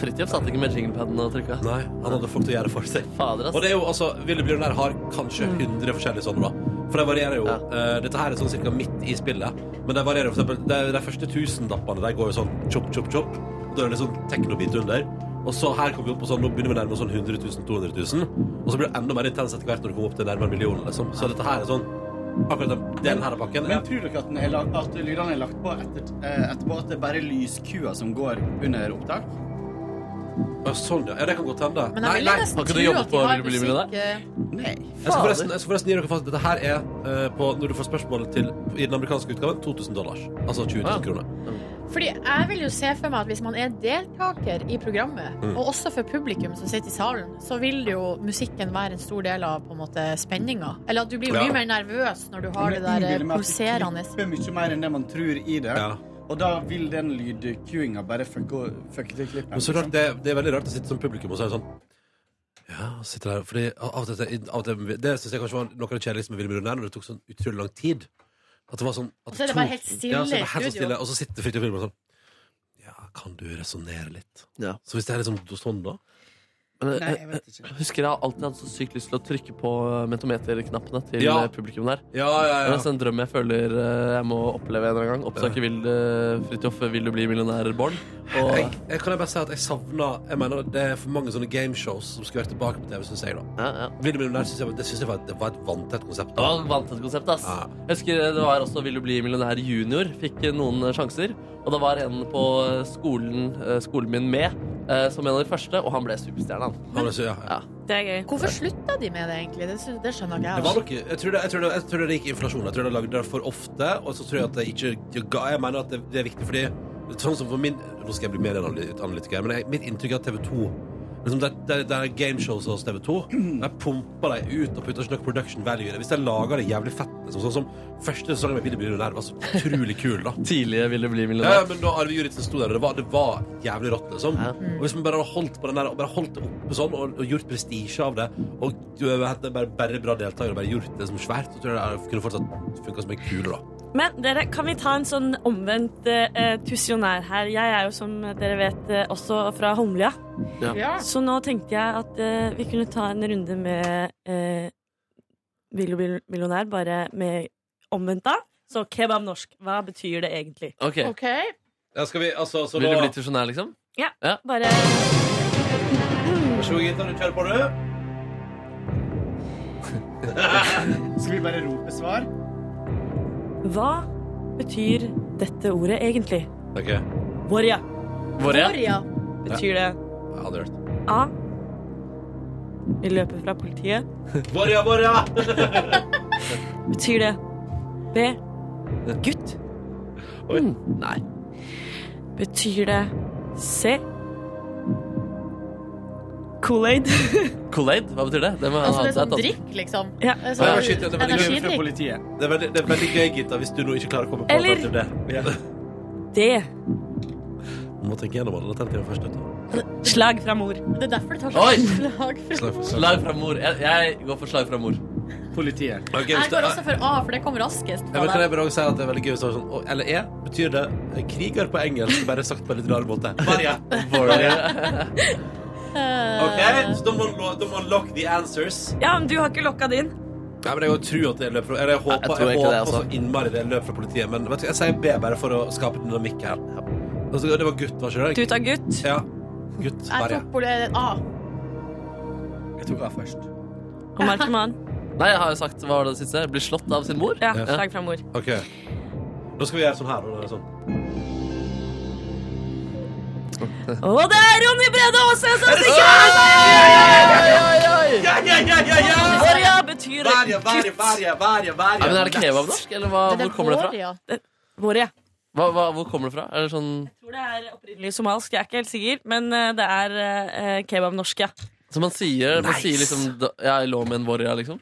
Speaker 2: Fridtjof satt ikke med jinglepaden og trykka.
Speaker 3: Nei, han hadde folk til å gjøre det for seg.
Speaker 2: Fader,
Speaker 3: Og
Speaker 2: ass.
Speaker 3: det er jo, altså, Ville Bjørnar har kanskje
Speaker 4: Mm.
Speaker 3: 100 forskjellige sånne, da. For det varierer jo.
Speaker 2: Ja.
Speaker 3: Eh, dette her er sånn cirka midt i spillet. Men det varierer jo, for eksempel, de, de første 1000 lappene de går jo sånn chop, chop, chop. Og Da er det litt sånn teknobit under. Og så her kommer vi opp på sånn, nå begynner vi nærmere sånn 100 000, 200 000. Og så blir det enda mer intens etter hvert når du kommer opp til nærmere millionen, liksom. Så dette her er sånn Akkurat den delen her av pakken.
Speaker 12: Men tror dere at, den er lagt, at lydene er lagt på etter, eh, etterpå at det er bare lyskua som går under opptak?
Speaker 3: Ja, sånn, ja. ja, det kan godt hende.
Speaker 4: Men jeg vil nesten
Speaker 2: har ikke du
Speaker 4: tro
Speaker 2: jobbet
Speaker 4: at de
Speaker 2: på
Speaker 4: har
Speaker 2: Vil du bli millionær?
Speaker 4: musikk eh,
Speaker 12: Nei.
Speaker 3: Jeg skal forresten, jeg skal forresten gi dere fast Dette her er eh, på, når du får spørsmålet til i den amerikanske utgaven, 2000 dollars. Altså 20 000 kroner.
Speaker 4: Fordi jeg vil jo se for meg at hvis man er deltaker i programmet,
Speaker 3: Mm.
Speaker 4: og også for publikum som sitter i salen, så vil jo musikken være en stor del av på en måte spenninga. Eller at du blir jo
Speaker 3: Ja.
Speaker 4: mye mer nervøs når du har det der eh, pulserende
Speaker 12: Det er mye mer enn det man tror i det.
Speaker 3: Ja.
Speaker 12: Og da vil den lydcuinga bare fucke, fucke til klippet. liksom.
Speaker 3: Men så klart, det, det er veldig rart å sitte som publikum og si sånn Ja, og sitte der Fordi av og til, av og til Det synes jeg kanskje var noe av det kjedeligste med Ville Millionær, når det tok sånn utrolig lang tid. At det var sånn at
Speaker 4: Og så er det
Speaker 3: to-
Speaker 4: bare helt stille
Speaker 3: Ja, så er det
Speaker 4: i
Speaker 3: bare helt sånn
Speaker 4: studio.
Speaker 3: stille Og så sitter Fridtjof Wilhelmsen sånn Ja, kan du resonnere litt?
Speaker 2: Ja.
Speaker 3: Så hvis det er liksom sånn, da
Speaker 2: Men jeg,
Speaker 9: Nei, jeg vet
Speaker 2: jeg, jeg husker jeg alltid hadde så sykt lyst til å trykke på mentometerknappene til
Speaker 3: Ja.
Speaker 2: eh, publikum der.
Speaker 3: Ja, ja, ja.
Speaker 2: Det er nesten en drøm jeg føler eh, jeg må oppleve en eller annen gang. Oppsøke vil, eh, Fridtjof Vil du bli millionær, Bård. Og
Speaker 3: jeg, jeg kan jeg bare si at jeg savner Jeg mener det er for mange sånne gameshows som skulle vært tilbake på TV, syns jeg. da Vil du bli millionær, synes jeg, var- Det syns jeg var, det var et vanntett konsept.
Speaker 2: det var et vanntett konsept, ass. Jeg husker det var også Vil du bli millionær junior. Fikk eh, noen eh, sjanser. Og det var en på eh, skolen, eh, skolen min med eh, som en av de første, og han ble superstjerne, han.
Speaker 3: Han ble så- ja.
Speaker 11: Det er gøy.
Speaker 4: Hvorfor slutta de med det, egentlig? Det, sy- det skjønner ikke
Speaker 3: Det
Speaker 4: jeg.
Speaker 3: var
Speaker 4: altså.
Speaker 3: nok, jeg, tror det, jeg, tror det, jeg tror det gikk inflasjon. Jeg tror de lagde det for ofte. Og så tror jeg at det ikke det ga Jeg mener at det, det er viktig fordi Sånn som for min Nå skal jeg bli mer en analy- analytiker, men jeg, mitt inntrykk er at TV2 liksom det, det, det er gameshows hos TV2. Der pumper de ut og putter ikke nok production value i det. Hvis de lager det jævlig fett, liksom, sånn som første sesongen med Ville bli millionær var så utrolig kul, da.
Speaker 2: Tidlige Vil du bli
Speaker 3: Ja,
Speaker 2: millionær.
Speaker 3: ja, men da Arve Juritzen sto der, og det var, det var jævlig rått, liksom. Og hvis man bare hadde holdt på den der, og bare holdt det oppe sånn, og, og gjort prestisje av det, og du vet, det er bare, bare bra deltakere, og bare gjort det som svært, så tror jeg det er- kunne fortsatt funket som en kule, da.
Speaker 11: Men dere, kan vi ta en sånn omvendt eh, tusjonær her? Jeg er jo, som dere vet, eh, også fra Holmlia.
Speaker 3: Ja. Ja.
Speaker 11: Så nå tenkte jeg at eh, vi kunne ta en runde med eh, Vil du bli millionær, bare med omvendt da. Så kebab norsk, hva betyr det egentlig?
Speaker 2: Ok.
Speaker 3: Ja, skal vi, altså, så
Speaker 2: Vil du
Speaker 3: da-
Speaker 2: bli tusjonær, liksom?
Speaker 11: Ja,
Speaker 2: Ja.
Speaker 11: bare
Speaker 3: Vær så god, Gitta, du kjører på, du.
Speaker 12: Skal vi bare rope svar?
Speaker 11: Hva betyr dette ordet egentlig?
Speaker 3: Ok.
Speaker 11: Warja.
Speaker 2: Warja?
Speaker 11: Warja. Betyr det
Speaker 3: Jeg hadde hørt.
Speaker 11: A. Vi løper fra politiet.
Speaker 3: Borja, Borja!
Speaker 11: Betyr det B. Gutt.
Speaker 3: Oi.
Speaker 2: Nei.
Speaker 11: Betyr det C. Kool-Aid.
Speaker 2: Kool-Aid, hva betyr det? Det må
Speaker 4: Altså,
Speaker 2: ha
Speaker 4: det er sånn
Speaker 2: seg et
Speaker 4: drikk, liksom.
Speaker 11: Ja.
Speaker 4: Det er
Speaker 3: Å,
Speaker 4: sånn
Speaker 3: ja, shit, ja, det, er veldig gøy,
Speaker 4: energidrikk.
Speaker 3: det, er veldig, det er veldig gøy, Gitta, hvis du nå ikke klarer å komme på
Speaker 11: Eller-
Speaker 3: alternativ D.
Speaker 11: D.
Speaker 3: Må tenke gjennom alle alternativene først, vet du.
Speaker 11: Slag fra mor.
Speaker 4: Det er derfor det tar
Speaker 2: Oi!
Speaker 4: sånn slag. fra-
Speaker 3: Slag for slag.
Speaker 2: Slag fra mor. Jeg, jeg går for slag fra mor.
Speaker 12: Politiet.
Speaker 3: Ok, hvis
Speaker 4: Jeg
Speaker 3: det-
Speaker 4: går også for A, for det kommer raskest.
Speaker 3: Ja, men
Speaker 4: Fra
Speaker 3: kan jeg
Speaker 4: deg.
Speaker 3: bare også si at det er veldig gøy hvis det var sånn, og- Eller E betyr det eh, kriger på engelsk, bare sagt på en litt rar måte. Varje.
Speaker 4: Eh,
Speaker 3: OK, så da må man lo- da må man lock the answers.
Speaker 11: Ja, men du har ikke lokka din.
Speaker 3: Nei, men Jeg går tro at det løper Eller jeg håper,
Speaker 2: Jeg tror
Speaker 3: jeg
Speaker 2: egentlig det,
Speaker 3: håper
Speaker 2: altså.
Speaker 3: så innmari det løper fra politiet, men vet du, jeg sier B bare for å skape dynamikk her. Altså, det var gutt, var ikke det?
Speaker 11: Du tar gutt.
Speaker 3: Ja. Gutt.
Speaker 4: Jeg
Speaker 3: Varje.
Speaker 4: tok på det A.
Speaker 12: Jeg tok A først.
Speaker 11: Og narkoman.
Speaker 2: Nei, jeg har jo sagt hva var det siste? Blir slått av sin mor?
Speaker 11: Ja, slag fra mor.
Speaker 3: OK. Da skal vi gjøre sånn her. Og det er sånn.
Speaker 11: Og det er Ronny Brede Aase som stikker av! Varja betyr
Speaker 12: Varje, varje,
Speaker 11: gutt.
Speaker 12: varje, varje, varje.
Speaker 2: Ja, men Er det kebabnorsk, eller
Speaker 3: Ah,
Speaker 2: hva, hvor kommer det fra?
Speaker 11: Varja.
Speaker 2: Hva, hva, hvor kommer det fra? Er det sånn
Speaker 11: Jeg tror det er opprinnelig somalisk, jeg er ikke helt sikker, men eh, det er eh, kebab-norsk, ja.
Speaker 2: Som man sier? Man sier liksom da- Jeg lå med en warrior, liksom?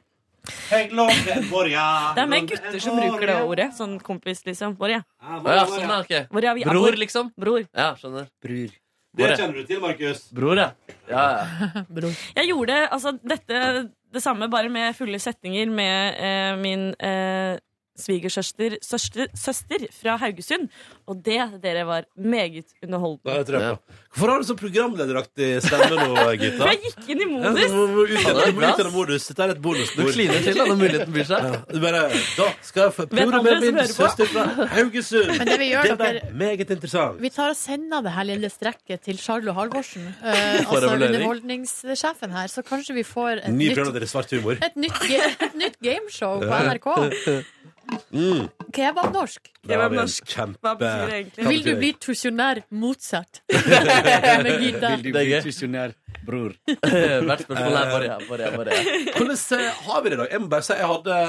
Speaker 12: Jeg lovde en borja.
Speaker 11: Det er mer gutter som bruker det ordet. Sånn kompis, liksom. Varja.
Speaker 2: Å ja, sånn, ja. ok.
Speaker 11: Varja, vi er
Speaker 2: Bror,
Speaker 11: vår-
Speaker 2: liksom?
Speaker 11: Bror.
Speaker 2: Ja, skjønner. Bror.
Speaker 12: Det kjenner du til, Markus.
Speaker 2: Bror, ja. ja, ja.
Speaker 11: Jeg gjorde altså dette det samme, bare med fulle setninger med eh, min eh, svigersøster søster, søster fra Haugesund. Og det, dere, var meget
Speaker 3: Da
Speaker 11: underholdende.
Speaker 3: er det trøkk, da. Hvorfor har du så programlederaktig stemme nå, Gitta?
Speaker 11: For jeg gikk inn
Speaker 3: Ja,
Speaker 11: i
Speaker 3: du må-
Speaker 11: modus.
Speaker 3: må ut-
Speaker 2: det
Speaker 3: du
Speaker 2: er
Speaker 3: må
Speaker 2: bra.
Speaker 3: ut gjennom modus. Dette er et bonusbord.
Speaker 2: Du kliner til da, når muligheten byr seg.
Speaker 3: Ja, du bare, da skal jeg få prøve
Speaker 11: andre
Speaker 3: med
Speaker 11: som
Speaker 3: min
Speaker 11: hører på?
Speaker 3: søster fra Haugesund.
Speaker 4: Men det vi gjør,
Speaker 3: ble
Speaker 4: dere-
Speaker 3: meget interessant.
Speaker 4: Vi tar og sender det her lille strekket til Charlo Halvorsen, eh,
Speaker 2: For
Speaker 4: altså
Speaker 2: evaluering.
Speaker 4: underholdningssjefen her, så kanskje vi får et
Speaker 3: Ny
Speaker 4: nytt,
Speaker 3: programleder i svart humor.
Speaker 4: et nytt, ga- et nytt gameshow på NRK.
Speaker 3: Mm.
Speaker 4: Kebabnorsk.
Speaker 3: Da
Speaker 11: var
Speaker 3: har vi en
Speaker 11: norsk.
Speaker 3: kjempe-
Speaker 11: Hva betyr det egentlig?
Speaker 3: Hva
Speaker 4: Vil du
Speaker 3: betyr
Speaker 4: bli tusjonær motsatt? Med Gita.
Speaker 12: Vil du
Speaker 2: Det er
Speaker 12: bli
Speaker 2: gøy.
Speaker 12: tusjonær, bror?
Speaker 2: Hvert spørsmål er warrior, warrior, warrior.
Speaker 3: Hvordan eh, har vi det i dag? Jeg må bare si, jeg hadde,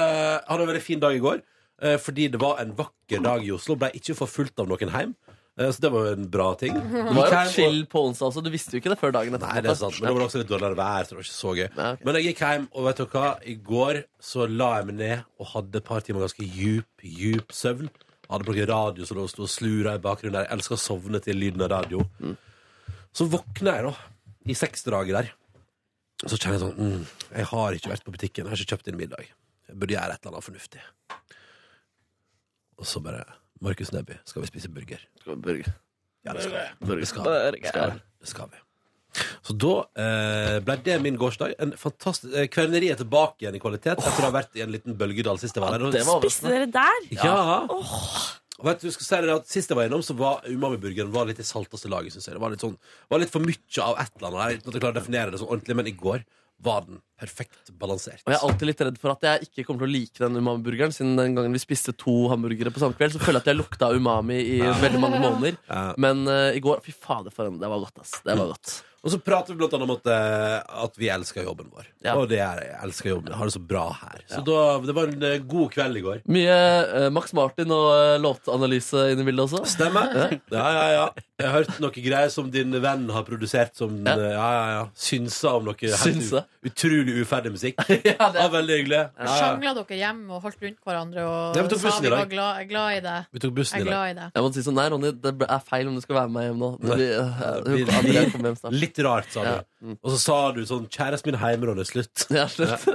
Speaker 3: hadde en veldig fin dag i går. eh, Fordi det var en vakker dag i Oslo. Ble ikke forfulgt av noen hjem. eh, Så det var jo en bra ting.
Speaker 2: Det var jo chill på onsdag også. Du visste jo ikke det før dagen etterpå.
Speaker 3: Nei, det er sant, men det var også litt dårligere vær, så det var ikke så gøy. Men jeg gikk hjem, og vet dere hva? I går så la jeg meg ned og hadde et par timer ganske djup, djup søvn. Hadde på noen radio som lå og sto og slura i bakgrunnen der. Jeg elsker å sovne til lyden av radio. Så våkner jeg, da, i seksdraget der. Og så kjenner jeg sånn mm, Jeg har ikke vært på butikken, jeg har ikke kjøpt inn middag. Jeg burde gjøre et eller annet fornuftig. Og så bare Markus Neby, skal vi spise burger?
Speaker 2: Burger.
Speaker 3: Ja, det skal vi. Det skal vi. Det skal vi. Det skal vi. Så da eh, ble det min gårsdag. En fantastisk eh, Kvelneriet er tilbake igjen i kvalitet etter å ha vært i en liten bølgedal sist jeg var der. Og-
Speaker 11: Spiste dere der?
Speaker 3: Ja.
Speaker 11: Åh,
Speaker 3: Og vet du, jeg skal si dere at Sist jeg var innom, så var umami-burgeren var litt i salteste laget. Synes jeg. Det var litt, sånn, var litt for mye av et eller annet der, uten at jeg klarer å definere det sånn ordentlig. Men i går var den perfekt balansert.
Speaker 2: Og jeg er alltid litt redd for at jeg ikke kommer til å like den umami-burgeren. Siden den gangen vi spiste to hamburgere på samme kveld, så føler jeg at jeg lukta umami i
Speaker 3: Ja.
Speaker 2: veldig mange måneder.
Speaker 3: Ja. Mm.
Speaker 2: Men eh, i går Fy fader, for en Det var godt, ass. Det var godt.
Speaker 3: Og så prater vi blant annet om at, eh, at vi elsker jobben vår. Og det er, jeg elsker jobben. Jeg har det så bra her. Så da, det var en eh, god kveld i går.
Speaker 2: Mye eh, Max Martin og eh, låtanalyse inn i bildet også.
Speaker 3: Stemmer. Ja, ja, ja. Jeg har hørt noen greier som din venn har produsert som ja. Ja, ja, ja. synser om noe helt
Speaker 2: Synser.
Speaker 3: u- utrolig uferdig musikk. ja, det. var veldig hyggelig. Ja, ja.
Speaker 4: Sjangla dere hjem og holdt rundt hverandre og
Speaker 2: Nei, vi tok
Speaker 4: sa
Speaker 2: bussen i
Speaker 4: vi var
Speaker 2: dag.
Speaker 4: glad, glad i det?
Speaker 3: Vi tok bussen
Speaker 4: Jeg
Speaker 3: i
Speaker 4: er glad i
Speaker 3: dag.
Speaker 4: det.
Speaker 2: Jeg må si sånn, nei, Ronny, det er feil om du skal være med hjem nå. Det
Speaker 3: Nei.
Speaker 2: blir, eh,
Speaker 3: Det blir
Speaker 2: Andrea
Speaker 3: litt-
Speaker 2: kommer hjem snart.
Speaker 3: Litt rart, sa du.
Speaker 2: Ja.
Speaker 3: Og så sa du sånn 'Kjæresten min hjemme, Ronny. Slutt'.
Speaker 2: Ja, slutt.
Speaker 3: Ja.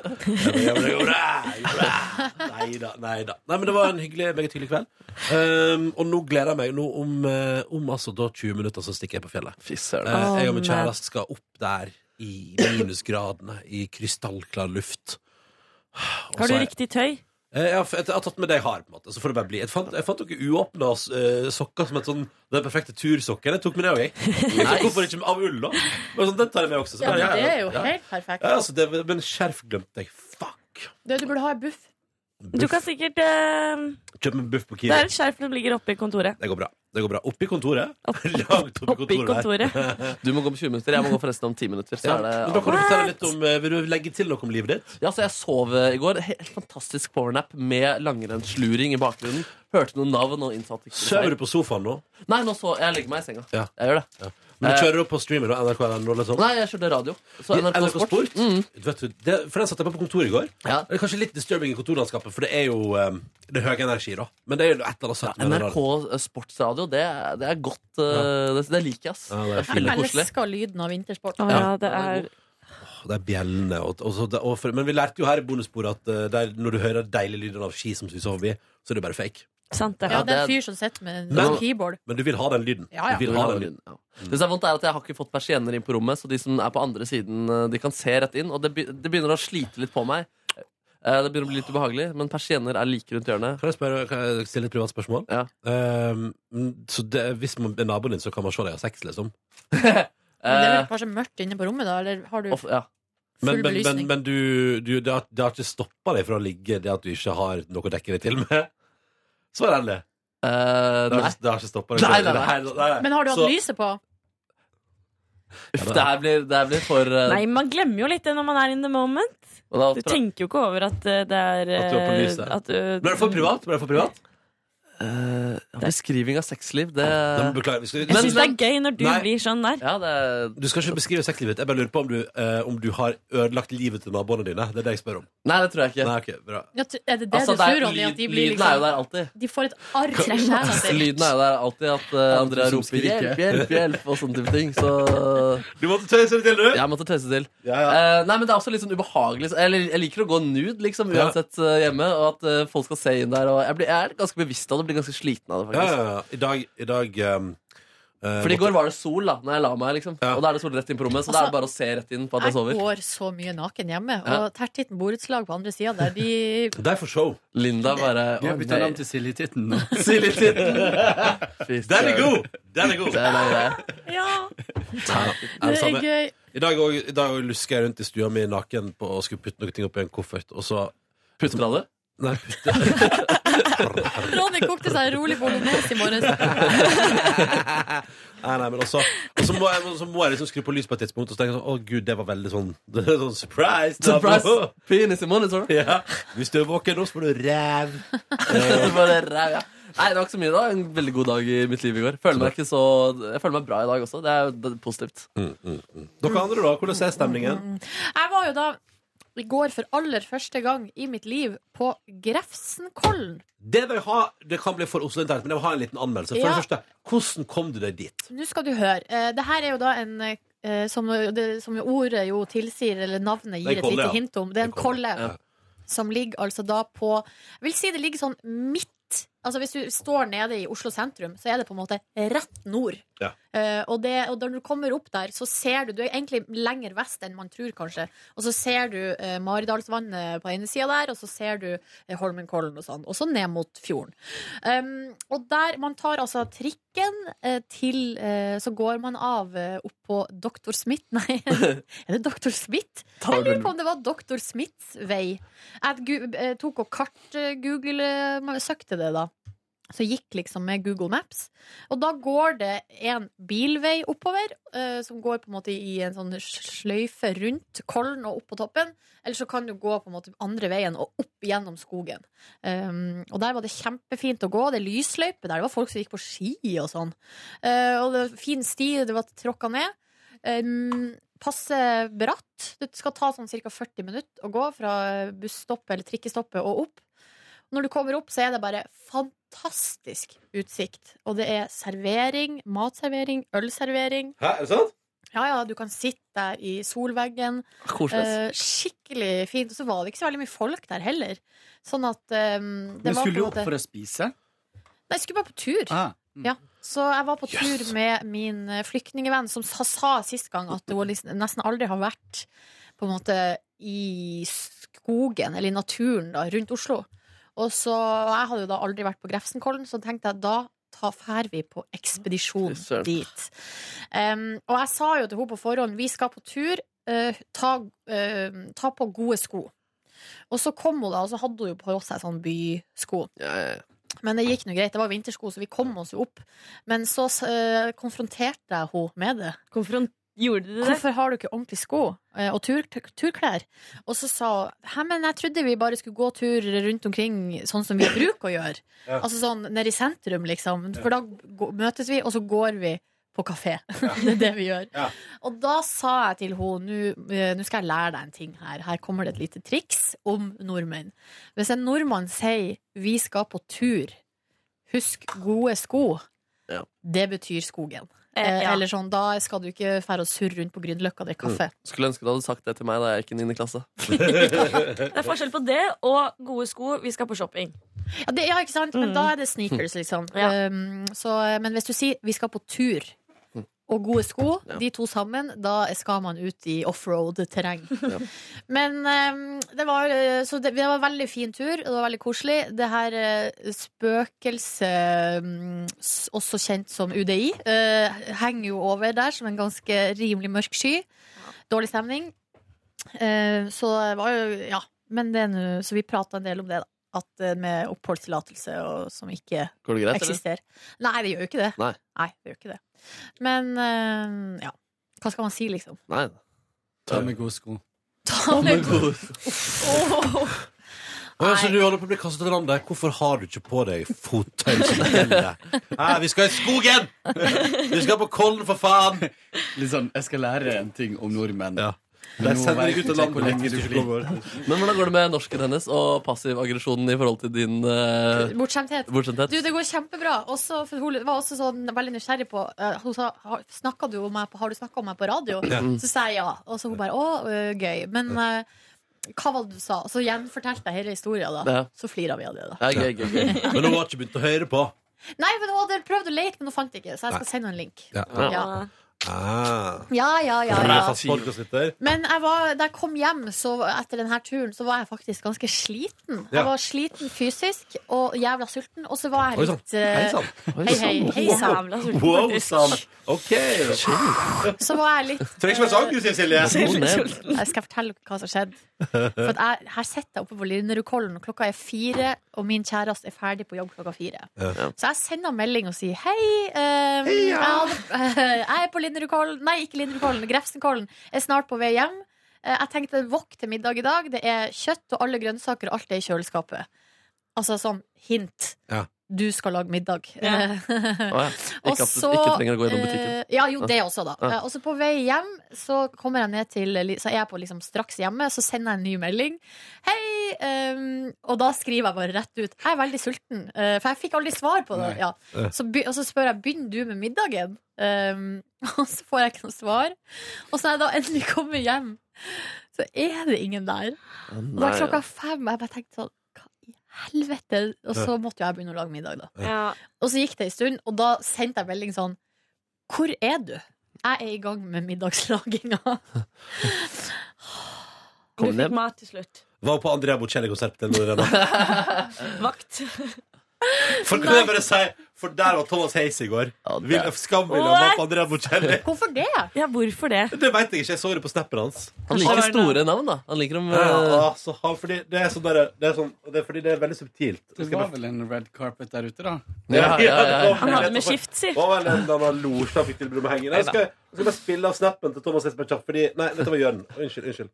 Speaker 3: Ja, men det går bra, det går bra. Nei da, nei da. Nei, men det var en hyggelig, meget hyggelig kveld. Um, og nå gleder jeg meg. Nå om, eh, om altså da 20 minutter så stikker jeg på fjellet. Eh, jeg og min
Speaker 2: Å, men.
Speaker 3: kjæreste skal opp der i minusgradene i krystallklar luft. Og så
Speaker 11: har du
Speaker 3: er-
Speaker 11: riktig tøy?
Speaker 3: Eh, Jeg har, jeg har tatt med det jeg har. på en måte Så får det bare bli Jeg fant, jeg fant noen uåpna eh, sokker som et sånn den perfekte tursokken. Jeg tok med det òg, jeg. Så Hvorfor ikke med- av ull, da? Men sånn, den tar jeg med også. Så
Speaker 4: Ja,
Speaker 3: bare,
Speaker 4: men det er jo
Speaker 3: ja.
Speaker 4: helt perfekt.
Speaker 3: Ja, altså, det, men skjerf glemte jeg. Fuck.
Speaker 4: Du, du burde ha en buff.
Speaker 11: Du kan sikkert eh,
Speaker 3: Kjøp meg en buff på
Speaker 11: Det er
Speaker 3: Kiwi.
Speaker 11: et skjerf som ligger oppe i kontoret.
Speaker 3: Det går bra. Det går bra. Oppi kontoret. Langt oppi
Speaker 11: Oppi kontoret.
Speaker 2: Du må gå om 20 minutter, jeg må gå forresten om 10 minutter. Så
Speaker 3: Ja,
Speaker 2: er det
Speaker 3: men da kan du fortelle litt om eh, Vil du legge til noe om livet ditt?
Speaker 2: Ja, så Jeg sov eh, i går. Helt fantastisk powernap med langrennsluring i bakgrunnen. Hørte noen navn og innsatte
Speaker 3: Sover du på sofaen nå?
Speaker 2: Nei, nå så jeg legger meg i senga.
Speaker 3: Ja.
Speaker 2: Jeg gjør det.
Speaker 3: Men
Speaker 2: Eh,
Speaker 3: du kjører opp på streamer da? NRK eller sånn?
Speaker 2: Nei, jeg kjørte radio. Så
Speaker 3: I
Speaker 2: NRK, Sport. Mm.
Speaker 3: Du vet, du, det, for den satt jeg på på kontoret i går. Det er kanskje litt disturbing i kontorlandskapet, for det er jo um, det er høy energi, da. Men det er jo et eller annet søtt med det
Speaker 2: NRK Sportsradio, det, er- det er godt. eh, Det, det liker jeg, ass.
Speaker 3: det er
Speaker 2: Jeg føler
Speaker 4: Jeg
Speaker 2: koselig.
Speaker 4: elsker lyden av vintersport.
Speaker 3: Å, ja,
Speaker 11: det er
Speaker 3: der. Det er bjellene og, og, så- og for, Men vi lærte jo her i bonussporet at eh, der, når du hører deilig lyden av ski som suser forbi, så er det bare fake.
Speaker 11: Sant,
Speaker 4: Ja, det er en fyr som sitter med en
Speaker 3: Men-
Speaker 4: keyboard.
Speaker 3: Men du vil ha den lyden.
Speaker 4: Ja, ja.
Speaker 3: Du vil ha den lyden.
Speaker 2: Ja. Det som er vondt, er at jeg har ikke fått persienner inn på rommet, så de som er på andre siden, eh, de kan se rett inn. Og det, be- det begynner å slite litt på meg. Eh, Det begynner å bli litt ubehagelig, men persienner er like rundt hjørnet.
Speaker 3: Kan jeg, spørre, kan jeg stille et privat spørsmål?
Speaker 2: Ja.
Speaker 3: Um, så det, hvis man er naboen din, så kan man se deg ha sex, liksom?
Speaker 4: Men det er vel kanskje mørkt inne på rommet, da? Eller har du
Speaker 3: Eh. Men,
Speaker 4: full
Speaker 3: men, men,
Speaker 4: belysning?
Speaker 3: men du, du, det, har, det har ikke stoppa deg fra å ligge det at du ikke har noe å dekke deg til med? Svar ærlig. det, har
Speaker 2: Eh, nei.
Speaker 3: ikke, det har ikke stoppa deg?
Speaker 2: Nei, nei, nei.
Speaker 4: Men har du hatt
Speaker 3: Så-
Speaker 4: lyset på?
Speaker 2: Uff, det her blir, det her blir for eh,
Speaker 11: Nei, man glemmer jo litt det når man er in the moment.
Speaker 2: og da
Speaker 11: Du
Speaker 2: pra-
Speaker 11: tenker jo ikke over at eh, det er
Speaker 2: At du har på
Speaker 11: eh,
Speaker 2: lyset.
Speaker 11: at du-
Speaker 3: Ble det for privat? Ble det for privat?
Speaker 2: Eh, ja, Beskriving av sexliv, det
Speaker 3: Nei, men beklager. Vi skal,
Speaker 11: Jeg syns det er gøy når du
Speaker 3: Nei.
Speaker 11: blir sånn der.
Speaker 3: Du skal ikke beskrive sexlivet ditt. Jeg bare lurer på om du, eh, om du har ødelagt livet til naboene dine. Det er det jeg spør om.
Speaker 2: Nei, det tror jeg ikke.
Speaker 3: Nei, ok, bra.
Speaker 4: Ja, t- er det det
Speaker 2: Altså,
Speaker 4: du
Speaker 2: det er-
Speaker 4: tror, Ronny? At de
Speaker 2: lyd-
Speaker 4: blir
Speaker 2: lyden
Speaker 4: liksom
Speaker 2: er jo der alltid.
Speaker 4: De får et arr fra kjæresten sin.
Speaker 2: Lyden er jo der alltid at eh, Andrea
Speaker 3: som
Speaker 2: roper
Speaker 3: skriker.
Speaker 2: 'hjelp, hjelp, hjelp' og sånne type ting. Så eh,
Speaker 3: Du måtte tøyse det til, du?
Speaker 2: Jeg måtte tøyse til. Eh, nei, men det er også litt sånn ubehagelig så- Eller jeg liker å gå nude, liksom,
Speaker 3: Ja.
Speaker 2: uansett eh, hjemme, og at eh, folk skal se inn der. Og jeg, blir, jeg er ganske bevisst av det, blir ganske sliten av det,
Speaker 3: Ja,
Speaker 2: faktisk.
Speaker 3: ja, ja. I dag, i dag um, eh,
Speaker 2: For i
Speaker 3: måtte-
Speaker 2: går var det sol da når jeg la meg, liksom. Og da er det sol rett inn på rommet, så da er det bare å se rett inn på at jeg
Speaker 4: Jeg
Speaker 2: sover.
Speaker 4: går så mye naken hjemme,
Speaker 2: Ja.
Speaker 4: og tertitten borettslag på andre sida der, de
Speaker 3: Det er for show.
Speaker 2: Linda bare
Speaker 12: Vi har
Speaker 2: å,
Speaker 12: bytta
Speaker 2: nei.
Speaker 12: navn til Silje Titten nå.
Speaker 2: Silje Titten. Fy
Speaker 3: Den er
Speaker 2: søren.
Speaker 3: god! Den er god.
Speaker 2: Den er grei.
Speaker 4: Ja.
Speaker 3: Er det
Speaker 4: Det er
Speaker 3: samme?
Speaker 4: gøy.
Speaker 3: I dag, også- i dag også lusker jeg rundt i stua mi naken på, og skulle putte noen ting opp i en koffert, og så
Speaker 2: Putter han det?
Speaker 3: Nei,
Speaker 4: Ronny kokte seg en rolig bolognese i morges.
Speaker 3: nei, nei men også Og så må, jeg- så må jeg liksom skru på lys på et tidspunkt, og så tenker jeg sånn Å, gud, det var veldig sånn, det er sånn surprise. da, bro!»
Speaker 2: Surprise! Penis i monitor.
Speaker 3: Ja. Hvis du er våken nå, så får du ræv.
Speaker 2: Bare ræv, ja. Nei, det var ikke så mye da. En veldig god dag i mitt liv i går. Føler meg ikke så, jeg føler meg bra i dag også. Det er jo positivt.
Speaker 3: Dere andre, da? Hvordan er stemningen?
Speaker 4: Jeg var jo da i går for aller første gang i mitt liv på Grefsenkollen.
Speaker 3: Det, vil jeg ha, det kan bli for Oslo internt, men jeg vil ha en liten anmeldelse. For
Speaker 4: Ja.
Speaker 3: det første, hvordan kom du deg dit?
Speaker 4: Nå skal du høre. Eh, Det her er jo da en eh, som, det, som ordet jo tilsier, eller
Speaker 13: Det
Speaker 4: navnet
Speaker 13: er
Speaker 4: gir
Speaker 13: en
Speaker 4: et
Speaker 13: kolle,
Speaker 4: lite
Speaker 13: ja.
Speaker 4: hint om. Det er en kolle.
Speaker 13: Ja.
Speaker 4: Som ligger altså da på Jeg vil si det ligger sånn midt Altså Hvis du står nede i Oslo sentrum, så er det på en måte rett nord. Eh, og, det, og når du kommer opp der, så ser du Du er egentlig lenger vest enn man tror, kanskje. Og så ser du eh, Maridalsvannet på ene sida der, og så ser du eh, Holmenkollen og sånn. Og så ned mot fjorden. Um, og der Man tar altså trikken eh, til eh, Så går man av eh, opp på Dr. Smith Nei, er det Dr. Smith?
Speaker 13: Tar
Speaker 4: Jeg
Speaker 13: du
Speaker 4: lurer på om det var Dr. Smiths vei. Jeg gu- eh, tok og kart-google eh, Søkte det, da. Så jeg gikk liksom med Google Maps. Og da går det en bilvei oppover, eh, som går på en måte i en sånn sløyfe rundt kollen og opp på toppen. Eller så kan du gå på en måte andre veien og opp gjennom skogen. Um, og der var det kjempefint å gå. Det er lysløype der. Det var folk som gikk på ski og sånn. Eh, og det var fin sti, det var tråkka ned. Um, passe bratt. Det skal ta sånn ca. 40 minutter å gå fra busstoppet eller trikkestoppet og opp. Når du kommer opp, så er det bare fantastisk utsikt. Og det er servering, matservering, ølservering.
Speaker 3: Hæ, er det sant?
Speaker 4: Ja, ja, du kan sitte der i solveggen.
Speaker 3: Koselig.
Speaker 4: Eh, skikkelig fint. Og så var det ikke så veldig mye folk der heller. Sånn at eh, det
Speaker 12: Men
Speaker 4: var på
Speaker 12: skulle du
Speaker 4: en
Speaker 12: opp
Speaker 4: måte-
Speaker 12: for å spise?
Speaker 4: Nei, jeg skulle bare på tur.
Speaker 12: Ah,
Speaker 4: Ja. Så jeg var på tur med min eh, flyktningevenn, som sa, sa sist gang at hun liksom, nesten aldri har vært på en måte i skogen, eller i naturen, da, rundt Oslo. Og så, og jeg hadde jo da aldri vært på Grefsenkollen, så tenkte jeg da ta fær vi på ekspedisjon
Speaker 13: Fy søren.
Speaker 4: dit. Um, og jeg sa jo til henne på forhånd vi skal på tur, eh, ta, eh, ta på gode sko. Og så kom hun da, og så hadde hun jo på seg sånn bysko. Men det gikk nå greit, det var vintersko, så vi kom oss jo opp. Men så eh, konfronterte jeg henne med det.
Speaker 11: Gjorde du det?
Speaker 4: Hvorfor har du ikke ordentlige sko eh, og tur, tur- turklær? Og så sa hun Hæ, men jeg trodde vi bare skulle gå tur rundt omkring sånn som vi bruker å gjøre.
Speaker 13: Ja.
Speaker 4: Altså sånn nede i sentrum, liksom. For da gå- møtes vi, og så går vi på kafé. det er det vi gjør. Og da sa jeg til henne "Nå, eh, Nå skal jeg lære deg en ting her. Her kommer det et lite triks om nordmenn. Hvis en nordmann sier 'vi skal på tur', husk gode sko. Det betyr skogen.
Speaker 11: Eh, ja. Mm.
Speaker 4: Eh, Eller sånn, da skal du ikke fære og surre rundt på Grünerløkka og drikke kaffe.
Speaker 2: Skulle ønske du hadde sagt det til meg da jeg gikk i 9. klasse.
Speaker 11: Det er forskjell på det og gode sko. Vi skal på shopping.
Speaker 4: Ja, det, ja, ikke sant? Men da er det sneakers,
Speaker 13: Mm.
Speaker 4: liksom. Um, så, men hvis du sier 'vi skal på tur' og gode sko,
Speaker 13: Ja.
Speaker 4: de to sammen, da skal man ut i offroad-terreng.
Speaker 13: Ja.
Speaker 4: Men um, det var eh, Så det, det var en veldig fin tur, og det var veldig koselig. Det her eh, spøkelset, mm, s- også kjent som UDI, eh, henger jo over der som en ganske rimelig mørk sky. Dårlig stemning. Eh, så det var jo Ja. Men det er nå Så vi prata en del om det, da. At eh, med oppholdstillatelse og som ikke
Speaker 2: Går det greit, eller?
Speaker 4: eksisterer. Nei, det gjør jo ikke det.
Speaker 2: Nei.
Speaker 4: det gjør ikke det. Men eh, ja. Hva skal man si, liksom?
Speaker 2: Nei.
Speaker 12: Ta med gode sko.
Speaker 4: Ta med
Speaker 3: gode
Speaker 4: Åh.
Speaker 3: Å, ja, så du holder på å bli kastet til landet. Hvorfor har du ikke på deg fottøy som gjelder? Hæ, vi skal i skogen! Vi skal på Kollen, for faen!
Speaker 12: Litt sånn, jeg skal lære en ting om nordmenn. Men
Speaker 2: Jeg
Speaker 12: nå
Speaker 2: sender
Speaker 12: vet
Speaker 2: deg ut av
Speaker 12: jeg hvor
Speaker 2: landet
Speaker 12: lenge
Speaker 2: hvis
Speaker 12: du
Speaker 2: du ikke
Speaker 12: blir.
Speaker 2: går. Men hvordan går det med norsken hennes og passiv aggresjonen i forhold til din eh,
Speaker 4: Bortskjemthet.
Speaker 2: Bortskjemthet.
Speaker 4: Du, det går kjempebra. Også, for hun var også sånn, veldig nysgjerrig på eh, Hun sa har, snakket du om meg på, har du snakka om meg på radio?
Speaker 13: Ja.
Speaker 4: Så sa jeg ja. Og så hun bare å, eh, gøy. Men eh, hva var det du sa? Og så gjenfortalte jeg hele historia, da.
Speaker 3: Ja.
Speaker 4: Så flira vi av det, da.
Speaker 3: Ja, gøy, gøy, gøy. Men hun har ikke begynt å høre på.
Speaker 4: Nei, men hun hadde prøvd å lete, men hun fant det ikke, så jeg
Speaker 3: Nei.
Speaker 4: skal sende henne en link.
Speaker 3: Ja.
Speaker 4: Ja.
Speaker 3: Ah.
Speaker 4: Ja, ja, ja,
Speaker 3: Følger
Speaker 4: ja.
Speaker 3: jeg fast podcastlytter?
Speaker 4: Men jeg var, da jeg kom hjem så, etter denne turen, så var jeg faktisk ganske sliten.
Speaker 3: Ja.
Speaker 4: Jeg var sliten fysisk og jævla sulten, og så var jeg
Speaker 3: Oi sann.
Speaker 4: litt eh,
Speaker 3: Hei sånn. sann. Oi
Speaker 4: Hei,
Speaker 3: sann.
Speaker 4: hei. Hei
Speaker 3: Wow.
Speaker 4: sann. Jævla sulten,
Speaker 3: Wow,
Speaker 4: faktisk.
Speaker 3: sann. OK.
Speaker 4: Så var jeg litt
Speaker 3: Trenger ikke være så aggressiv, Silje.
Speaker 4: eh,
Speaker 3: Ro ned.
Speaker 4: Jeg skal fortelle dere hva som skjedde. For at jeg, her sitter jeg oppe på Linerudkollen, og klokka er fire, og min kjæreste er ferdig på jobb klokka fire. Så jeg sender en melding og sier hei. ehm, jeg, hadde- jeg er på Linderudkollen Nei, ikke Linderudkollen, Grefsenkollen. Jeg er snart på vei hjem. Eh, Jeg tenkte wok til middag i dag. Det er kjøtt og alle grønnsaker, og alt er i kjøleskapet. Altså sånn hint.
Speaker 3: Ja.
Speaker 4: Du skal lage middag.
Speaker 13: Ja.
Speaker 2: ja. Ikke at du ikke trenger å gå gjennom butikken.
Speaker 4: eh, Ja, jo, det
Speaker 2: Ja.
Speaker 4: også, da.
Speaker 2: Ja.
Speaker 4: Eh, Og så på vei hjem så kommer jeg ned til li- Så er jeg på liksom straks hjemme, så sender jeg en ny melding. Hei! ehm, og da skriver jeg bare rett ut. Jeg er veldig sulten. eh, for jeg fikk aldri svar på det.
Speaker 13: Nei. Eh.
Speaker 4: Ja.
Speaker 13: Ja.
Speaker 4: Så, be- og så spør jeg begynner du med middagen. Ehm, og så får jeg ikke noe svar. Og så når jeg da endelig kommer hjem, så er det ingen der. Og da er klokka fem, og jeg bare tenkte sånn Hva i helvete? Og så
Speaker 13: Ja.
Speaker 4: måtte jo jeg begynne å lage middag, da.
Speaker 13: Ja.
Speaker 4: Og så gikk det en stund, og da sendte jeg melding sånn Hvor er du? Jeg er i gang med middagslaginga.
Speaker 11: Du fikk mat til slutt.
Speaker 3: Var på Andrea Bocelli-konsert til Norena.
Speaker 11: Vakt.
Speaker 3: For kan jeg bare si For der var Thomas Hayes i går. Vil Skamvill han var på Andrea Bocelli.
Speaker 4: Hvorfor det?
Speaker 11: Ja, hvorfor det?
Speaker 3: Det veit jeg ikke. Jeg så det på snappen hans.
Speaker 2: Han liker store navn, da. Han liker dem
Speaker 3: Ja,
Speaker 2: eh,
Speaker 3: altså, han, fordi det er sånn der, det er sånn, det er fordi det er veldig subtilt.
Speaker 12: Det var vel en red carpet der ute, da?
Speaker 3: Ja, ja, ja, ja.
Speaker 11: Han hadde med skift, si.
Speaker 3: Det var vel en eller annen lort han fikk tilbud om å henge i. Nei, Jeg skal, jeg skal bare spille av snappen til Thomas Hesberg Kjapp, fordi Nei, dette var Jørn. Unnskyld. unnskyld.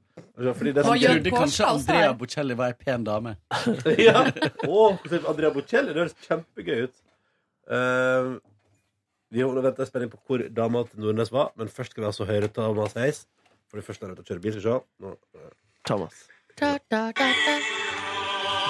Speaker 3: Fordi det er sånn
Speaker 12: Jeg
Speaker 3: så gøy.
Speaker 12: trodde kanskje Andrea Bocelli var ei pen dame.
Speaker 3: ja. Å, hvordan- Andrea Bocelli, det høres kjempegøy ut. Eh, vi holder venter i spenning på hvor dama til Nordnes var, men først skal vi altså høre Thomas Heis. For det første er han ute og kjører bil. Skal vi se. Nå, eh.
Speaker 2: Thomas.
Speaker 4: Da, da, da, da.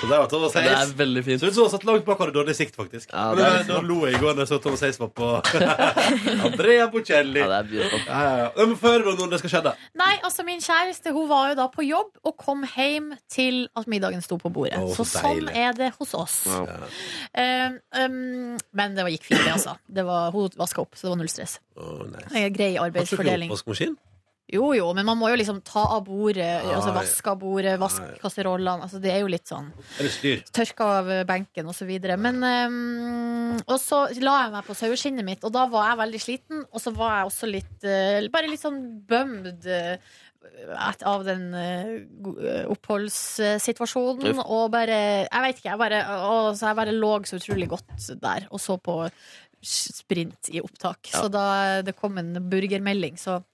Speaker 3: Så der var Thomas
Speaker 2: Det
Speaker 3: Heis.
Speaker 2: er veldig fint.
Speaker 3: Ser ut som han satt langt bak og hadde dårlig sikt, faktisk.
Speaker 2: Ja,
Speaker 3: men
Speaker 2: det er
Speaker 3: da- da lo jeg i går da jeg så Thomas Heis var på Andrea Bocelli. Ja,
Speaker 2: det er
Speaker 3: ja, ja. Men Få høre når det skal skje. da.
Speaker 4: Nei, altså min kjæreste hun var jo da på jobb og kom hjem til at middagen sto på bordet.
Speaker 3: Å,
Speaker 4: så
Speaker 3: så
Speaker 4: sånn
Speaker 3: deilig.
Speaker 4: er det hos oss. Um, um, men det var- gikk fint, det, altså. Det var, hun vaska opp, så det var null stress.
Speaker 3: Å, nice.
Speaker 4: Eh, Grei
Speaker 3: Har du ikke
Speaker 4: arbeidsfordeling.
Speaker 3: oppvaskmaskin?
Speaker 4: Jo, jo, men man må jo liksom ta av bordet,
Speaker 3: Ja,
Speaker 4: altså
Speaker 3: ja.
Speaker 4: vaske av bordet, vaske kasserollene. Altså, det er jo litt sånn
Speaker 3: Er det styr?
Speaker 4: tørka av benken og så videre. Men ehm, Og så la jeg meg på saueskinnet mitt, og da var jeg veldig sliten. Og så var jeg også litt eh, Bare litt sånn bømd eh, et- av den eh, go- eh, oppholdssituasjonen.
Speaker 13: Uff.
Speaker 4: Og bare Jeg vet ikke, jeg bare, å, så jeg bare lå så utrolig godt der og så på sprint i opptak.
Speaker 2: Ja.
Speaker 4: Så da eh, det kom en burgermelding, så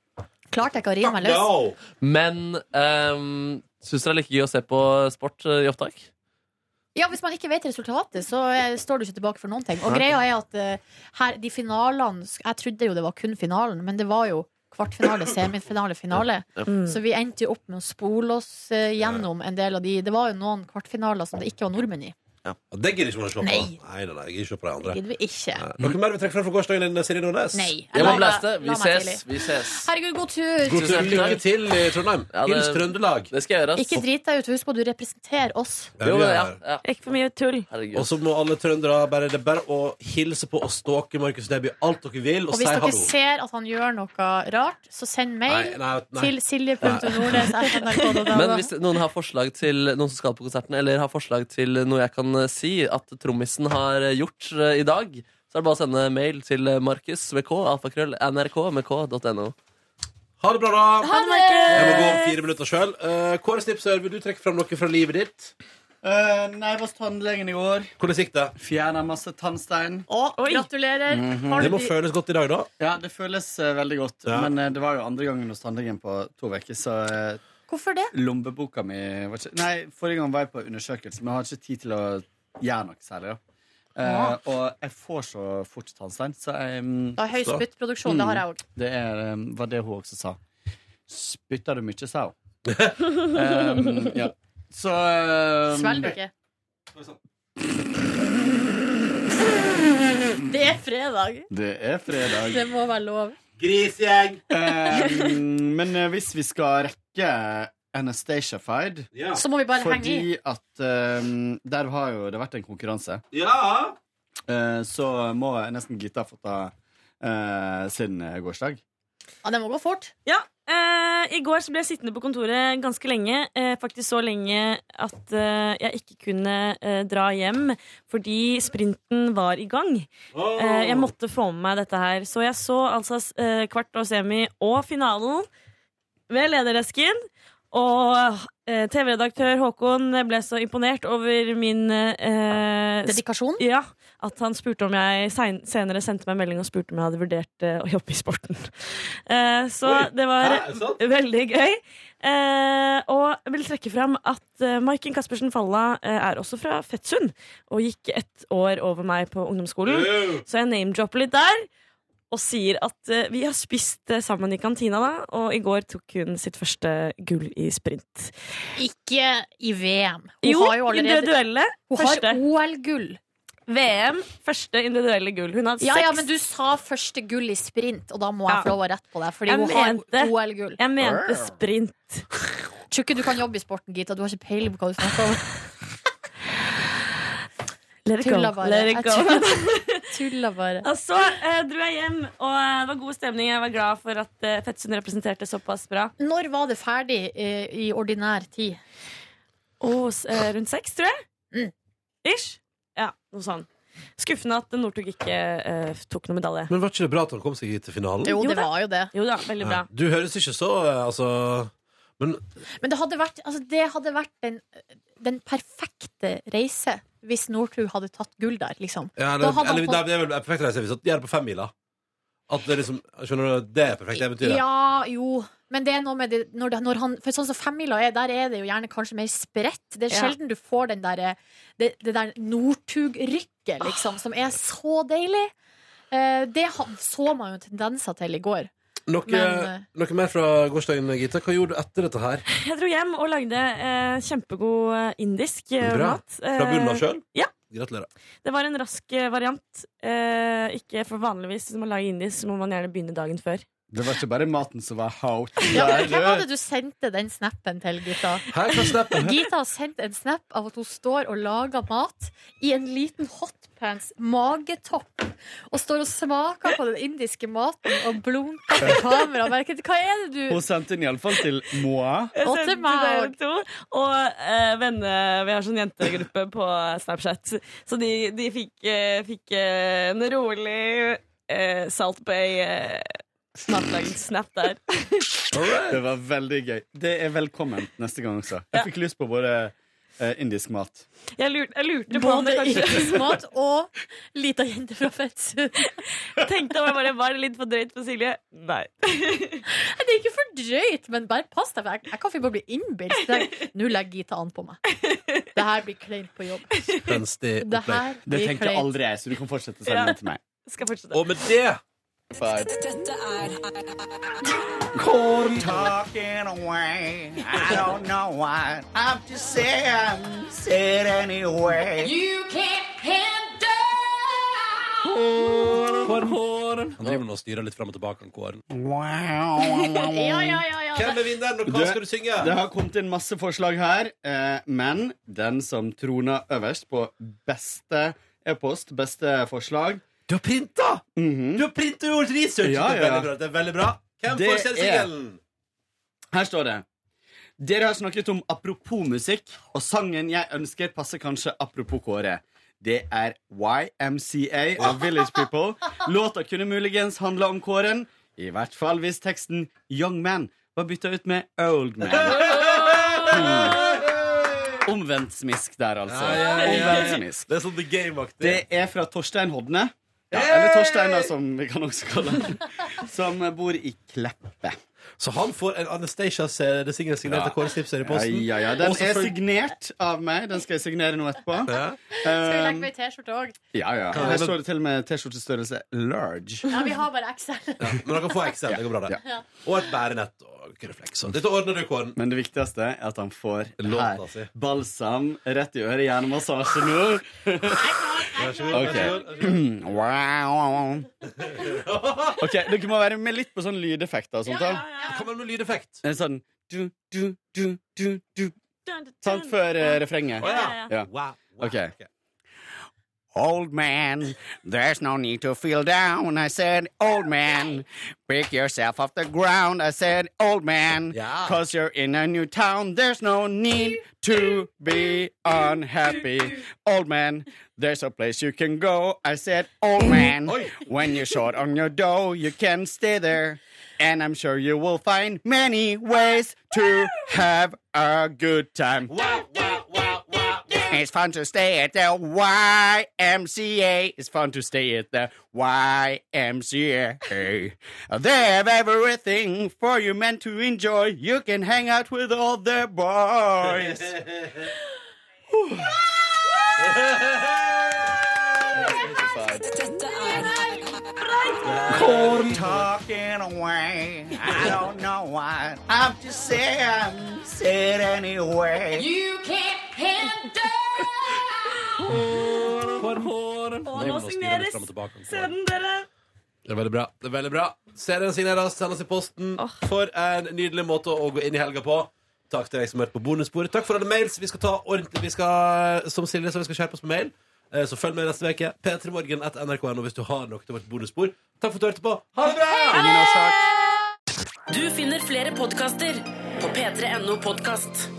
Speaker 4: klarte jeg ikke å rive meg løs.
Speaker 2: Men um, syns dere det er like gøy å se på sport eh, i opptak?
Speaker 4: Ja, Hvis man ikke vet resultatet, så eh, står du ikke tilbake for noen ting. Og
Speaker 2: Nei.
Speaker 4: greia er at eh, her, de finalene sk- Jeg trodde jo det var kun finalen, men det var jo kvartfinale, semifinale, finale.
Speaker 2: Ja. Mm.
Speaker 4: Så vi endte jo opp med å spole oss eh, gjennom en del av de. Det var jo noen kvartfinaler som det ikke var nordmenn i.
Speaker 3: Og det gidder ikke man å se på.
Speaker 4: Nei.
Speaker 3: nei, nei, nei jeg gidder ikke se på de andre.
Speaker 4: Det gidder vi ikke.
Speaker 3: Noe mer vi trekker frem fra gårsdagen din, Siri Nordnes?
Speaker 4: Nei, jeg
Speaker 3: Jeg
Speaker 4: la
Speaker 3: må
Speaker 4: meg-
Speaker 3: blæste.
Speaker 4: la
Speaker 3: Vi
Speaker 4: meg
Speaker 3: ses.
Speaker 4: tidlig.
Speaker 3: Vi ses.
Speaker 4: Herregud, god tur!
Speaker 3: God tur. Lykke til i Trondheim.
Speaker 2: det-
Speaker 3: Hils Trøndelag.
Speaker 2: Det skal gjøres.
Speaker 4: Ikke drit deg ut. Husk på at du representerer oss.
Speaker 3: Ja, vi er her.
Speaker 11: Ikke for mye tull.
Speaker 3: Og så må alle trøndere bare, det er bare å hilse på og stalke Markus Neby alt dere vil,
Speaker 4: Og
Speaker 3: og,
Speaker 4: hvis
Speaker 3: si
Speaker 4: dere
Speaker 3: hallo.
Speaker 4: ser at han gjør noe rart, så send mail
Speaker 3: Nei, nei, nei.
Speaker 4: til silje.nordnes.nrk.no.
Speaker 2: Men hvis noen har forslag til noen som skal på konserten, eller har forslag til noe jeg kan eh, si at trommisen har eh, gjort eh, i dag, så er det bare å sende mail til eh, Markus med K, alfakrøll, nrk med k.no.
Speaker 3: Ha det bra, da!
Speaker 6: Ha det, Markus!
Speaker 3: Jeg må gå om fire minutter sjøl. Kåre Snipsør, vil du trekke fram noe fra livet ditt?
Speaker 12: Eh, nei, jeg var hos tannlegen i går.
Speaker 3: Hvordan gikk det?
Speaker 12: Fjerna masse tannstein.
Speaker 4: gratulerer.
Speaker 12: Mhm.
Speaker 4: Har du
Speaker 12: Det må
Speaker 4: de-
Speaker 12: føles-
Speaker 3: Føles godt i dag, da?
Speaker 12: Ja, det føles eh, veldig godt. Men eh, det var jo andre gangen hos tannlegen på to uker, så eh,
Speaker 4: Hvorfor det?
Speaker 12: lommeboka mi var ikke Nei, forrige gang var jeg på undersøkelse, men jeg har ikke tid til å gjøre noe særlig, da. Eh,
Speaker 4: Ah.
Speaker 12: og jeg får så fort tannstein, så jeg mm,
Speaker 4: Det er høy
Speaker 12: så-
Speaker 4: spyttproduksjon, det har jeg òg.
Speaker 12: Det er, eh, var det hun også sa. Spytter du mye, sa hun. um, ja. Så eh,
Speaker 4: Svelg ikke. Det er fredag.
Speaker 12: Det er fredag.
Speaker 4: Det må være lov.
Speaker 3: Grisgjeng!
Speaker 12: men eh, hvis vi skal rekke Anastatiafied
Speaker 3: Ja.
Speaker 4: Så må vi bare henge
Speaker 12: Fordi at eh, der har jo det vært en konkurranse.
Speaker 3: Ja!
Speaker 12: Eh, så må jeg nesten Gitta få ta eh, sin eh, gårsdag.
Speaker 4: Ja, det må gå fort.
Speaker 11: Ja. eh, I går så ble jeg sittende på kontoret ganske lenge. eh, faktisk så lenge at eh, jeg ikke kunne eh, dra hjem fordi sprinten var i gang.
Speaker 13: Åh.
Speaker 11: Eh, jeg måtte få med meg dette her. Så jeg så altså eh, kvart og semi og finalen ved lederesken. Og eh, TV-redaktør Håkon ble så imponert over min eh,
Speaker 4: Ah, Dedikasjon?
Speaker 11: Ja. At han spurte om jeg sein- senere sendte meg en melding og spurte om jeg hadde vurdert eh, å jobbe i sporten. Eh, så
Speaker 13: Oi.
Speaker 11: det var
Speaker 13: Hæ, er det sant?
Speaker 11: veldig gøy. Eh, og jeg vil trekke fram at eh, Maiken Caspersen Falla eh, er også fra Fettsund og gikk ett år over meg på ungdomsskolen.
Speaker 13: Wow.
Speaker 11: Så jeg name-dropper litt der og sier at eh, vi har spist eh, sammen i kantina, da, og i går tok hun sitt første gull i sprint.
Speaker 4: Ikke i VM. Hun
Speaker 11: Jo,
Speaker 4: har jo allerede-
Speaker 11: individuelle.
Speaker 4: Hun har OL-gull.
Speaker 11: VM, første individuelle gull. Hun har
Speaker 4: Ja, ja,
Speaker 11: seks.
Speaker 4: men du sa første gull i sprint, og da må jeg
Speaker 11: Ja.
Speaker 4: få lov å rette på deg. Fordi
Speaker 11: Jeg
Speaker 4: hun har
Speaker 11: mente-
Speaker 4: OL-gull.
Speaker 11: jeg mente sprint.
Speaker 4: Tror ikke du kan jobbe i sporten, Gita. Du har ikke peiling på hva du snakker om.
Speaker 11: Let it go.
Speaker 4: Tulla bare.
Speaker 11: Let it go.
Speaker 4: Jeg tulla- Tulla bare.
Speaker 11: Og så eh, dro jeg hjem, og eh, det var god stemning. Jeg var glad for at eh, Fettsund representerte såpass bra.
Speaker 4: Når var det ferdig eh, i ordinær tid?
Speaker 11: eh, rundt seks, tror jeg.
Speaker 4: Mm.
Speaker 11: Ish. Ja, noe sånn. Skuffende at Northug ikke eh, tok noe medalje.
Speaker 3: Men var ikke det bra at han kom seg hit til finalen?
Speaker 4: Jo, det var jo det.
Speaker 11: Jo da, veldig bra.
Speaker 3: Ja. Du høres ikke så eh, Altså Men
Speaker 4: Men det hadde vært, altså, det hadde vært den, den perfekte reise hvis Northug hadde tatt gull der, liksom.
Speaker 3: ja,
Speaker 4: Da
Speaker 3: eller,
Speaker 4: hadde han
Speaker 3: eller,
Speaker 4: fått-
Speaker 3: nei, Det er vel en perfekt reise hvis at de er det på femmila. At det er liksom Skjønner du? Det er perfekt eventyr. det.
Speaker 4: Ja, jo. Men det er noe med det, når, det, når han For sånn som femmila er, der er det jo gjerne kanskje mer spredt. Det er
Speaker 11: Ja.
Speaker 4: sjelden du får den der, det, det der Northug-rykket, liksom, som er så deilig. Eh, det ha- så man jo tendenser til i går.
Speaker 3: Noe,
Speaker 4: Men, eh,
Speaker 3: noe mer fra gårsdagen, Gita? Hva gjorde du etter dette her?
Speaker 11: Jeg dro hjem og lagde eh, kjempegod eh, indisk eh,
Speaker 3: Bra.
Speaker 11: mat. Eh,
Speaker 3: Fra bunnen av sjøl?
Speaker 11: Ja.
Speaker 3: Gratulerer.
Speaker 11: Det var en rask eh, variant. Eh, ikke for vanligvis når man lager indisk, så må man gjerne begynne dagen før.
Speaker 12: Det var ikke bare maten som var hot.
Speaker 4: Ja, men hvem var det du sendte den snappen til, Gita?
Speaker 12: Hæ, hva snappen?
Speaker 4: Gita har sendt en snap av at hun står og lager mat i en liten hotpants magetopp. Og står og smaker på den indiske maten og blunker til kamera. Merker, Hva er det du
Speaker 12: Hun sendte den iallfall til Moa.
Speaker 11: Jeg
Speaker 4: Og til
Speaker 11: sendte
Speaker 4: meg
Speaker 11: dere to, og eh, venner Vi har sånn jentegruppe på Snapchat. Så de, de fikk, eh, fikk eh, en rolig eh, Salt Bay eh, matlagd snap der.
Speaker 12: Det var veldig gøy. Det er velkomment neste gang også. Jeg fikk lyst på både eh, indisk mat.
Speaker 11: Jeg lurte, jeg lurte på om
Speaker 4: Både
Speaker 11: det kanskje
Speaker 4: indisk mat og lita jente fra Fettsund.
Speaker 11: Tenkte jeg bare, Var det litt for drøyt for Silje? Nei.
Speaker 4: Nei, Det er ikke for drøyt, men bare pass deg, for jeg, jeg kan finne på å bli innbilt. Så jeg- Nå legger Gita an på meg. Det her blir kleint på jobb.
Speaker 3: Spenstig
Speaker 4: Det her
Speaker 12: opplegg. Det
Speaker 4: blir
Speaker 12: tenkte
Speaker 4: kleint.
Speaker 12: aldri jeg, så du kan fortsette å sende
Speaker 4: Ja.
Speaker 12: den til meg.
Speaker 11: Skal fortsette.
Speaker 3: Og med det
Speaker 13: Dette er
Speaker 12: Korn.
Speaker 13: Talking away. I don't know what I'm just saying.
Speaker 12: It anyway.
Speaker 13: You can't handle
Speaker 3: Kåren, Han driver nå og styrer litt fram og tilbake, han Kåren.
Speaker 13: Ja, ja, ja, ja.
Speaker 3: Hvem er vinneren, og hva
Speaker 12: Det-
Speaker 3: skal du synge?
Speaker 12: Det har kommet inn masse forslag her, eh, men den som troner øverst på beste e-post, beste forslag
Speaker 3: Du har printa!
Speaker 12: Du
Speaker 3: har printa og gjort research!
Speaker 12: Ja,
Speaker 3: Det er veldig bra,
Speaker 12: ja.
Speaker 3: det er veldig bra. Hvem
Speaker 12: Det
Speaker 3: får selvsingelen?
Speaker 12: Her står det Dere har snakket om apropos musikk, og sangen jeg ønsker passer kanskje apropos Kåre. Det er YMCA av Village People. Låta kunne muligens handle om Kåren, i hvert fall hvis teksten Young Man var bytta ut med Old Man. Hmm. Omvendt smisk der, altså.
Speaker 3: Ja, ja, ja.
Speaker 12: Omvendt smisk.
Speaker 3: Det er sånn The Game-aktig.
Speaker 12: Det er fra Torstein Hodne. Ja, eller Torstein, da, som vi kan også kalle han. Som bor i Kleppe.
Speaker 3: Så han får en eh, Anastacia-singel signert av Kåre Snipser i posten.
Speaker 12: Ja, ja, ja. Den
Speaker 3: Og så
Speaker 12: er
Speaker 3: får-
Speaker 12: signert av meg. Den skal jeg signere nå etterpå.
Speaker 4: Skal vi legge
Speaker 12: Um,
Speaker 4: meg i T-skjorte òg?
Speaker 12: ja, ja. Her står det til og med T-skjortestørrelse large.
Speaker 4: Ja, vi har bare XL.
Speaker 3: Ja, men dere får XL. Det går bra, det.
Speaker 4: Ja.
Speaker 3: Og et bærenett og refleks. og- Dette ordner du, Kåren.
Speaker 12: Men det viktigste er at han får
Speaker 3: Låta si.
Speaker 12: her balsam rett i øret, hjernemassasje nå.
Speaker 3: Vær så god.
Speaker 12: Ok. Wow. OK, dere må være med litt på sånn lydeffekt og sånt. da.
Speaker 3: Kom igjen med lydeffekt.
Speaker 13: er
Speaker 12: En sånn du, du, du, du, du. Sant før eh, refrenget.
Speaker 13: Å, ja.
Speaker 12: Ja.
Speaker 3: OK.
Speaker 13: Old man, there's no need to feel down. I said, old man, pick yourself off the ground. I said, old man,
Speaker 12: Yeah.
Speaker 13: cause you're in a new town. There's no need
Speaker 12: to be unhappy. Old man, there's a place you can go. I said, Old man, when you're short on your dough, you can stay there. And I'm sure you will find many ways to have a good time.
Speaker 13: It's fun to stay at the YMCA.
Speaker 12: It's fun to stay at the
Speaker 13: YMCA.
Speaker 12: They have everything for you meant to enjoy. You can hang out with all the boys.
Speaker 13: Corn talking away. I don't know what I'm just saying. Say it anyway. You can't handle.
Speaker 11: Og nå signeres! Send dere!
Speaker 3: Det er veldig bra. det er veldig bra Serien signeres, sendes i posten. For en nydelig måte å gå inn i helga på. Takk til deg som hørte på bonusbordet. Takk for alle mails. Vi skal ta ordentlig Vi skal, som Silje sa, vi skal skjerpe oss på mail. Eh, Eh, Så følg med neste uke. p3morgen.nrk.no hvis du har noe til vårt bonusbord. Takk for at du hørte på. Ha det bra!
Speaker 1: Du finner flere podkaster på p3.no podkast.